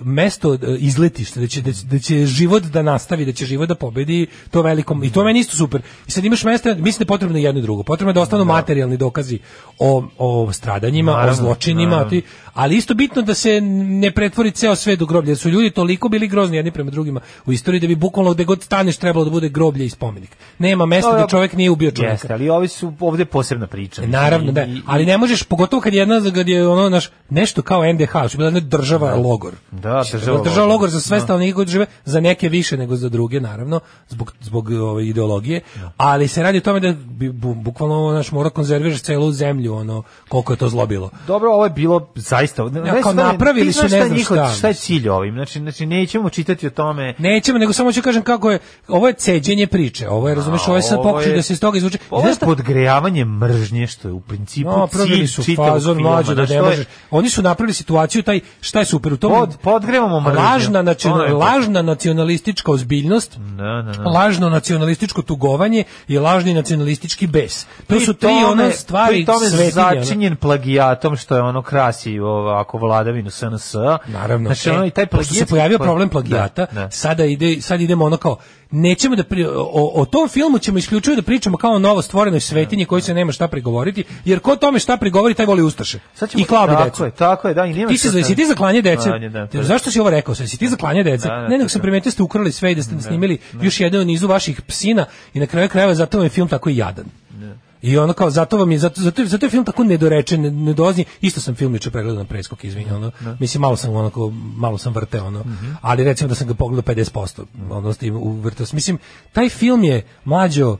mesto e, izletište, da će, da, će- da će život da nastavi, da će život da pobedi to velikom, i to je meni isto super. I sad imaš mesta, mislim da je potrebno jedno i drugo, potrebno je da ostanu materijalni dokazi o, o stradanjima, o Naravno, zločinima, naravno. ti- ali isto bitno da se ne pretvori ceo svet u groblje, jer su ljudi toliko bili grozni jedni prema drugima u istoriji da bi bukvalno gde god staneš trebalo da bude groblje i spomenik. Nema mesta Dobro. da čovjek nije ubio čovjeka. Pa Jeste, ali ovi su ovde posebna priča. mislim, Naravno, i- da. i- Ali ne možeš, pogotovo kad je jedna, kad je ono, naš, nešto kao NDH, što je bila jedna država logor. Da, država Država logor, logor. Da. za sve stanovnike koji žive, za neke više nego za druge, naravno, zbog, zbog ove, ideologije, ali se radi o tome da bi, bu- bukvalno, naš, mora konzerviraš celu zemlju, ono, koliko je to zlo bilo. Dobro, ovo je bilo zaista. kao znaš, napravili ti su, znaš šta ne je znam njihov- šta. Šta je cilj ovim? Znači, znači nećemo čitati o tome. Nećemo, nego samo ću kažem kako je, ovo je ceđenje priče, ovo je, razumeš, ovo je sad ovo pokušaj je- da se iz toga izvuče. Ovo je Znaš šta? podgrejavanje mržnje što je u principu No, cilj pravili su čitavog fazon filma. mlađe da znaš, ne to je- možeš. Oni su napravili situaciju taj šta je super u tom. Pod- podgrevamo mržnju. Lažna, znači, Ono je- lažna nacionalistička ozbiljnost. Da, da, da. Lažno nacionalističko tugovanje i lažni nacionalistički bes. To Pri su tri tome- one stvari pri tome svetinje, ono. začinjen plagijatom što je ono krasi ovako vladavinu SNS. Naravno. Znači ono E, i taj plagijat. pa, pošto se pojavio problem plagijata, Da, da. sada ide sad idemo ono kao nećemo da pri- o, o tom filmu ćemo isključivo da pričamo kao o novo stvorenoj Da, svetinji koji se nema šta prigovoriti, jer ko tome šta prigovori taj voli ustaše. Sad ćemo- I klabi tako decu. je, tako je, da, i nema ti si, šta- za- jesi ti za klanje dece? Klanje, da, Ti- da. Zašto si ovo rekao? sad? Jesi ti za klanje dece? Da, da, ne, nego to sam je. primetio ste ukrali sve i da ste snimili još jedan u nizu vaših psina i na kraju krajeva zato vam je film tako i jadan. Da. I ono kao zato vam je zato zato, zato je film tako nedorečen, ne- nedozni. Isto sam film juče pregledao na preskok, izvinjavam. Ono, Da. mislim malo sam onako malo sam vrteo ono. Mhm. Ali recimo da sam ga pogledao 50%, ono s tim u vrteo. sam. Mislim taj film je mlađo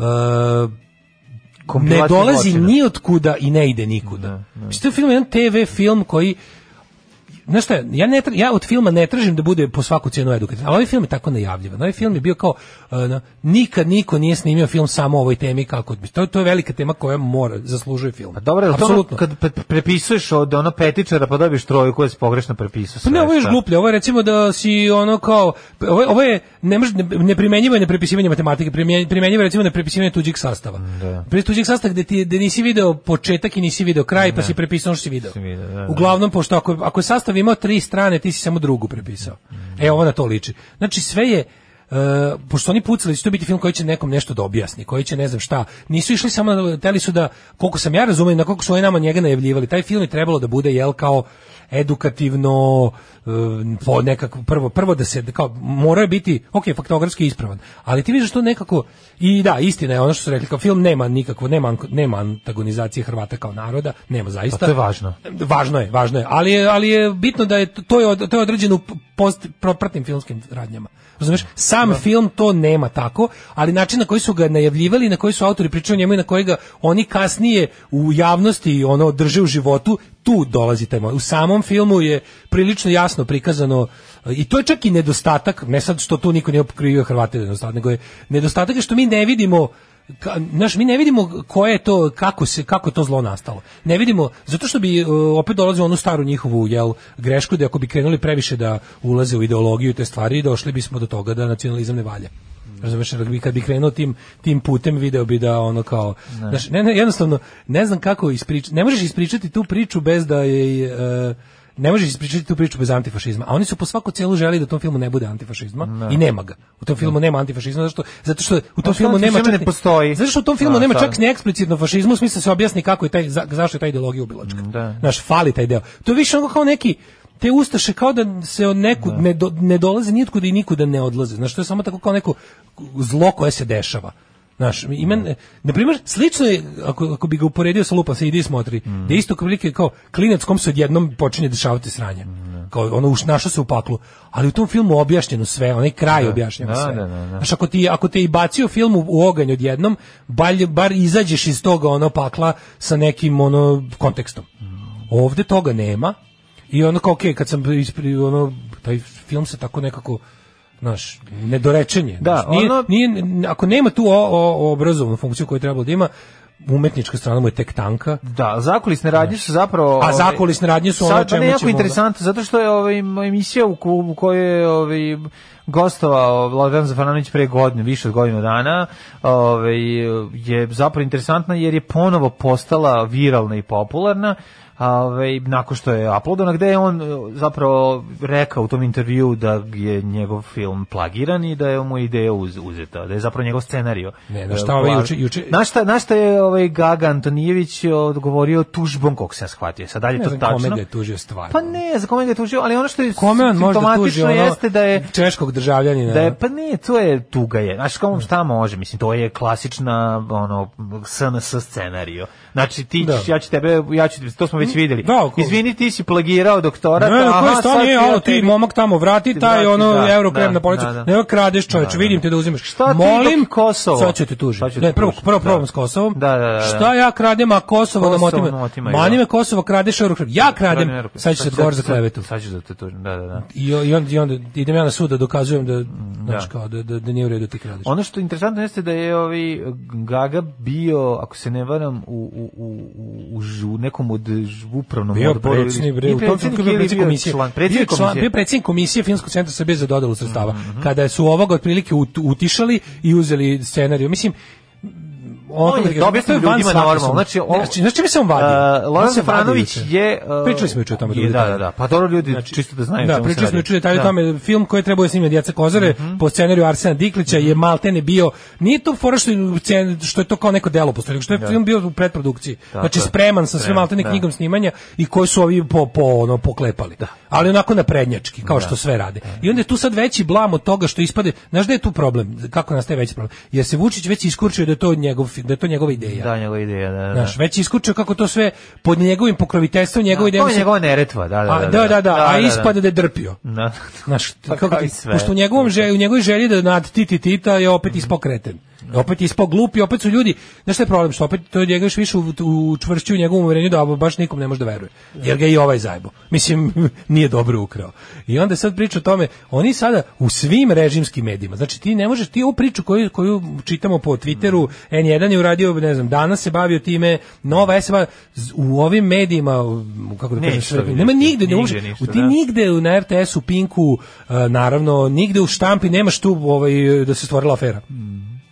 uh, ne Kompilacija dolazi zločina. Da, ni od kuda i ne ide nikuda. Mislim, to je film, jedan TV film koji znaš šta, ja, ne, tra- ja od filma ne tražim da bude po svaku cijenu edukativan, ali ovaj film je tako najavljivan. Ovaj film je bio kao, e, na, nikad niko nije snimio film samo o ovoj temi kako bi. To, to je velika tema koja mora, zaslužuje film. Pa dobro, je li to ono Apsolutno. kad pe- prepisuješ od ono petičara pa dobiješ troju koja si pogrešno prepisao. Pa ne, sve, ovo je još šta? gluplje, ovo je recimo da si ono kao, ovo je, ovo je ne, može, ne, neprimenjivo je na prepisivanje matematike, primjenj- primenjivo je recimo na prepisivanje tuđih sastava. Da. Pri tuđih sastava gde, ti, gde nisi video početak i nisi video kraj, pa si prepisao ono što si video. video, da, da. Uglavnom, pošto ako, ako je sastav imao tri strane, ti si samo drugu prepisao. E, ovo na to liči. Znači, sve je, Uh, pošto su oni pucali, da će to biti film koji će nekom nešto da objasni, koji će ne znam šta. Nisu išli samo, na- teli su da, koliko sam ja razumio, na koliko su oni nama njega najavljivali, taj film je trebalo da bude, jel, kao edukativno, e, po nekako, prvo, prvo da se, da kao, morao je biti, ok, faktografski ispravan, ali ti vidiš to nekako, i da, istina je ono što su rekli, kao film nema nikakvo, nema, anko- nema antagonizacije Hrvata kao naroda, nema zaista. Pa to je važno. Važno je, važno je. Ali je, ali je bitno da je to- to je od- to je određeno u post propratnim filmskim radnjama. Razumeš? Sam film to nema tako, ali način na koji su ga najavljivali, na koji su autori pričali o njemu i na kojega oni kasnije u javnosti ono drže u životu, tu dolazi taj moment. U samom filmu je prilično jasno prikazano e, i to je čak i nedostatak, ne sad što tu niko nije okrivio Hrvate da je nedostatak, nego je nedostatak je što mi ne vidimo Ka, znaš, mi ne vidimo koje je to, kako, se, kako je to zlo nastalo. Ne vidimo, zato što bi e, opet dolazimo u onu staru njihovu jel, grešku, da ako bi krenuli previše da ulaze u ideologiju i te stvari, došli bismo do toga da nacionalizam ne valja. Razumeš, jer bi- kad bi krenuo tim, tim putem, video bi da ono kao... Ne. Znaš, ne, ne, jednostavno, ne znam kako ispričati, ne možeš ispričati tu priču bez da je... e, ne možeš ispričati tu priču bez antifašizma. A oni su po svaku celu želi da u tom filmu ne bude antifašizma i nema ga. U tom filmu nema antifašizma zato što zato što u što tom filmu nema antifašizam čak ne ni- postoji. Zato što u tom filmu Da, nema sad. čak ni eksplicitno fašizmu, u smislu da se objasni kako je taj za- zašto je ta ideologija ubilačka. da. Znaš, fali taj deo. To je više onako kao neki te ustaše kao da se od nekud ne, do, ne dolaze nitkud i nikuda ne odlaze. Znaš, to je samo tako kao neko zlo koje se dešava. Znaš, ima, Da. na primjer, slično je, ako, ako bi ga uporedio sa lupa, se ide i smotri, mm. da je isto prilike kao klinac kom se odjednom počinje dešavati sranje. Mm, da. Kao ono, uš, našao se u paklu. Ali u tom filmu objašnjeno sve, onaj kraj objašnjeno Da, sve. da, da, da. Znaš, ako, ti, ako te i bacio film u, u oganj odjednom, balje, bar izađeš iz toga ono pakla sa nekim ono kontekstom. Ovde toga nema i ono kao, okej, kad sam ispri, ono, taj film se tako nekako znaš, nedorečen je. Da, znaš, nije, ono- nije, ako nema tu o, o, o obrazovnu funkciju koju je trebalo da ima, umetnička strana mu je tek tanka. Da, zakulisne radnje su zapravo... A ovaj, zakulisne radnje su ono sad, čemu ne, pa jako ćemo, da. interesantno, zato što je ovaj, emisija u, ku- u kojoj je ovaj, gostovao Vladan Zafaranović pre godine, više od godinu dana, ovaj, je zapravo interesantna jer je ponovo postala viralna i popularna, Ove, nakon što je uploadana, gde je on eh, zapravo rekao u tom intervju da je njegov film plagiran i da je mu ideja uz, uzeta, da je zapravo njegov scenario. Ne, znaš šta, ovaj juče- juče- Na šta, na šta je ovaj Gaga Antonijević odgovorio tužbom, kako se ja shvatio. Sad dalje Ne da to znam tačno. kome ga je tužio stvarno. Pa ne, za kome ga je tužio, ali ono što je Kome on možda tuži simptomatično ono, jeste da je češkog državljanina. da je, pa nije, to je tuga je. Znaš, kao šta može, mislim, to je klasična, ono, SNS scenario. Znači, ti ćeš, Da. ja ću tebe, ja ću, to smo već vidjeli. da, ko- Izvini, ti si plagirao doktorat, Ne, na koji aha, stan sad je, ću ja ono, ti tebi- momak tamo vrati, taj, vrati, ono, da, euro krem da, na policu, da, da. ne, kradeš čoveč, vidim te da uzimaš. Šta ti Molim, dok Kosovo? Sad ću te tužiti. Sad ću te Ne, prvo, tužiti, prvo da. problem s Kosovom. Da, da, da, da. Šta ja kradem, a Kosovo, Kosovo da nam me otimaju, otimaju. Mani da. me Kosovo, kradeš euro krem. Ja kradem, Radimir, sad ću se odgovor za klevetu. Sad ću da te tužim, da, da, da. I, i, onda, I onda idem ja na sud da dokazujem da, znaš, kao, da, da, da nije u redu da ti kradeš. Ono što je interesantno jeste da je ovi Gaga bio, ako se ne varam, u, u, u, u, u žu- nekom od ž- upravnom Bio odboru. ili- predsjednik bre, Nije u tom trenutku je bio ili predsjednik komisije. Član, Bio je predsjednik član, bio komisije. Mhm, je predsjednik komisije Filmskog centra Srbije za dodelu sredstava. Kada su ovoga otprilike ut, utišali i uzeli scenariju. Mislim, ono On kako je ti kažem, dobio to je ljudima van svake normalno. sumnje. Znači, on- Ne, znači, znači čime se on vadi? Uh, On Lorenzo se vadi Franović juče. je... uh, Pričali smo juče o tome. da je, bude Da, tajna. da, da. Pa dobro ljudi, čisto da znaju. o Da, čemu se pričali smo radi. juče detalje o Da. Mhm. tome, film koji je trebao da snimi Djeca Kozare, po scenariju Arsena Diklića je maltene bio, nije to fora što, je scen- što je to kao neko delo postoje, nego što je film bio u predprodukciji. znači Da. je. spreman sa sve Spreman, maltene da. knjigom snimanja i koji su ovi po, po, ono, poklepali. Ali onako na prednjački, Da. kao što sve rade. I onda je tu sad veći blam od toga što ispade, znaš da je tu problem, kako nastaje veći problem? Jer se Vučić već iskurčio da je to, njegov, fi- da je to njegova ideja. Da, njegova ideja, da, da. Znaš, već je iskurčio kako to sve pod njegovim pokroviteljstvom, Da, to njegove ideje. je njegova neretva, da, da, A, da, da, da, a ispade da. da je drpio. Da. Znaš, Pa kako kao i ti, sve. da pošto u njegovom želji, u njegovoj želji da nad Titi Tita je opet ispokreten. Opet je ispao glup i opet su ljudi, znaš šta je problem, što opet to njega još više u- učvršćuje u njegovom uverenju da baš nikom ne može da veruje. Jer ga je i ovaj zajebo. Mislim, [laughs] nije dobro ukrao. I onda sad priča o tome, oni sada u svim režimskim medijima, znači ti ne možeš, ti ovu priču koju, koju čitamo po Twitteru, N1 je uradio, ne znam, danas se bavio time, Nova S se bavio- z- u ovim medijima, u- kako da Neće kažem, to sve- vidjeti. nema nigde, ne Nigde možeš, ništa, u ti da. nigde u- na RTS-u, Pinku, e, naravno, nigde u štampi nemaš tu ovaj, da se stvorila afera.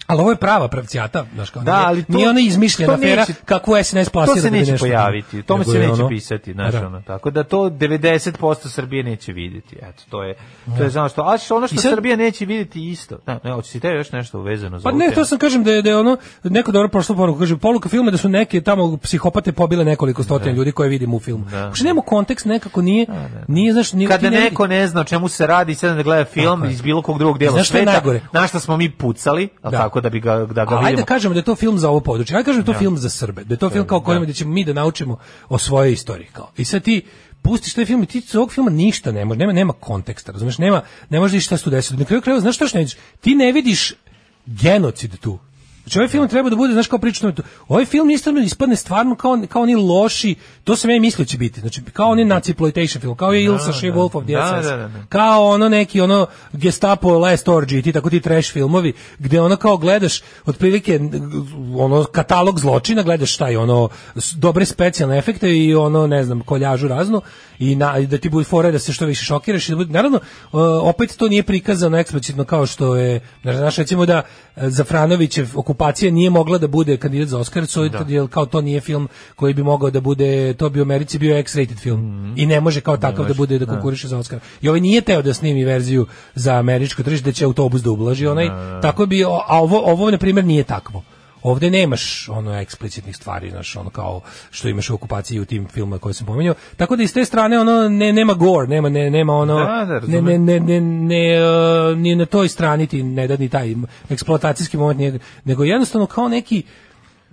Ali ovo je prava pravcijata, znaš kao. Mm. Da, nije- ali to- nije ona izmišljena to neće- afera kako SNS plasira. to se da bi neće nešto- pojaviti, to Nego se je neće ono- pisati, znaš, Da. ono, tako da to 90% Srbije neće vidjeti, eto, to je, to je znaš što, a što ono što Da. I sad- Srbija neće vidjeti isto, da, ne, hoćeš ti te još nešto uvezano za Pa ovu ne, temu? to sam kažem da je, da je ono neko dobro prošlo poruku, kaže poluka filma da su neke tamo psihopate pobile nekoliko Da. stotina ljudi koje vidimo u filmu. Da. Uopšte nema kontekst nekako nije nije znaš nije Kada ti ne vidi- da, neko ne zna o čemu se radi, sad da gleda Tako film je. iz bilo kog drugog dela Znaš šta je sveta, najgore? na šta smo mi pucali, al Da. tako da bi ga da ga A ajde vidimo. kažemo da je to film za ovo područje. Ajde kažemo da je to film za Srbe. Da je to film kao kojima da ćemo mi da naučimo o svojoj istoriji kao. I sad ti pustiš taj film i ti iz ovog filma ništa ne može, nema, nema konteksta, razumeš, nema, ne možeš šta se tu desilo. Na kraju krajeva, znaš šta još ne vidiš? Ti ne vidiš genocid tu. Znači, ovaj film treba da bude, znaš, kao pričano. Ovaj film istorno ispadne stvarno kao, kao oni loši, to sam ja i mislio će biti, znači, kao oni naciploitation film, kao je Ilsa She Wolf of the Da, SS. da, da, da. Kao ono neki ono Gestapo Last Orgy, ti tako ti trash filmovi gde ono kao gledaš otprilike ono katalog zločina, gledaš šta je ono s- dobre specijalne efekte i ono ne znam koljažu raznu i na, i da ti bude fora da se što više šokiraš i da bude, naravno e, opet to nije prikazano eksplicitno kao što je znaš recimo da e, Zafranovićev okupacija nije mogla da bude kandidat za Oskar, so, jer kao to nije film koji bi mogao da bude, to bi u Americi bio X-rated film i ne Mhm. može kao takav da bude da konkuriše za Oscar. I ovaj nije teo da snimi verziju za američko tržište da će autobus da ublaži onaj. Tako bi a ovo ovo na primjer nije takvo. Ovde nemaš ono eksplicitnih stvari, znaš, ono kao što imaš u okupaciji u tim filmovima koje sam pomenuo. Tako da iz te strane ono ne, nema gore, nema ne, nema ono Da, da, ne, razumem. ne, ne, ne, ne, e, ni na toj strani ti ne da ni taj eksploatacijski moment, nije- nego jednostavno kao neki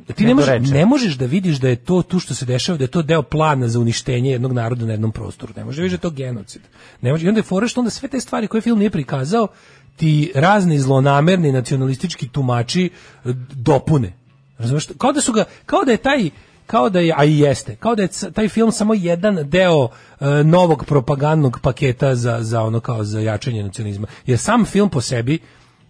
Da ti ne, može, Nedorečen. ne možeš da vidiš da je to tu što se dešava, da je to deo plana za uništenje jednog naroda na jednom prostoru. Ne možeš da vidiš da je to genocid. Ne možeš, I onda je fora što onda sve te stvari koje film nije prikazao, ti razni zlonamerni nacionalistički tumači eh, dopune. Razumeš? Kao da su ga, kao da je taj kao da je, a i jeste, kao da je c- taj film samo jedan deo eh, novog propagandnog paketa za, za ono kao za jačanje nacionalizma. Jer sam film po sebi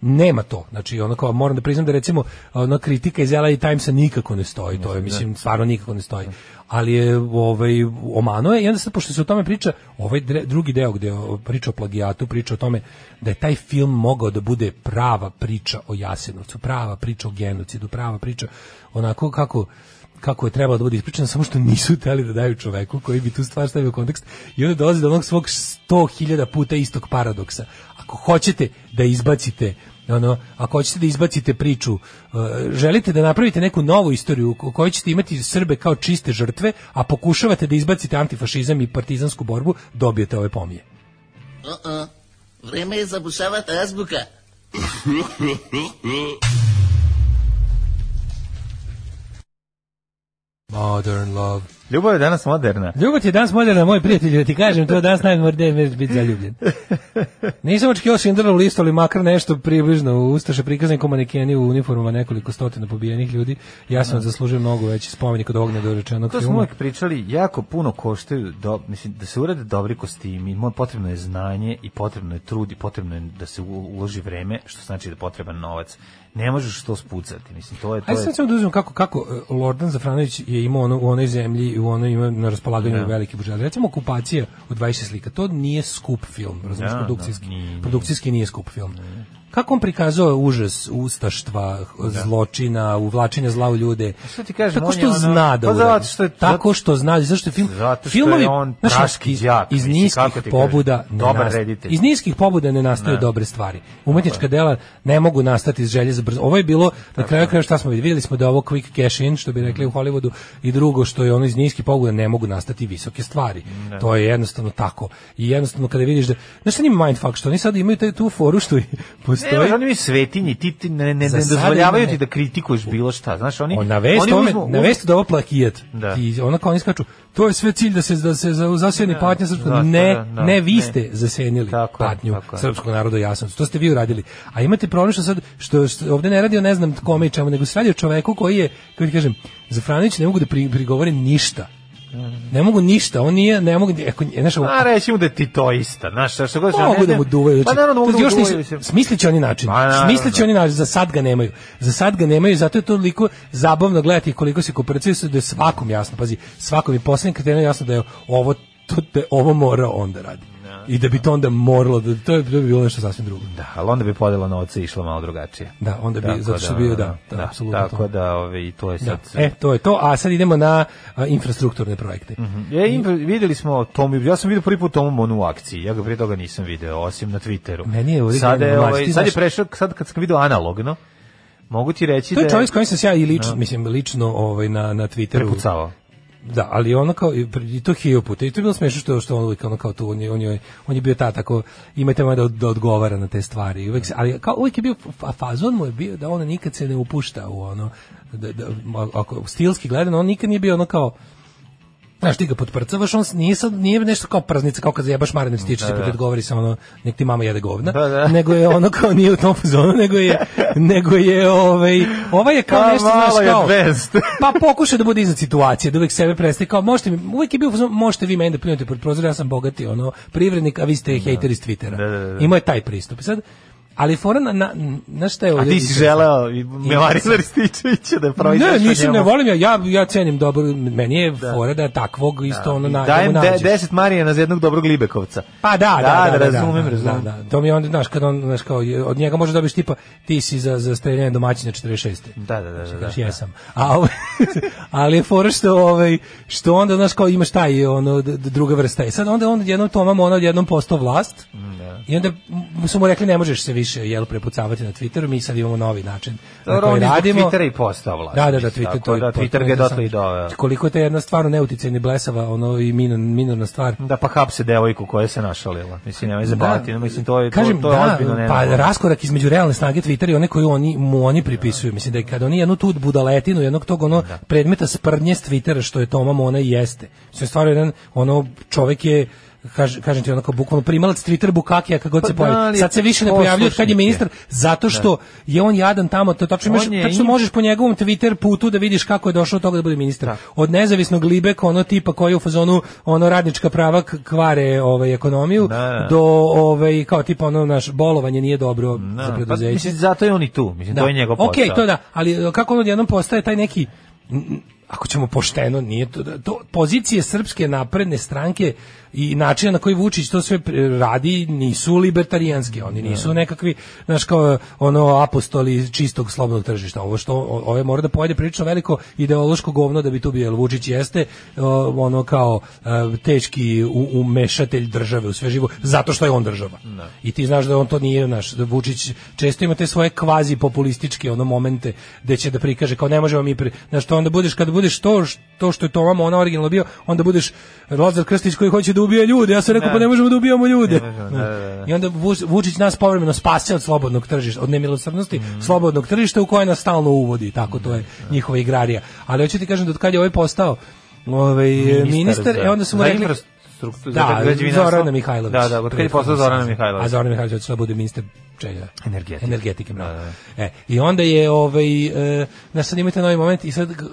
nema to. Znači, ono kao, moram da priznam da recimo, ono, kritika iz LA Timesa nikako ne stoji, to je, mislim, stvarno nikako ne stoji. Ali je, ovaj, omano je, i onda sad, pošto se o tome priča, ovaj dre- drugi deo gde o- priča o plagijatu, priča o tome da je taj film mogao da bude prava priča o Jasenovcu, prava priča o genocidu, prava priča onako kako kako je trebalo da bude ispričano, samo što nisu teli da daju čoveku koji bi tu stvar stavio u kontekst i onda dolazi do onog svog 100.000 puta istog paradoksa. Ako hoćete da izbacite ono, ako hoćete da izbacite priču, uh, želite da napravite neku novu istoriju u kojoj ćete imati Srbe kao čiste žrtve, a pokušavate da izbacite antifašizam i partizansku borbu, dobijete ove pomije. Vreme je zabušavati azbuka. Modern love. Ljubav je danas moderna. Ljubav ti je danas moderna, moj prijatelj, da ti kažem, to je danas najmordej mjesec biti zaljubljen. Nisam očekio Schindlerov listu, ali makar nešto približno. U Ustaše prikazan ko manekeni u uniformama nekoliko stotina pobijenih ljudi. Ja sam zaslužio mnogo veći spomenik od ovog nedorečenog To smo filma. uvijek pričali, jako puno koštaju, do, mislim, da se urade dobri kostimi, mo- potrebno je znanje i potrebno je trud i potrebno je da se u- uloži vreme, što znači da je potreban novac. Ne možeš to spucati, mislim, to je... To Ajde je sad samo da uzmem kako, kako e, Lordan Zafranović je imao ono, u onoj zemlji i u onoj ima na Da. raspolaganju veliki budžet. Recimo okupacija u 20 slika, to nije skup film, razumiješ, Da, da, produkcijski. nije, nije. Produkcijski nije skup film. Kako on prikazao užas ustaštva, zločina, uvlačenja zla u ljude. Da. šta ti kažem, tako on što je ono- zna da Pa zato uradi. što je- Tako što zna, zašto je film... Zato što je filmovi, on znaš, praški iz- đak, Iz mislim, kako niskih ti kažem, pobuda... ne dobar nast- reditelj. Iz niskih pobuda ne nastaju dobre stvari. Umetnička dela ne mogu nastati iz želje za brzo. Ovo je bilo na kraju kraja šta smo vidjeli, vidjeli smo da je ovo quick cash in što bi rekli u Hollywoodu i drugo što je ono iz niskih pobuda ne mogu nastati visoke stvari. To je jednostavno tako. I jednostavno kada vidiš da znaš šta njima mindfuck što oni sad imaju taj tu foru što i Ne, postoji. oni mi svetinji, ti ti ne, ne, Za ne sada dozvoljavaju ne. ti da kritikuješ bilo šta, znaš, oni... O, na vest oni tome, uzmu- na vest da ovo plakijat. Da. I ona kao oni skaču, to je sve cilj da se da se za zasjeni patnja srpskog da, ne, da, da, ne vi ne. ste zasenili Tako je, patnju tako je. srpskog naroda jasno. To ste vi uradili. A imate problem što sad što, što ovde ne radi o ne znam kome i čemu, nego se radi o čoveku koji je, kako ti kažem, za Franić ne mogu da pri, prigovore ništa. Ne mogu ništa, on nije, ne mogu, e, ako, znaš, A reći mu da je titoista, znaš, šta što god Pa mogu da mu duvaju. Pa znači, naravno da to mogu da još mu nisu- duvaju. mislim. Smisliće oni način. Pa, naravno. Smisliće oni način, za sad ga nemaju. Za sad ga nemaju i zato je to toliko zabavno gledati koliko se kooperacije su da je svakom jasno. Pazi, svakom je poslednjem kretenu jasno da je ovo, to, da je ovo mora onda radi. I da bi to onda moralo, da, to, je, to bi bilo nešto sasvim drugo. Da, ali onda bi podela novca išla malo drugačije. Da, onda bi, Tako zato što bio, da, da, da apsolutno to. tako da, ove, i to je sad. E, to je to, a sad idemo na a, infrastrukturne projekte. E, im, videli smo Tomu, ja sam vidio prvi put Tomu Monu u akciji, ja ga prije toga nisam video, osim na Twitteru. Meni je ovdje sad, je, genijalno, ovaj, mlađe, ti sad je znaš- prešao, sad kad sam video analogno, mogu ti reći To da je čovjek s kojim sam se ja i lično, mislim, lično ovaj, na, na Twitteru... prepucavao. Da, ali ono kao i pr- i to hio puta. I to je bilo smešno što što on uvijek ono kao tu on je on je on je bio ta tako imate moj da, od- da odgovara na te stvari. I Uvek se, ali kao uvijek je bio fa- fazon mu je bio da on nikad se ne upušta u ono da, da ma- ako stilski gledano on nikad nije bio ono kao Znaš, ti ga potprcavaš, on s- nije, sad, nije nešto kao praznica, kao kad zajebaš Marinem stiče, da, da. odgovori sa ono, nek ti mama jede govna, Da, da. nego je ono kao nije u tom fazonu, nego je, nego je ovaj, ovaj je kao Pa, nešto, znaš, malo je kao, advanced. pa pokušaj da bude iznad situacije, da uvek sebe predstavi kao možete mi, uvek je bio u fazonu, možete vi meni da pljunete pod prozor, ja sam bogati ono privrednik, a vi ste hejter iz Twittera. Da, da, da. Imao je taj pristup. I Sad ali fora na, na, na šta je A ovdje ti si interesantno? želeo i Marina Rističevića da proizvaš Ne, mislim, ne volim ja, ja, ja cenim dobro, meni je fora da takvog isto ono na, da Dajem mu de, nađeš. 10 Marijana za jednog dobrog Libekovca. Pa da, da, da, da, razumem, da, razumem. Da, da. To mi je onda, znaš, kad on, znaš, kao, je- od njega možeš dobiti tipa, ti si za, za streljanje domaćina 46. Da, da, da, da, da. Znaš, jesam. A, ovaj, [laughs] ali je fora što, ovaj, što onda, znaš, kao imaš taj, ono, d- d- druga vrsta. I sad onda on jednom Tomam, ono, jednom postao vlast. Mm, da. I onda mu su mu rekli, ne možeš se više, jel, prepucavati na Twitteru, mi sad imamo novi način na Dobro, on koji je zbog radimo. Twittera i postao vlast. Da, da, da, mislim, Twitter, tako to je da, potpuno Twitter ga je dotle i interesantno. doveo. Koliko je to jedna stvarno neuticajna i blesava, ono, i minorna, minorna stvar. Da pa hapse devojku koja se našalila. Mislim, nemoj zabaviti, da. mislim, to je, kažem, to, to je da, ozbiljno Pa nenormalno. raskorak između realne snage Twittera i one koju oni, mu oni pripisuju. Mislim da je kad oni jednu tu budaletinu, jednog tog ono Da. predmeta sprdnje s Twittera što je Toma Mona i jeste. Mislim, stvarno jedan, ono, čovek je kaž, kažem ti onako bukvalno primalac Twitter bukakija kako god Pa se da, pojavi. ali Sad se više ne pojavljuje od kad je poslušnik Da. ministar zato što je on jadan tamo, to tačno imaš, On je tačno im- možeš po njegovom Twitter putu da vidiš kako je došao od toga da bude ministar. Od nezavisnog libeka ono tipa koji je u fazonu ono radnička prava k- kvare ovaj ekonomiju Da, da. do ovaj kao tipa ono naš bolovanje nije dobro za Da, pa, preduzeće. mislim, zato je on i tu. Mislim, to je njegov posao. Da. Okej, to da, ali e, kako on odjednom postaje taj neki m, m, ako ćemo pošteno, nije to, da- to pozicije srpske napredne stranke i načina na koji Vučić to sve e, radi nisu libertarijanski, oni Da. nisu nekakvi, znaš kao e, ono apostoli čistog slobodnog tržišta. Ovo što o- ovo mora da pojede prilično veliko ideološko govno da bi tu bio jel Vučić jeste e, ono kao e, teški u- umešatelj države u sve živo zato što je on država. Mm. I ti znaš da on to nije naš da Vučić često ima te svoje kvazi populističke ono momente gde će da prikaže kao ne možemo mi pri... znaš što onda budeš kada budeš to š- to što je to vama ona originalno bio onda budeš Lazar Krstić koji hoće da ubije ljude ja sam rekao pa ne možemo da ubijamo ljude i onda Vuč- Vučić nas povremeno spase od slobodnog tržišta, od nemilosrdnosti slobodnog tržišta u koje nas stalno uvodi, tako to je njihova igrarija. Ali hoću ti kažem da od kad je ovaj postao ovaj, ministar, za- e, onda su mu za rekli... infrastrukturu, za Da, građevinarstvo. Zorana Mihajlović. Da, da, od kad je postao Zorana Mihajlović. A Zorana Mihajlović hoće da bude ministar čega? Energetike. Energetike, bravo. E, I onda je, ovaj, e, znaš, sad imate novi moment i sad g-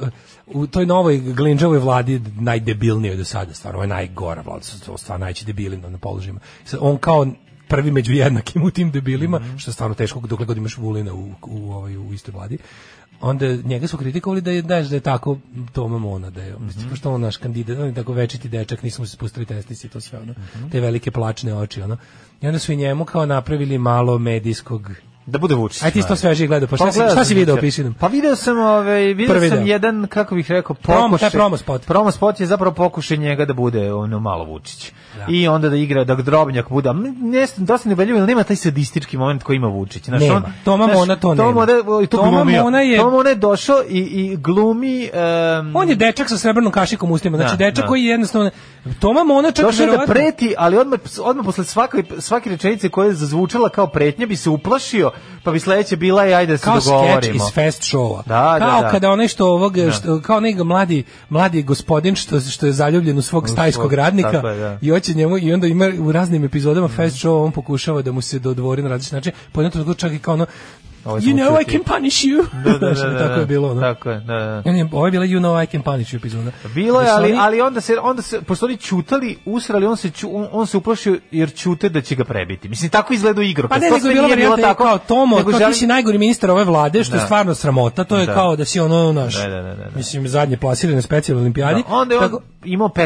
u toj novoj Glinđavoj vladi najdebilnijoj do sada, stvarno, ovo je najgora vlada, su- su stvarno najći debili na na položajima. Sad, on kao prvi među jednakim u tim debilima, što je stvarno teško dokle god imaš Vulina u, u, ovaj, u istoj vladi onda njega su kritikovali da je znaš, da je tako Toma Mona da je mislim pošto on naš kandidat on je tako večiti dečak nismo se spustili testis i to sve ono te velike plačne oči ono i onda su i njemu kao napravili malo medijskog Da bude Vučić. Aj ti naravno. to sveže gledao, pa šta, si, gledao šta sam si video jučer. piši nam? Pa video sam, ovaj, video Prvi sam deo. jedan, kako bih rekao, pokušaj. Promo, šta je promo spot? Promo spot je zapravo pokušaj njega da bude ono malo Vučić. I onda da igra, da drobnjak bude. M, Ne, dosta ne beljivo, nema taj sadistički moment koji ima Vučić. Znaš, Nema. on, Toma znaš, Mona to Toma nema. Mona, i to Toma glumio. Mona je- Toma Mona je došao i, i glumi... em, On je dečak sa srebrnom kašikom u ustima, znači Da, dečak da. koji je jednostavno Toma Mona čak Došao je da verovatno- preti, ali odmah, odmah posle svake, svake rečenice koja je zazvučala kao pretnja bi se uplašio, pa bi sledeća bila i ajde da se kao skeč dogovorimo. iz fest showa. Da, da, kao da. kada onaj što ovog što, kao onaj mladi mladi gospodin što što je zaljubljen u svog stajskog svog, radnika tako je, da. i hoće njemu i onda ima u raznim epizodama fest showa on pokušava da mu se dodvori na različit način, pa jednom trenutku čak i kao ono Ovo You sam know I učutio. can punish you. Da, da, da, [laughs] Znaš, da, tako je da. bilo. Ono. Tako je, da, da. Ne, ne, ovo je bila You know I can punish you epizoda. Bilo je, Gde su ali, oni- ali onda se, onda se, pošto oni čutali, usrali, on se, ču, on, on se uplašio jer čute da će ga prebiti. Mislim, tako izgleda igra. Pa ne, nego je bila varijanta tako, kao Tomo, kao ti si najgori ministar ove vlade, što je Da. stvarno sramota, to je Da. kao da si ono naš, Da, da, da, da, da. mislim, zadnje plasirane specijalne olimpijadi. onda je on Tako- imao 15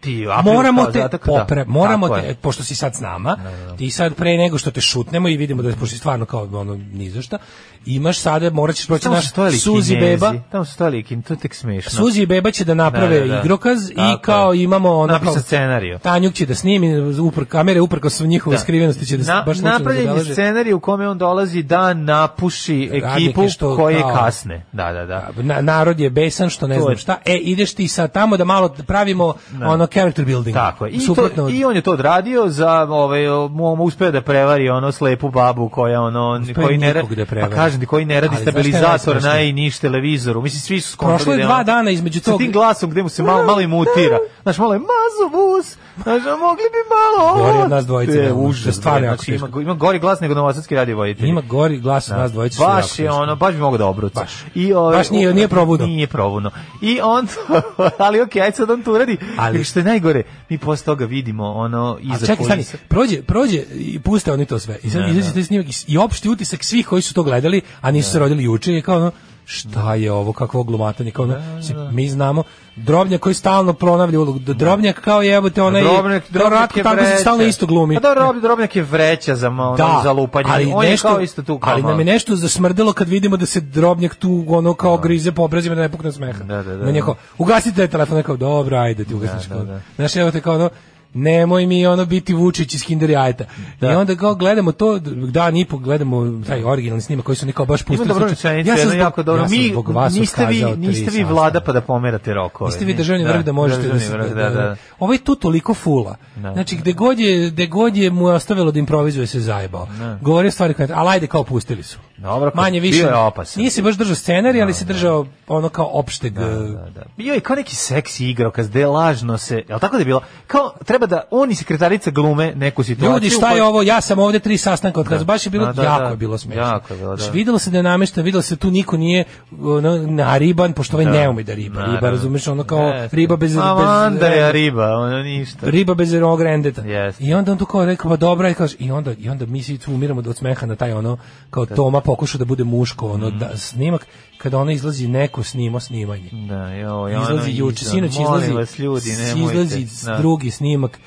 ti, aprilski moramo te zadatak, da. popre, moramo Tako te, je. Da, pošto si sad s nama, ti sad pre nego što te šutnemo i vidimo da je, pošto si stvarno kao ono ni za šta, imaš sada, morat ćeš proći Tamo naš su stojali Suzi Kinezi, Beba, Tamo su stojali Kinezi, to je tek smešno. Suzi i Beba će da naprave Da, da, da. igrokaz i Tako kao je. imamo ono Napisan kao- scenarijo. Tanjuk će da snimi upr kamere uprko su njihove Da. skrivenosti će da se Na, baš slučajno napravljen je zabeleže. scenarij u kome on dolazi da napuši Radnike ekipu što koje kao- kasne. Da, da, da. Na, narod je besan što ne To znam je- Da. šta. E, ideš ti sad tamo da malo pravimo ono character building. Tako je. I, Suprotno to, od- I on je to odradio za ovaj o, mu, mu uspeo da prevari ono slepu babu koja ono Uspeo koji ne nikog radi da pa prevari. kažem ti koji ne radi Ali znaš šta je stabilizator najsmešnije? na i niš televizoru. Mislim svi su skontali. Prošlo je da dva ono- dana između Sa tog- tim glasom gde mu se malo malo imutira. Znaš malo je mazovus. Znaš a mogli bi malo. ovo." Gori od nas dvojice, To Je realno, to je užas. stvarno bre. jako Znači, ima, teško. ima gori glas nego novosadski radio voditelj. Ima gori glas od nas dvojice. što Da. Baš jako je ono, baš bi mogao da obruca. Baš. I, ovaj, Baš nije- nije probudno. Nije probudno. I on, [laughs] ali okej, ajde sad on to uradi. Ali- Ali što je najgore, mi posle toga vidimo ono A iza čekaj, stani, kulisa. prođe, prođe i puste oni to sve. I sad Da, izađe da. taj snimak i s- i opšti utisak svih koji su to gledali, a nisu se rodili juče, je kao ono, šta je ovo, kakvo glumatanje, kao ono, Da, mislim, mi znamo, Drobnjak koji stalno pronavlja ulogu, da Drobnjak kao jebote, onaj, Drobnjak, kao Ratko Tanković stalno isto glumi. A da, Rob, drobnjak je vreća za, ono, za lupanje. on je kao isto tu kao Da, ali nam je malo. nešto zasmrdelo kad vidimo da se drobnjak tu ono kao grize po obrazima da ne pukne od smeha. Da, da, da. Meni je kao, ugasite taj telefon, Ja kao, dobro, ajde ti ugasniš. Da, da, Znaš, evo te kao ono, nemoj mi ono biti Vučić iz Kinder jajeta. Da. I onda kao gledamo to, da, ni gledamo taj originalni snimak koji su oni kao baš Ima pustili. dobro Znači, rečenica, sam jedna zbog- jako dobro. ja sam Mi, zbog vas niste vi, otkazao tri niste vi sastanka. vlada pa da pomerate rokove. Niste vi državni vrh da možete da, državni se, vrh, da, da, da. Ovo je tu toliko fula. Da. Znači, gde god, je, gde god je mu je ostavilo da improvizuje se zajebao. Da. Govorio stvari koje, ali ajde kao pustili su. Dobro, kao Manje više. Da, bio je opasan. Nije se baš držao scenarij, ali se držao ono kao opšteg... e, Da, da. Bio je kao neki seksi igrokaz, gde je lažno se, jel tako da je bilo? Kao, treba da on i sekretarica glume neku situaciju. pa- Ljudi, šta u je kojoj- ovo? Ja sam ovde tri sastanka od kada. Baš je bilo Da, da, jako da. je bilo smešno. Jako je bilo, da. Znači, videlo se da je namešteno, videlo se da tu niko nije ono, na riban, pošto ovaj ne ume da riba. Naravno. Riba, razumeš, ono kao Jeste. riba bez... bez- Amanda je riba, ono ništa. riba bez onog rendeta. Jeste. I onda on tu kao rekao, pa dobra, i, kaže, i, onda, i onda mi svi tu umiramo da od smeha na taj ono, kao Toma pokušao da bude muško, ono, Mhm. da, snimak, kada ona izlazi neko snimo snimanje. Da, joj, ono, Izlazi juče, iza- sinoć molim izlazi, vas, ljudi, s- nemojte. izlazi Da. drugi snimak,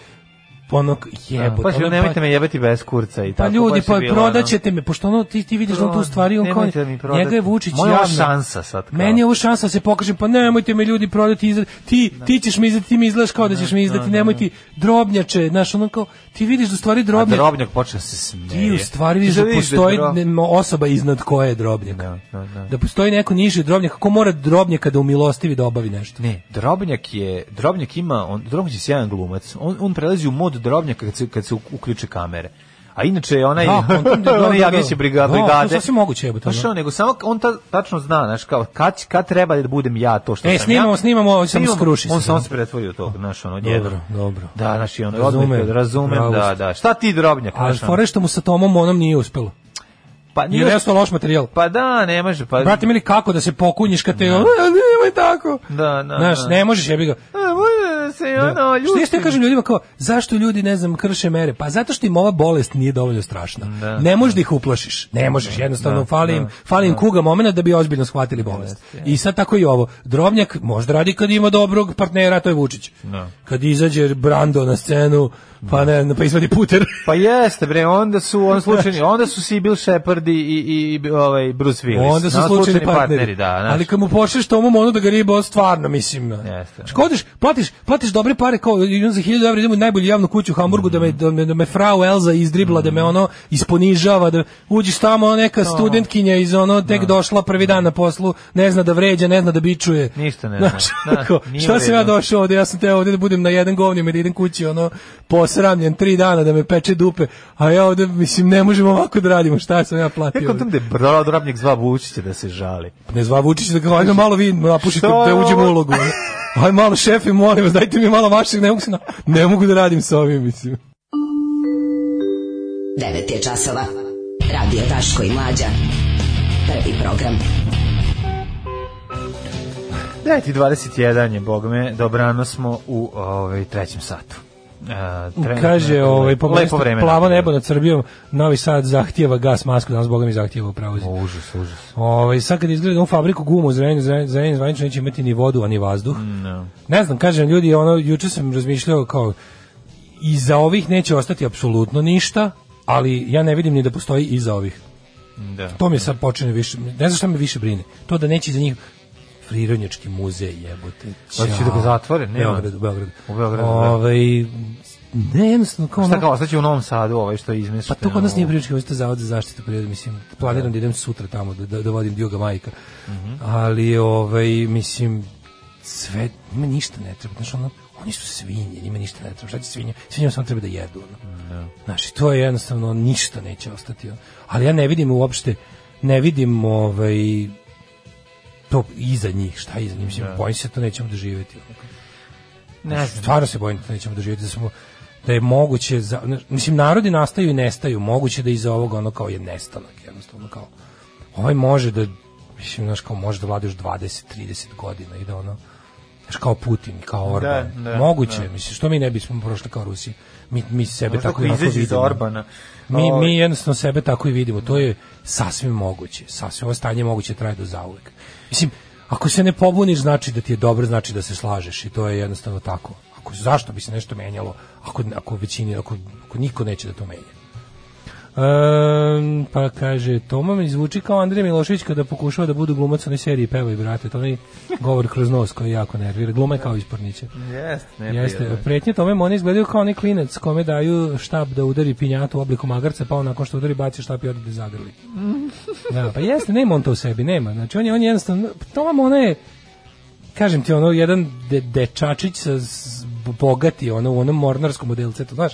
ono, jebote. Pa što ono, nemojte me jebati bez kurca i Pa tako. ljudi, baš je pa bilo, prodaćete me, pošto ono, ti, ti vidiš da on tu u stvari, on kao, Nemojte da mi prodate. njega je Vučić Moja javno. šansa sad kao. Meni je ovo šansa da se pokažem, pa nemojte me ljudi prodati, izda, ti, ti ćeš mi izdati, ti mi izgledaš kao da ćeš mi izdati, nemoj ti, drobnjače, znaš, ono kao, ti vidiš da u stvari ono. A drobnjak, drobnjak počeo se smeje. ti u stvari Ti vidiš sad da vidiš postoji dro- ne- osoba iznad koje je drobnjak. Da, da, da. Da postoji neko niži od drobnjaka, ko mora drobnjaka da umilostivi da obavi nešto. Ne, Drobnjak je, Drobnjak ima, on, Drobnjak je sjajan glumac. On, on prelazi u mod Drobnjaka kad se, kad se uključe kamere. A inače je onaj, Da, on- da, da, da, onaj da. Jagnjeće briga, Da, brigade. to sasvim moguće, jebote, da. Pa ono. što, nego samo on ta, tačno zna, znaš, kao, kad, kad treba da budem ja to što E, sam snimamo, ja. snimamo, ovo samo skruši se, On samo da. se pretvori u to, znaš, ono, Dobro, dobro. dobro. Da, znaš, i ono, Razumem. razumem, razumem, Bravo da, ste. da. Šta ti Drobnjak? Ali znaš, ono? fore što mu sa Tomom onom nije uspelo. pa Jer nije, je loš materijal. pa da, ne može, pa... Brate mili, kako da se pokunjiš kad te... "A, [laughs] Nemoj tako. Da, da, Znaš, da. ne možeš, jebi ga. A, može da se, ono, Da. Što isto ja ljutim. kažem ljudima kao, zašto ljudi, ne znam, krše mere? Pa zato što im ova bolest nije dovoljno strašna. ne možeš da ih uplašiš. Ne možeš, jednostavno fali, im, fali im kuga momena da bi ozbiljno shvatili bolest. I sad tako i ovo. Drobnjak možda radi kad ima dobrog partnera, to je Vučić. Kad izađe Brando na scenu, pa ne, znam, pa izvadi puter. Pa jeste bre, onda su on [laughs] slučajni, onda su si Bill Shepard i i, i ovaj Bruce Willis. Onda su Na slučajni partneri, da, znaš. Ali kad mu počneš tomom ono da ga riba, stvarno, mislim. Jeste. Škodiš, platiš, platiš dobre pare, kao idem za 1000 evra, idem u najbolju javnu kuću u Hamburgu, da, me, Mhm. da, me, da me frau Elza izdribla, da me ono isponižava, da uđiš tamo ono, neka studentkinja iz ono, tek Da. došla prvi dan na poslu, ne zna da vređa, ne zna da bičuje. Ništa ne zna. Znaš, Da, [laughs] kao, nije šta u sam ja redu. došao ovde, ja sam teo ovde da budem na jedan govnjem i da idem kući, ono, posramljen tri dana da me peče dupe, a ja ovde, mislim, ne možemo ovako da radimo, šta sam ja platio? Kako ovde? tam da je bro- drobnjak zva Vučića da se žali. Ne zva Vučić da ga ajde malo vi napušite Šta je da ovo? uđem u ulogu. Aj malo šefi, molim vas, dajte mi malo vašeg, ne mogu, se na- ne mogu da radim sa ovim, mislim. 9 je časova. Radio Daško i Mlađa. Prvi program. Dajte 21 je, bog me, dobrano smo u ovaj, trećem satu. E, trenutno Kaže, je ovaj, lepo- lepo pobjestvo, vreme. plavo nebo nad Srbijom, Novi Sad zahtijeva gas masku, danas Boga mi zahtijeva upravo. O, Užas, užas. Ovaj sad kad izgleda u fabriku gumu za Zrenjanin Zrenjanin zvanično neće imati ni vodu ani vazduh. Ne znam, kažem ljudi, ono juče sam razmišljao kao iza ovih neće ostati apsolutno ništa, ali ja ne vidim ni da postoji iza ovih. Da. To mi sad počinje više, ne znam šta me više brine. To da neće za njih Prirodnjački muzej jebote. Hoće Ćao. da ga zatvore? Nema. U Beogradu, u Beogradu. U Beogradu, da. Ovaj, ne, jednostavno, kao Šta ono- kao, ostaće u Novom Sadu ovaj što je pa izmešteno? to kod nas nije prirodnički vojska zavod za zaštitu prirode, mislim, planiram da idem sutra tamo, da, da, da vodim Dioga Majka. Ali, ovaj, mislim, sve, njima ništa ne treba. Znaš, ono, oni su svinje, njima ništa ne treba. Šta će svinje? Svinjama samo treba da jedu. Ono. Znaš, i to je jednostavno, ništa neće ostati. ono. Ali ja ne vidim uopšte, ne vidim, ovaj, to iza njih, šta je iza njih, mislim, bojim se da to nećemo doživjeti. Ono. Ne znam. Stvarno se bojim da nećemo doživjeti da smo da je moguće za, znaš, mislim narodi nastaju i nestaju, moguće da iza ovoga ono kao je nestanak, jednostavno kao ovaj može da mislim znaš kao može da vlada još 20 30 godina i da ono znaš kao Putin, kao Orban. da, moguće, je, mislim što mi ne bismo prošli kao Rusi. Mi mi sebe Možda tako ako i onako izađe iz vidimo. Orbana. Mi, Ovaj. mi jednostavno sebe tako i vidimo. To je sasvim moguće. Sasvim ovo stanje moguće traje do zauvek. Mislim, ako se ne pobuniš, znači da ti je dobro, znači da se slažeš i to je jednostavno tako. Ako, zašto bi se nešto menjalo ako, ako većini, ako, ako niko neće da to menja? Ehm, pa kaže, Toma mi zvuči kao Andrej Milošević kada pokušava da budu glumac u onoj seriji Peva i brate. To je onaj govor kroz nos koji jako nervira. Gluma je kao isporniće. Jeste, ne Jeste, prijatno. pretnje tome mu oni izgledaju kao onaj klinac kome daju štab da udari pinjatu u obliku magarca, pa on nakon što udari baci štab i odide zagrli. Da, pa jeste, nema on to u sebi, nema. Znači on je, on je jednostavno, to vam ono je, kažem ti, ono, jedan de, dečačić sa s- bogati, ono, u onom mornarskom modelcetu, znaš?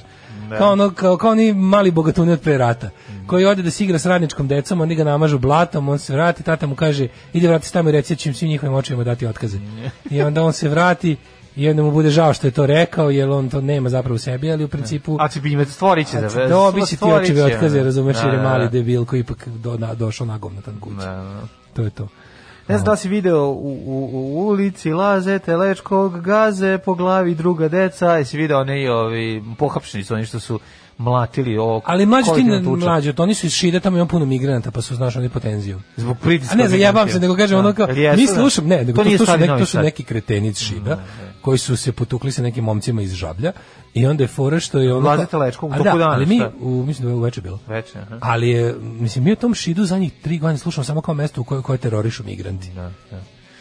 Da. Kao, ono, kao, kao oni mali bogatuni od pre rata, koji ode da se igra s radničkom decom, oni ga namažu blatom, on se vrati, tata mu kaže, ide vrati se tamo i reci, ja ću im svim njihovim očima dati otkaze. I onda on se vrati i onda mu bude žao što je to rekao, jer on to nema zapravo u sebi, ali u principu... A će bi ime stvorit će da... Dobit će ti stvorit očeve će, otkaze, ono. razumeš, jer je Da, da, mali da. debil koji ipak do, na, došao nagomnatan kući. Da, da. To je to. Ne znam da li si video u, u, u ulici Laze, Telečkog, Gaze, po glavi druga deca, i si video oni ovi pohapšeni su, oni što su mlatili ovo. Ali mlađi ti kolektivnu tuču. mlađi, oni su iz Šida, tamo ima puno migranata, pa su, znaš, oni po tenziju. Zbog pritiska. A ne, zajebam migranata. se, nego kažem Da. ono kao, Jel jesu, mi da? slušam, ne, nego to, to, nije to su, stari neki, Novi to su Sad. Da, neki kreteni iz Šida, koji su se potukli sa nekim momcima iz Žablja, i onda je fora što je ono... Odlaze kao- Telečko u A toku da, dana, ali mi, šta? u, mislim da je uveče bilo. Veče, aha. Ali je, mislim, mi o tom Šidu zadnjih tri godine slušamo samo kao mesto u koje, koje terorišu migranti.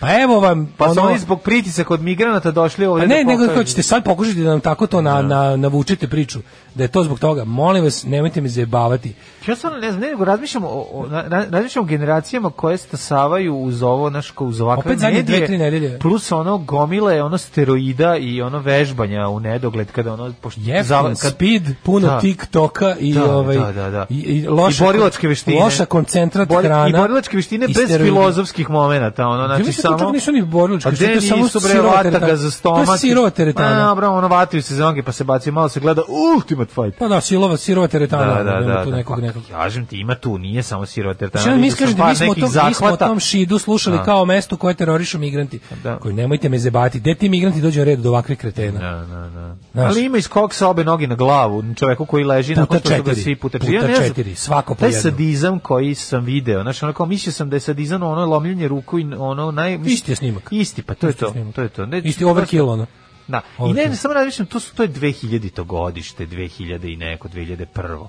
Pa evo vam... Da, Pa su ono- oni zbog pritisaka od migranata došli ovde. Pa ne, da nego pokažu. kao ćete sad pokušati da nam tako to na, na, navučete priču, da je to zbog toga. Molim vas, nemojte me zajebavati. Ja stvarno ne znam, ne, nego razmišljam o, o, na- na- razmišljam o generacijama koje stasavaju uz ovo, naš, kao uz ovakve Opet zadnje medije, dve, tri nedelje. plus ono gomile, ono steroida i ono vežbanja u nedogled, kada ono, pošto, Jeftin, speed, puno Da. TikToka i Da, ovaj da, da, da. i, i loša I borilačke veštine. Loša koncentrat Bori- hrana. I borilačke veštine i bez steroidi. filozofskih momenata, ono, Ja znači mislim da to čak samo... nisu ni borilačke, A što je gde to samo nisu bre sirova vata teretana. ga za stomak? To je sirova Ma, teretana. dobro, ono vataju se za noge pa se bacaju, malo se gleda "Uh, Ultimate Fight. Pa da, silova, sirova teretana. da, da, nema da. tu da. nekog Pa, nekog. Kažem ti, ima tu, nije samo sirova teretana. Znači, mi vidio sam kažete, par mi smo, o nekih tom, mi smo o zahvata. tom šidu slušali Da. kao o mestu koje terorišu migranti. Da. Koji, nemojte me zebati. Gde ti migranti dođu na red do ovakvih kretena? Da, da, da. Znaš. Ali ima iz koksa obe noge na glavu, čoveku koji leži Puta nakon što su ga četiri. svi puta Puta Ja ne znam, četiri, svako po Taj jednom. sadizam koji sam video, znači onako mislio sam da je sadizam ono lomljenje ruku i ono naj Isti je snimak. Isti, pa to je Isti je to. snimak. To je to. Ne, Isti overkill, ono. Da. I Overkill. ne, samo razmišljam, to su to je 2000 to godište, 2000 i neko 2001.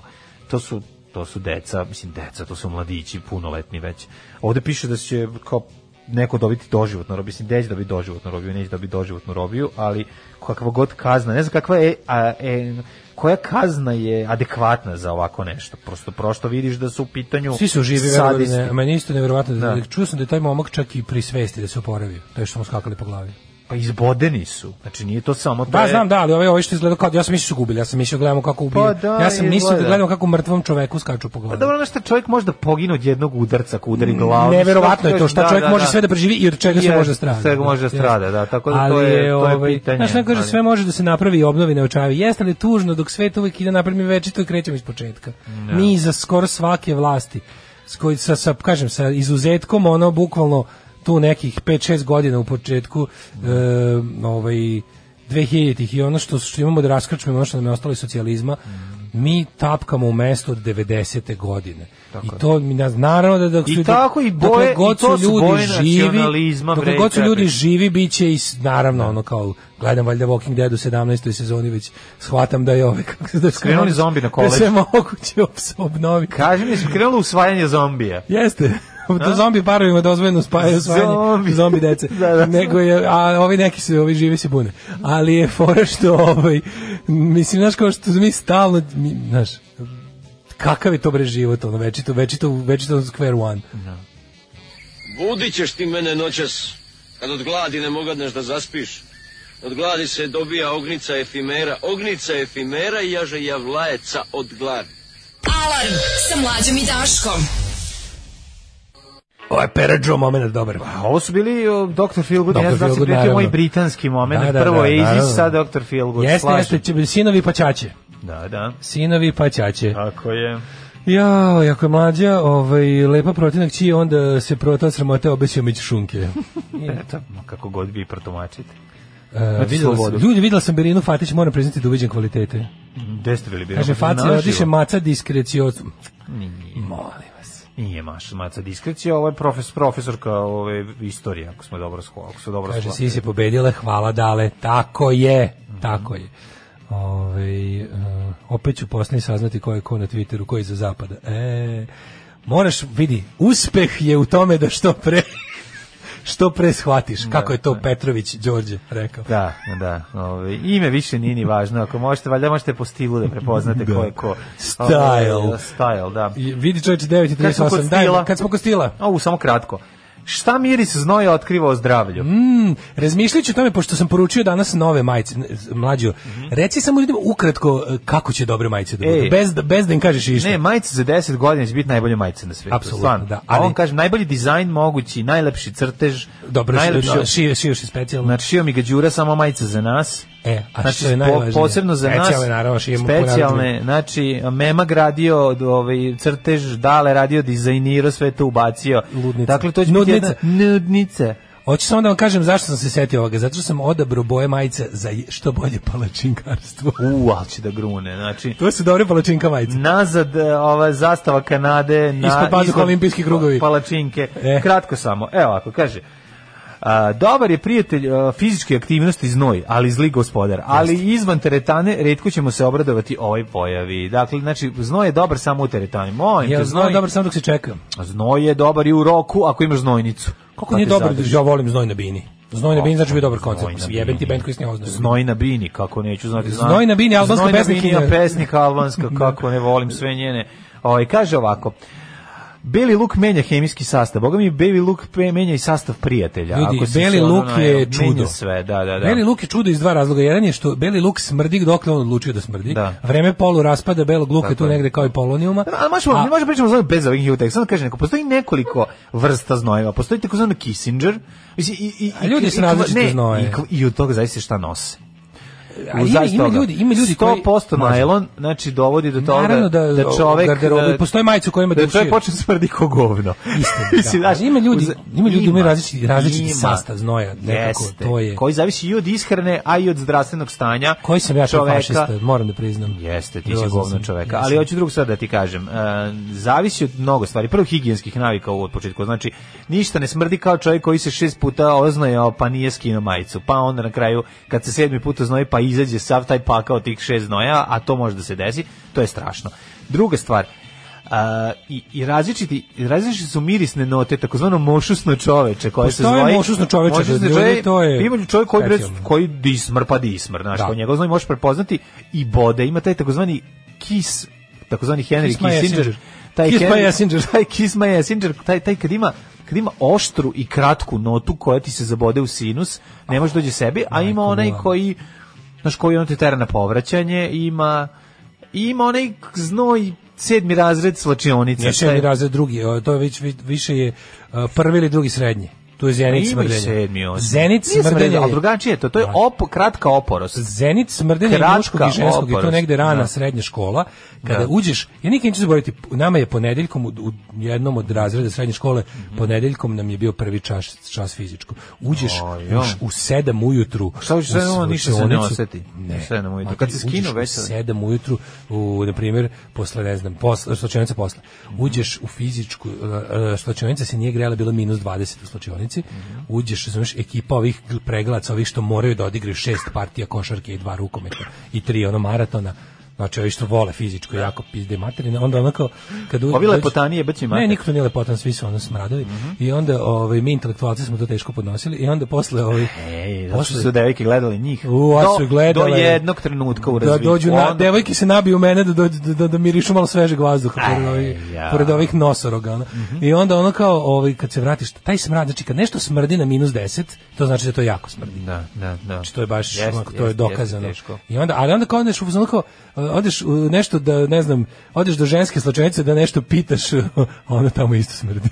To su to su deca, mislim deca, to su mladići punoletni već. Ovde piše da će kao neko dobiti doživotno robiju, mislim deć da bi doživotno robiju, neće da bi doživotno robiju, ali kakva god kazna, ne znam kakva je, a, e, koja kazna je adekvatna za ovako nešto. Prosto prosto vidiš da su u pitanju Svi su živi, verovali, sadisti. ne, meni isto nevjerovatno da, Da. čuo sam da je taj momak čak i pri svesti da se oporavio, to je što mu skakali po glavi. Pa izbodeni su. Znači nije to samo to Da, je- znam, da, ali ovaj, ovaj što izgleda kao, ja sam mislio su gubili, ja sam mislio gledamo kako ubiju. Pa da, ja sam mislio da izgleda. gledamo kako mrtvom čoveku skaču Pa po glavi. dobro, ono što čovjek može da pogine od jednog udarca ko udari glavu. Neverovatno je to šta čovjek može sve da preživi i od čega sve Je, može da strada. svega može da strada, da, tako da to je- to je pitanje, ovaj, Znaš, neko kaže ali- sve može da se napravi i obnovi na očavi. Jeste li tužno dok svet uvijek ide napred mi večito i krećemo iz početka. Mi iza skoro svake vlasti s koji sa, sa kažem sa izuzetkom ono bukvalno tu nekih 5-6 godina u početku e, ovaj 2000-ih i ono što, što imamo da raskrčimo ono što nam je ostalo iz socijalizma, mi tapkamo u mesto od 90. godine. I to mi nas naravno da dok I su- tako i dokle boje- god i to su boje nacionalizma, dokle bre, god su i ljudi tebe. živi biće i s- naravno ono kao gledam valjda Walking Dead u 17. sezoni već shvatam da je ove [laughs] kako se da se Skrenuli mogu- zombi na Da koleđ. se moguće obs- obnoviti. Kaži mi, jesu krenulo usvajanje zombija. Jeste. [laughs] Da zombi parovima dozvoljeno spajaju osvajanje zombi, Zombi. dece. [laughs] Da, da. Nego je, a ovi neki se, ovi živi se bune. Ali je fora što, ovaj, mislim, znaš, kao što mi stalno, mi, znaš, kakav je to bre život, ono, večito, večito, večito square one. Budit ćeš ti mene noćas, kad od gladi ne mogadneš da zaspiš. Od gladi se dobija ognica efimera, ognica efimera i jaže javlajeca od gladi. Alarm sa mlađom i Daškom. Ovo je Peradžo moment dobar. A ovo su bili o, Dr. Feelgood, Dr. ja znam da si Feelgood, pritio moj naravno. britanski moment, Da, da, prvo da, je naravno. Isis, sad Dr. Feelgood, Jeste, jeste, slažem. će biti sinovi pa ćaće. Da, da, Sinovi pa ćaće. tako je. Ja, jako je mlađa, ovaj, lepa protinak čiji onda se prota sramote obećao među šunke. E, Eto, ma kako god vi protumačite. Uh, videla sam, slobodu. ljudi, videla sam Berinu Fatić, moram priznati da uviđam kvalitete. Gde ste bili? bili? Kaže, Facija Naživo? odiše maca diskrecijocom. Molim vas. Nije maš, maca diskrecija, ovo je profes, profesorka ove, istorije, ako smo dobro shvatili. Ako su dobro Kaže, shvatili. Sisi pobedila, hvala dale. Tako je, Mhm. tako je. Ove, opet ću posle saznati ko je ko na Twitteru, ko je za zapada. E, moraš, vidi, uspeh je u tome da što pre [laughs] što pre shvatiš, kako je to Petrović Đorđe rekao. Da, da. Ove, ime više nije ni važno. Ako možete, valjda možete po stilu da prepoznate ko je ko. Style. Ove, style, da. I- Vidi čovječe 9 i Kad smo kod 38, daj, stila. kad smo kod stila. Ovo, samo kratko. Šta miris znoja otkriva o zdravlju? Mm, Razmišljajući o tome, pošto sam poručio danas nove majice, n- z- mlađo, reci samo ljudima ukratko e, kako će dobre majice da budu, Mhm. Ej. bez, da- bez da im kažeš išta. Ne, majice za 10 godina će biti najbolje majice na svijetu. Apsolutno, stvarno. da, A ali- on kaže, najbolji dizajn mogući, najlepši crtež, Dobro, da, najlepši... najlepše, šije, šije, specijalno. Znači, šio mi ga Đura, samo majice za nas. E, a znači, što je po- najvažnije? posebno za nas, Specijalne, naravno, šijemo po specijalne, narodnim. znači, Memak radio od, ovaj, crtež, Dale radio, dizajnirao, sve to ubacio. Ludnica. Dakle, to će Nudnica. biti jedna... Nudnica. Hoću samo da vam kažem zašto sam se setio ovoga, zato što sam odabrao boje majica za je- što bolje palačinkarstvo. [laughs] U, ali će da grune, znači... to su dobre palačinka majice. Nazad e, ova zastava Kanade na Ispod pazuha ispod olimpijski krugovi. Palačinke. E. Kratko samo. Evo ako kaže. A, dobar je prijatelj a, fizičke aktivnosti znoj, ali zli gospodar. Ali izvan teretane retko ćemo se obradovati ovoj pojavi. Dakle, znači, znoj je dobar samo u teretani. Molim Ja te, znao Mm, znoj, dobro samo dok se čekam. znoj je dobar i u roku ako imaš znojnicu. Kako Da nije te dobro, zadrži. ja volim znoj na bini. Znoj na bini znači bi dobar Znoj koncert. na Mislim, Jebem ti bini. band koji se ne oznaje. Znoj na bini, kako neću znati. znam. Znoj na bini, albanska Da. Znoj na pesnikinja. bini, pesnika [laughs] albanska, kako ne volim sve njene. Ovaj, kaže ovako, Beli luk menja hemijski sastav. Boga mi beli luk pe- menja i sastav prijatelja. Ljudi, Ako si beli se ono luk najel- je menja čudo. sve, da, da, da. Beli luk je čudo iz dva razloga. Jedan je što beli luk smrdi dokle on odlučio da smrdi. Da. Vreme polu raspada belog luka je tu je. negde kao i polonijuma. A možemo, A- mi možemo pričamo o znoju bez ovih jutek. Samo kaže neko, postoji nekoliko vrsta znojeva. Postoji takozvani Kissinger. Mislim, i, i, A ljudi i- su i- različite ne, znoje. I, i od toga zavisi šta nose. A ima, ima ljudi, ima ljudi koji 100% najlon, znači dovodi do toga Naravno da, da čovek garderobi, da- postoje majice koje ima da dušije. čovjek počne smrdi ko govno. [laughs] da. Ali ima ljudi- ima ljudi koji imaju različiti- različiti ima. sastav znoja, nekako, Jeste. to je- Koji zavisi i od ishrane, a i od zdravstvenog stanja Koji sam ja čovjek čoveka. fašista, moram da priznam. Jeste, ti si Grozan govno sam, čoveka. jesam. Ali hoću drugo sad da ti kažem. E, zavisi od mnogo stvari. Prvo higijenskih navika u početku. Znači, ništa ne smrdi kao čovjek koji se šest puta oznojao pa nije skinuo majicu. Pa onda na kraju, kad se sedmi put oznoji pa izađe sav taj pakao tih šest znoja, a to može da se desi, to je strašno. Druga stvar, a, i, i različiti, različiti su mirisne note, takozvano mošusno čoveče koje se Postoje zvoji. Pa mošusno čoveče, Mošusno ljudi, čoveče, to je Ima čovjek koji, bre, specijalno. koji dismr pa dismr, znaš, Da. po njegov znoj možeš prepoznati i bode, ima taj takozvani kis, takozvani Henry Kiss my Jessinger. Kissinger, taj Kiss my Henry- Jessinger. [laughs] taj Kiss my Jessinger, taj, taj kad ima kad ima oštru i kratku notu koja ti se zabode u sinus, ne može dođe sebi, a ima onaj mila. koji znaš koji on te tera na povraćanje, ima i ima onaj znoj sedmi razred slačionice. Nije sedmi razred drugi, o, to je već vi- više je a, prvi ili drugi srednji. Tu je Zenit Ima i smrdenja. sedmi, osmi. Zenit Da. Nije smrdenja. ali je- drugačije je to. To je op, kratka oporost. Zenit smrdenja i Kratka muškog i ženskog je to oporost, negde rana da. srednja škola kada uđeš ja nikad neću zaboraviti nama je ponedeljkom u, u jednom od razreda srednje škole Mhm. ponedeljkom nam je bio prvi čas čas fizičko uđeš Ojo. u, u 7 ujutru Šta hoćeš, u sedam ujutru, ništa se ne učionicu- oseti. ne U sedam ujutru. Mati, Kad se skinu uđeš u već- sedam ujutru u na primjer posle ne znam posle slučajnica posle uđeš u fizičku e, e, slučajnica se nije grejala bilo minus 20 u slučajnici uđeš razumeš ekipa ovih gl- preglaca ovih što moraju da odigraju šest partija košarke i dva rukometa i tri ono maratona Znači, ovi što vole fizičko jako pizde materine, onda onako... Kad u- Ovi dođe- Da. Pa lepotanije, baci Ne, mater. Mhm. niko to nije lepotan, svi su ono smradovi. I onda ovaj, mi intelektualci smo to teško podnosili i onda posle... Ovaj, Ej, posle- zašto su devojke gledali njih? U, a Do- su gledale. Do jednog trenutka u razviku. Da dođu na, Onda- devojke se nabiju u mene da, dođu- da, da, da mirišu malo svežeg vazduha pored, ovih, ja. Mhm. pored ovih nosoroga. ono. I onda ono kao, ovaj, kad se vratiš, taj smrad, znači kad nešto smrdi na minus 10, to znači da to jako smrdi. Da, da, da. Znači to je baš Jeste, onako, to je jeste, dokazano. jeste teško. I onda ali onda kao odeš u fazonu kao e, odeš u nešto da ne znam, odeš do ženske slačenice da nešto pitaš, [laughs] a ona tamo isto smrdi.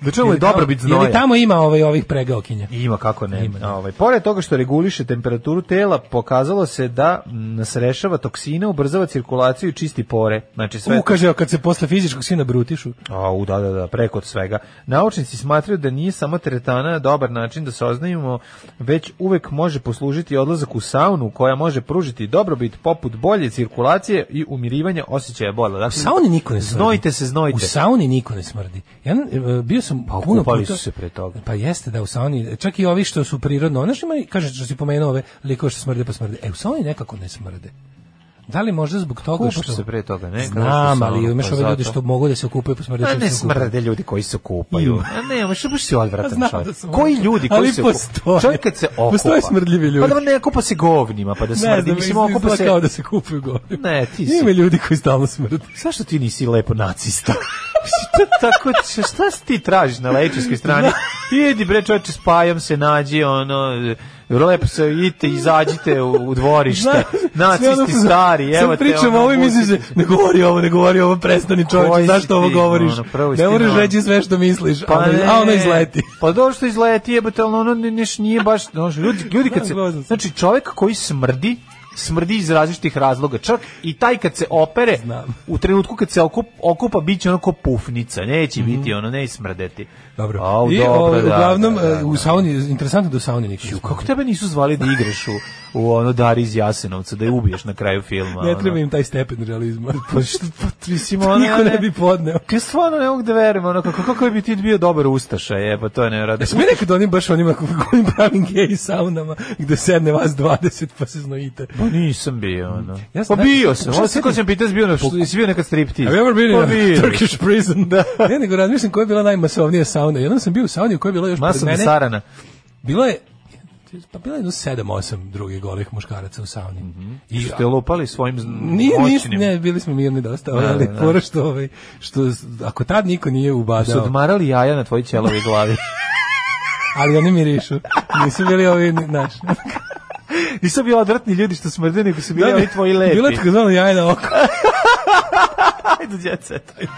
Da čemu je Ili tamo- dobro biti znoja? Ili tamo ima ovaj ovih pregaokinja. Ima kako ne. Ima, da. Ovaj pored toga što reguliše temperaturu tela, pokazalo se da mm, srešava toksine, ubrzava cirkulaciju i čisti pore. Znači sve. U, kaže, kad se posle fizičkog sina brutišu. Au, da, da, da, preko od svega. Naučnici smatraju da nije samo teretana dobar način da se oznajimo, već uvek može poslužiti odlazak u saunu koja može pružiti dobrobit poput bolje cirkulacije i umirivanja osjećaja bola. Dakle, U sauni niko ne smrdi. Znojte se, znojte. U sauni niko ne smrdi. Ja e, bio sam Pa, puno okupali puta- su se pre toga. Pa jeste da u sauni, čak i ovi što su prirodno, ono što ima, kaže što si pomenuo ove likove što smrde pa smrde. E u sauni nekako ne smrde. Da li možda zbog toga Kupaš što se pre toga, ne? Kao Znam, što ali saunu, imaš pa ove ljude zato. što mogu da se okupaju pa smrde. A čim ne se okupaju. smrde ljudi koji se kupaju. Ima. A ne, ma što baš si odvratan Pa znam čovjek. da sam koji odvratan. ljudi koji Ali se okupa? postoje. Čovjek kad se okupa. Postoje smrdljivi ljudi. Pa da ne kupa se govnima, pa da Ne smrdi. znam, Mislim, okupa izgleda se... kao da se kupuju gore. Ne, ti si. Ima ljudi koji stalno smrde. Zašto ti nisi lepo nacista? Mislim, to tako, šta si ti tražiš na lečičkoj strani? Idi bre čovječe, spajam se, nađi, ono, lepo se, idite, izađite u, u dvorište. Nacisti stari, evo te. Sad pričamo ono, ovo i misliš se, vucite se. ne govori ovo, ne govori ovo, prestani Koji čovječe, si zašto ovo ti, govoriš? ono, Pa prvo si Ne ti moraš normalan. reći sve što misliš, a ono- a ono izleti. Pa dobro što izleti, jebote, ali ono ne- neš nije baš, no, ljudi, ljudi [laughs] kad se, Da, grozan sam. znači čovjek koji smrdi, smrdi iz različitih razloga. Čak i taj kad se opere, Znam. u trenutku kad se okup, okupa, bit će ono ko pufnica. Neće biti ono, ne smrdeti. Mhm. Dobro. Au, I dobro, ovaj, da, uglavnom, da, da, da. u sauni, interesantno da u sauni nikad ne Ju, smrdi. Kako tebe nisu zvali da igraš u, u ono Dari iz Jasenovca, da je ubiješ na kraju filma? Ne ono? treba im taj stepen realizma. [laughs] Pa što, [laughs] pa, mislim, ono, Niko ne ne- bi podneo. Ja stvarno ne mogu da verujem, ono, kako, kako bi ti bio dobar ustaša, je, pa to je nevjerojatno. Jesmo mi nekad onim baš onima kojim pravim gej saunama gde sedne vas 20 pa se znojite. Pa nisam bio, ono. Ja Ja sam- sam, ne- pa bio sam. šta Ovo sedim? se ko sam pitao, si bio na, što, jesi bio nekad striptiz? Have you ever been pa in a bio. Turkish prison? Da. ne, nego razmišljam koja je bila najmasovnija sauna. Jednom sam bio u sauni u kojoj je bilo još Ma pred sam mene. Sarana. Bilo je pa bilo je jedno 7-8 drugih golih muškaraca u sauni. I I Mhm. ste lupali svojim z- Nije, moćnim. nije, ne, bili smo mirni dosta, da, ali da. fora što, ovaj, što ako tad niko nije Su ubadao, odmarali jaja na tvojoj ćelovi [laughs] glavi. ali [laughs] oni mirišu, nisu bili ovi, naš, Nisu bio odvratni ljudi što smrde, nego su bili Da, ovi tvoji lepi. Znači, Bilo je tako zvano jaje [laughs] na oko. Ajde, djece. to je.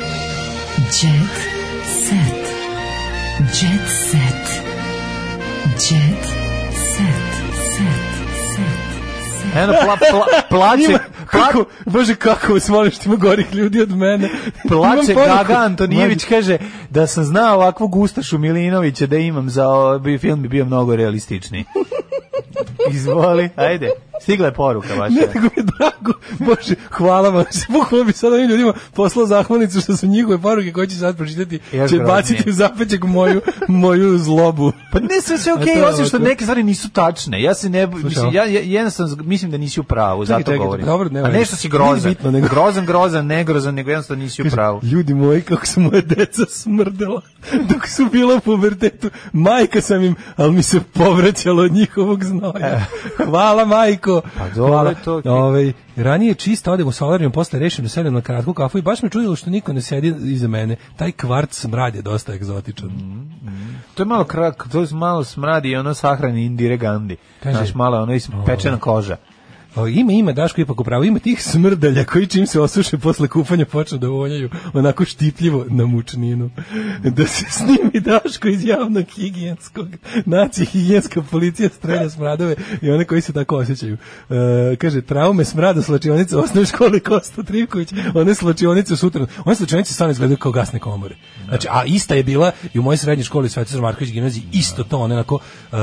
Jet set. Jet set. Jet set. Set. Eno, pla, pla, plaće, Kako, bože kako vas molim što ima gorih ljudi od mene. plaće Imam poruku. Gaga Antonijević kaže da sam znao ovakvog Ustašu Milinovića da imam za ovaj film bi bio mnogo [laughs] realističniji. Izvoli, ajde. Stigla je poruka vaša. Ne, tako mi je drago. Bože, hvala vam. [laughs] Se bukvalno bi sad ovim ljudima poslao zahvalnicu što su njihove poruke koje će sad pročitati, Još će groznije. baciti u zapećak moju, moju zlobu. [laughs] Pa ne sve sve A to okej, je osim što ovako. neke stvari nisu tačne. Ja se ne mislim ovo. ja, ja jednostavno z- mislim da nisi u pravu, Čekaj, zato čekaj, govorim. dobro, nema A veze. nešto si Nije grozan. bitno, nego- Grozan, grozan, ne grozan, nego jednostavno nisi u pravu. Ljudi moji, kako su moje deca smrdela dok su bila u pubertetu. Majka sam im, ali mi se povraćalo od njihovog znoja. Hvala, E. majko. Pa dobro, Hvala. to je okej. Ovaj, ranije čisto odem u solarium, posle rešim da sedem na kratku kafu i baš me čudilo što niko ne sedi iza mene. Taj kvart smrad je dosta egzotičan. To je malo krak, to je malo smradi i ono sahrani Indire Gandhi. Kaže- Znaš, malo ono is pečena koža. O, ima, ima, Daško ipak upravo, ima tih smrdalja koji čim se osuše posle kupanja počnu da voljaju onako štipljivo na mučninu. Da se snimi Daško iz javnog higijenskog, nacija higijenska policija strelja smradove i one koji se tako osjećaju. E, kaže, traume smrada slačionice u osnovnoj školi Kosta Trivković, one slačionice sutra, one slačionice stvarno izgledaju kao gasne komore. Znači, a ista je bila i u mojoj srednjoj školi Svetozar Marković gimnaziji, isto to, one onako, e,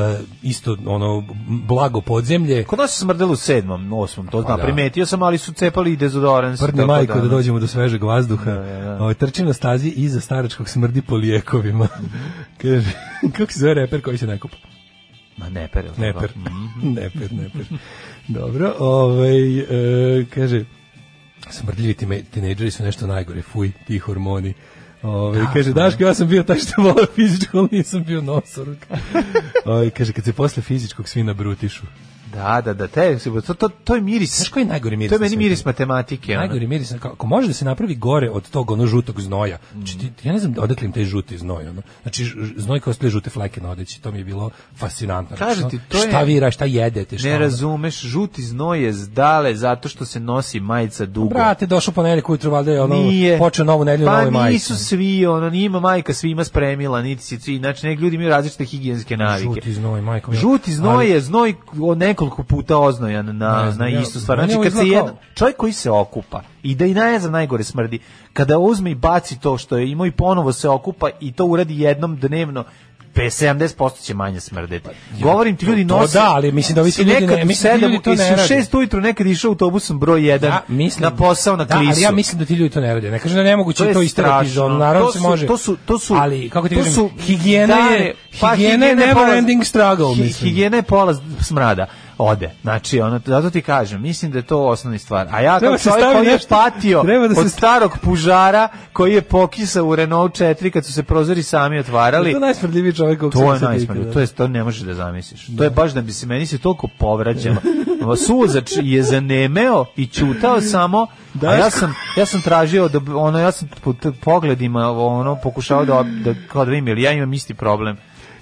isto ono, blago podzemlje, Kod nas se smrdelo u sedmom, osmom, to znam, da. primetio sam, ali su cepali i dezodorans. Prdne tako Da, majko da ono. dođemo do svežeg vazduha. Ovaj, trči na stazi iza staračkog smrdi po lijekovima. Mhm. [laughs] Kaže, kako se zove reper koji se nekupa? Ma ne, per. Neper. Da, mhm. [laughs] neper, neper. Dobro, ovaj, e, kaže, smrdljivi time- tinejdžeri su nešto najgore, fuj, ti hormoni. Ove, kaže, Daško, ja sam bio taj što volao fizičko, ali nisam bio nosoruk. [laughs] Ove, kaže, kad se posle fizičkog svi nabrutišu. Da, da, da, te, to, to, to je miris. Znaš koji je najgori miris? To je na meni svetu? miris matematike. ono. Najgori miris, na- ako može da se napravi gore od tog ono žutog znoja. Mm. Znači, ti, ja ne znam odakle im taj žuti znoj. Ono. Znači, ž- ž- znoj kao sve žute fleke na odeći, to mi je bilo fascinantno. Znači, Kažem ono, ti, to je- Šta viraš, šta jedete, šta... Ne ono. razumeš, žuti znoj je zdale zato što se nosi majica dugo. Brate, došao ponedeljak ujutro, valjda je ono, Nije. počeo novu nedelju, pa nove majice. nisu svi, ono, njima majka svima spremila, niti si ti, znači, nek ljudi imaju različite higijenske navike. Žuti znoj, majko. mila. Žuti znoj Ali- je znoj o nekoliko puta oznojan na, Ne na znam, ja- istu stvar. meni Znači, ovo kad se izgleda jedan, kao- čovjek koji se okupa i da i najeza najgore smrdi, kada uzme i baci to što je imao i ponovo se okupa i to uradi jednom dnevno, pe- 70% će manje smrdeti. Govorim ti ljudi Pa, to nose. da, ali mislim da ovi si ljudi ne- nekad u mislim da ti sedam- ljudi to jesi ne u rade. šest ujutru nekad išao autobusom broj 1 Ja mislim, na posao na klisu. Da, ali ja mislim da ti ljudi to ne rade. Ne kažem da je nemoguće To to, je to isterati iz strašno. ono, naravno da To se su- može. to su- to su- ali kako ti to kažem, su higijena dane- je pa higijena je never pola- ending struggle, hi- mislim. Higijena je pola z- smrada ode. Znači, ono, zato ti kažem, mislim da je to osnovna stvar. A ja Treba kao se čovjek stavi koji je nešto- patio treba da se od st- starog pužara koji je pokisao u Renault 4 kad su se prozori sami otvarali, to je najsmrdljiviji čovjek kog to sam je se najsmrljivo, nikada- to, je, to ne možeš da zamisliš. To je baš da bi se meni se toliko povraćalo. Suzač je zanemeo i ćutao samo, Da. a ja sam, ja sam tražio, da, bi- ono, ja sam po t- pogledima ono, pokušao da, da kao da vidim, jer ja imam isti problem.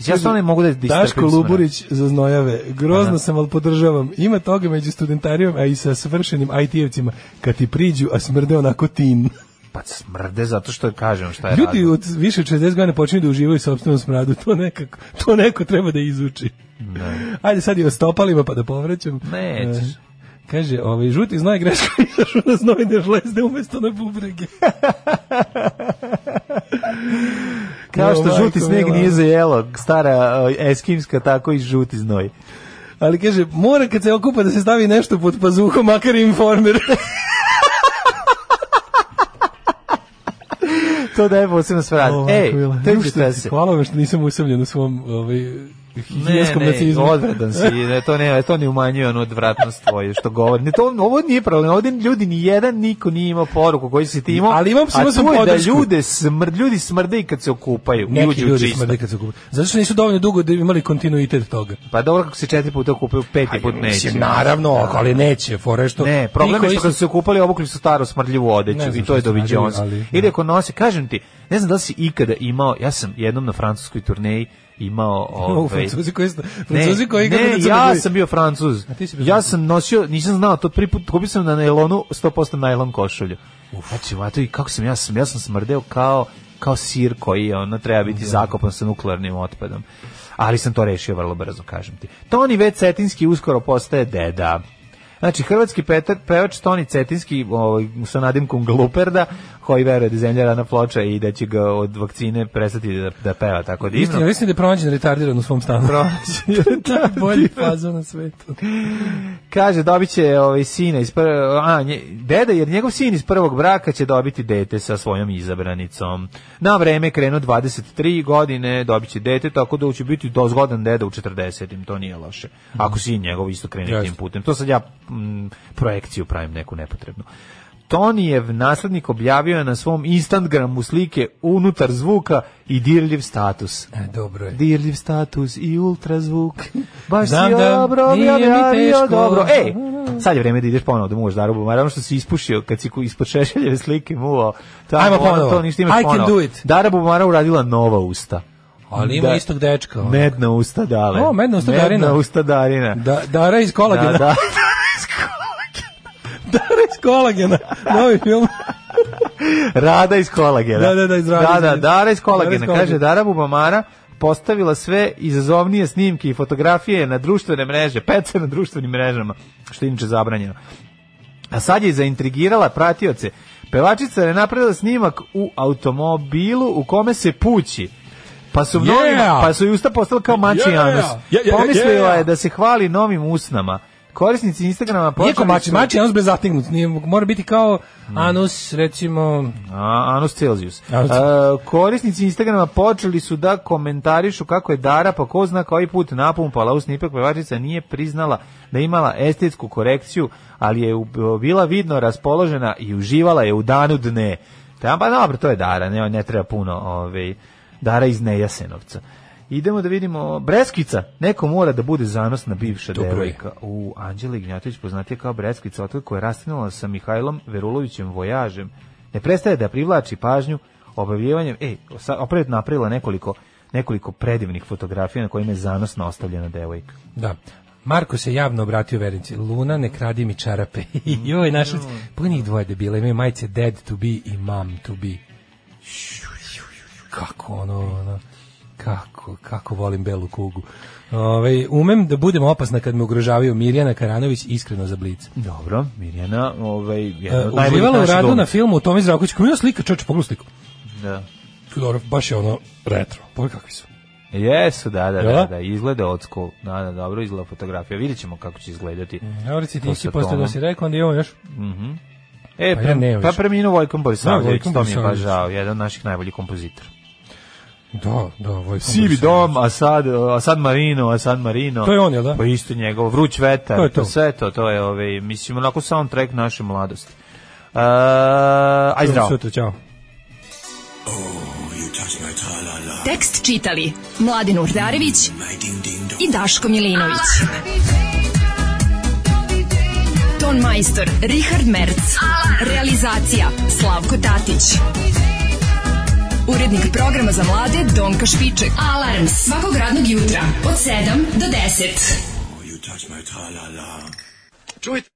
Ja stvarno ne mogu da da istrpim Daško smrad. Luburić za znojave. Grozno sam, ali podržavam. Ima toga među studentarijom, a i sa svršenim IT-evcima. Kad ti priđu, a smrde onako tin. Pa smrde zato što kažem šta je Ljudi E, razlog. od više od 60 godina počinju da uživaju u sopstvenom smradu. To, nekako, to neko treba da izuči. Ajde sad i o stopalima pa da povraćam. Nećeš. E, Kaže, ovaj, žuti znoj greška [laughs] izašu na znojne žlezde umjesto na bubrege. Kao što Jo, žuti majko sneg mila. nije zajelo, stara o, eskimska, tako i žuti znoj. Ali kaže, mora kad se okupa da se stavi nešto pod pazuhom, makar i informer. To daje posebno [laughs] smrad. Ovako, Ej, Vila. to je Ušte, šta se. Hvala vam što nisam usamljen u svom ovaj, higijenskom nacizmu. odvratan si, ne, to ne, to ne umanjuje onu odvratnost tvoju što govori. Ne, to, ovo nije problem, ovdje ljudi ni jedan niko nije imao poruku koju si ti imao, Ali imam- a imao sam to je da podršku. ljude, smr, ljudi smrde i kad se okupaju, i [laughs] Neki uđu u ljudi čisto. smrde kad se okupaju. Zato što nisu dovoljno dugo da bi imali kontinuitet toga. Pa dobro, kako se četiri puta okupaju, peti put neće. Da. Mislim, naravno, ali neće, fora je što... Ne, problem Niko je što kad isto- su se okupali, obukli su staru smrdljivu odeću Ne znam i to je što su radili, doviđenje. ali- Ili ako nosi, kažem ti, ne znam da li si ikada imao, ja sam jednom na francuskoj turneji [laughs] imao... O, ovaj, Francuzi koji su- Francuzi koji ne, igraju na crnoj ja boji. sam bio francuz. ti si bio Ja Francuz. sam nosio, nisam znao, to prvi put kupio sam na najlonu 100% najlon košulju. Znači, mato, i kako sam ja sam, ja sam smrdeo kao kao sir koji je, ono, treba Da. biti zakopan sa nuklearnim otpadom. Ali sam to rešio vrlo brzo, kažem ti. Toni V. Cetinski uskoro postaje deda. Znači, hrvatski petak, pevač Toni Cetinski ovaj, sa nadimkom Gluperda, koji veruje da je zemlja rana ploča i da će ga od vakcine prestati da, da peva tako divno. Istina, mislim da je pronađen retardiran u svom stanu. [laughs] Pronađen Da, Bolji faza na svetu. Kaže, dobit će ovaj, sina iz prvog, a, nje, deda, jer njegov sin iz prvog braka će dobiti dete sa svojom izabranicom. Na vreme krenu 23 godine, dobit će dete, tako da će biti dozgodan deda u 40. To nije loše. Ako sin njegov isto krene Jeste. tim putem. To sad ja mm, projekciju pravim neku nepotrebnu. Tonijev naslednik objavio je na svom Instagramu slike unutar zvuka i dirljiv status. E, dobro je. Dirljiv status i ultrazvuk. Baš Znam si da dobro, nije mi objavio teško. dobro. Ej, sad je vreme da ideš ponovo da muvaš darubu. Naravno što si ispušio kad si ku- ispod šešeljeve slike muvao. Tamo, Ajmo ono, ponovo. To ništa imaš I can ponovo. do it. Darabu Mara uradila nova usta. Ali ima Da. istog dečka. ono. Medna usta dale. O, medna usta Darina. usta Darina. [laughs] Da, Dara iz kolagena. Da, da. iz kolagena, novi film. Rada iz kolagena. Da, da, da, iz Rada da, iz- da, Dara iz Dara iz kolagena. kolagena. Kaže, Dara Bubamara postavila sve izazovnije snimke i fotografije na društvene mreže, pece na društvenim mrežama, što je inače zabranjeno. A sad je zaintrigirala pratioce. Pevačica je napravila snimak u automobilu u kome se pući. Pa su, mnogi, Yeah! pa su i usta postala kao mači Yeah! anus. Yeah, yeah, Pomislila yeah! je da se hvali novim usnama. Korisnici Instagrama Iako počeli mači, su- mači anus bez zategnut, nije, mora biti kao anus, recimo, A, Anus Celsius. Anus. A, Uh, korisnici Instagrama počeli su da komentarišu kako je Dara, pa ko zna koji put napumpala u snipak pevačica nije priznala da je imala estetsku korekciju, ali je u- bila vidno raspoložena i uživala je u danu dne. Ta- Pa dobro, to je Dara, ne, ne treba puno ovaj, Dara iz Nejasenovca. Idemo da vidimo Breskvica. Neko mora da bude zanosna bivša Dobro je. devojka. U Anđeli Gnjatović poznatija kao Breskvica, otkako je rastinula sa Mihajlom Verulovićem Vojažem. Ne prestaje da privlači pažnju obavljivanjem, e, sa- opet napravila nekoliko nekoliko predivnih fotografija na kojima je zanosno ostavljena devojka. da. Marko se javno obratio vernici. Luna, ne kradi mi čarape. [laughs] Joj, našli se. Pogledaj njih dvoje debila, imaju majice dead to be i mom to be. Kako ono, ono, kako, kako volim belu kugu. Ove, umem da budem opasna kad me ugrožavaju Mirjana Karanović iskreno za blic. Dobro, Mirjana, ovaj, jedna E, od najboljih Uživala u naših radu na glumica. filmu u Tomi Zdravković. Kako je slika, čoče, pogledaj sliku. Da. Dobro, baš je ono retro. Pogledaj kakvi su. Jesu, da, da, Jel da, da? da, izgleda od school. Da, da, dobro izgleda fotografija. Vidjet ćemo kako će izgledati. E, Evo reci, To ti si sa postao da Tomom. si rekao, onda imamo još E, Pa pa, ja nemam pa više. preminuo Vojkom Da, Borisavljević, Vojkom to mi je baš Borisavljević. žao, jedan od naših najboljih kompozitora. Da, da, Vojko. Sivi Borisov. dom, a sad, a sad Marino, a sad Marino. To je on, jel da? Pa isto njegov, vruć vetar, To to je to. sve to, to je, ovaj, mislim, onako soundtrack naše mladosti. Uh, aj zdravo. Sutra, čao. Tekst čitali Mladin Urdarević i Daško Milinović. Ton majstor Richard Merc. Realizacija Slavko Tatić. Urednik programa za mlade Donka Špiček. Alarms svakog radnog jutra od 7 do 10. You touch my tra-la-la. Čujte.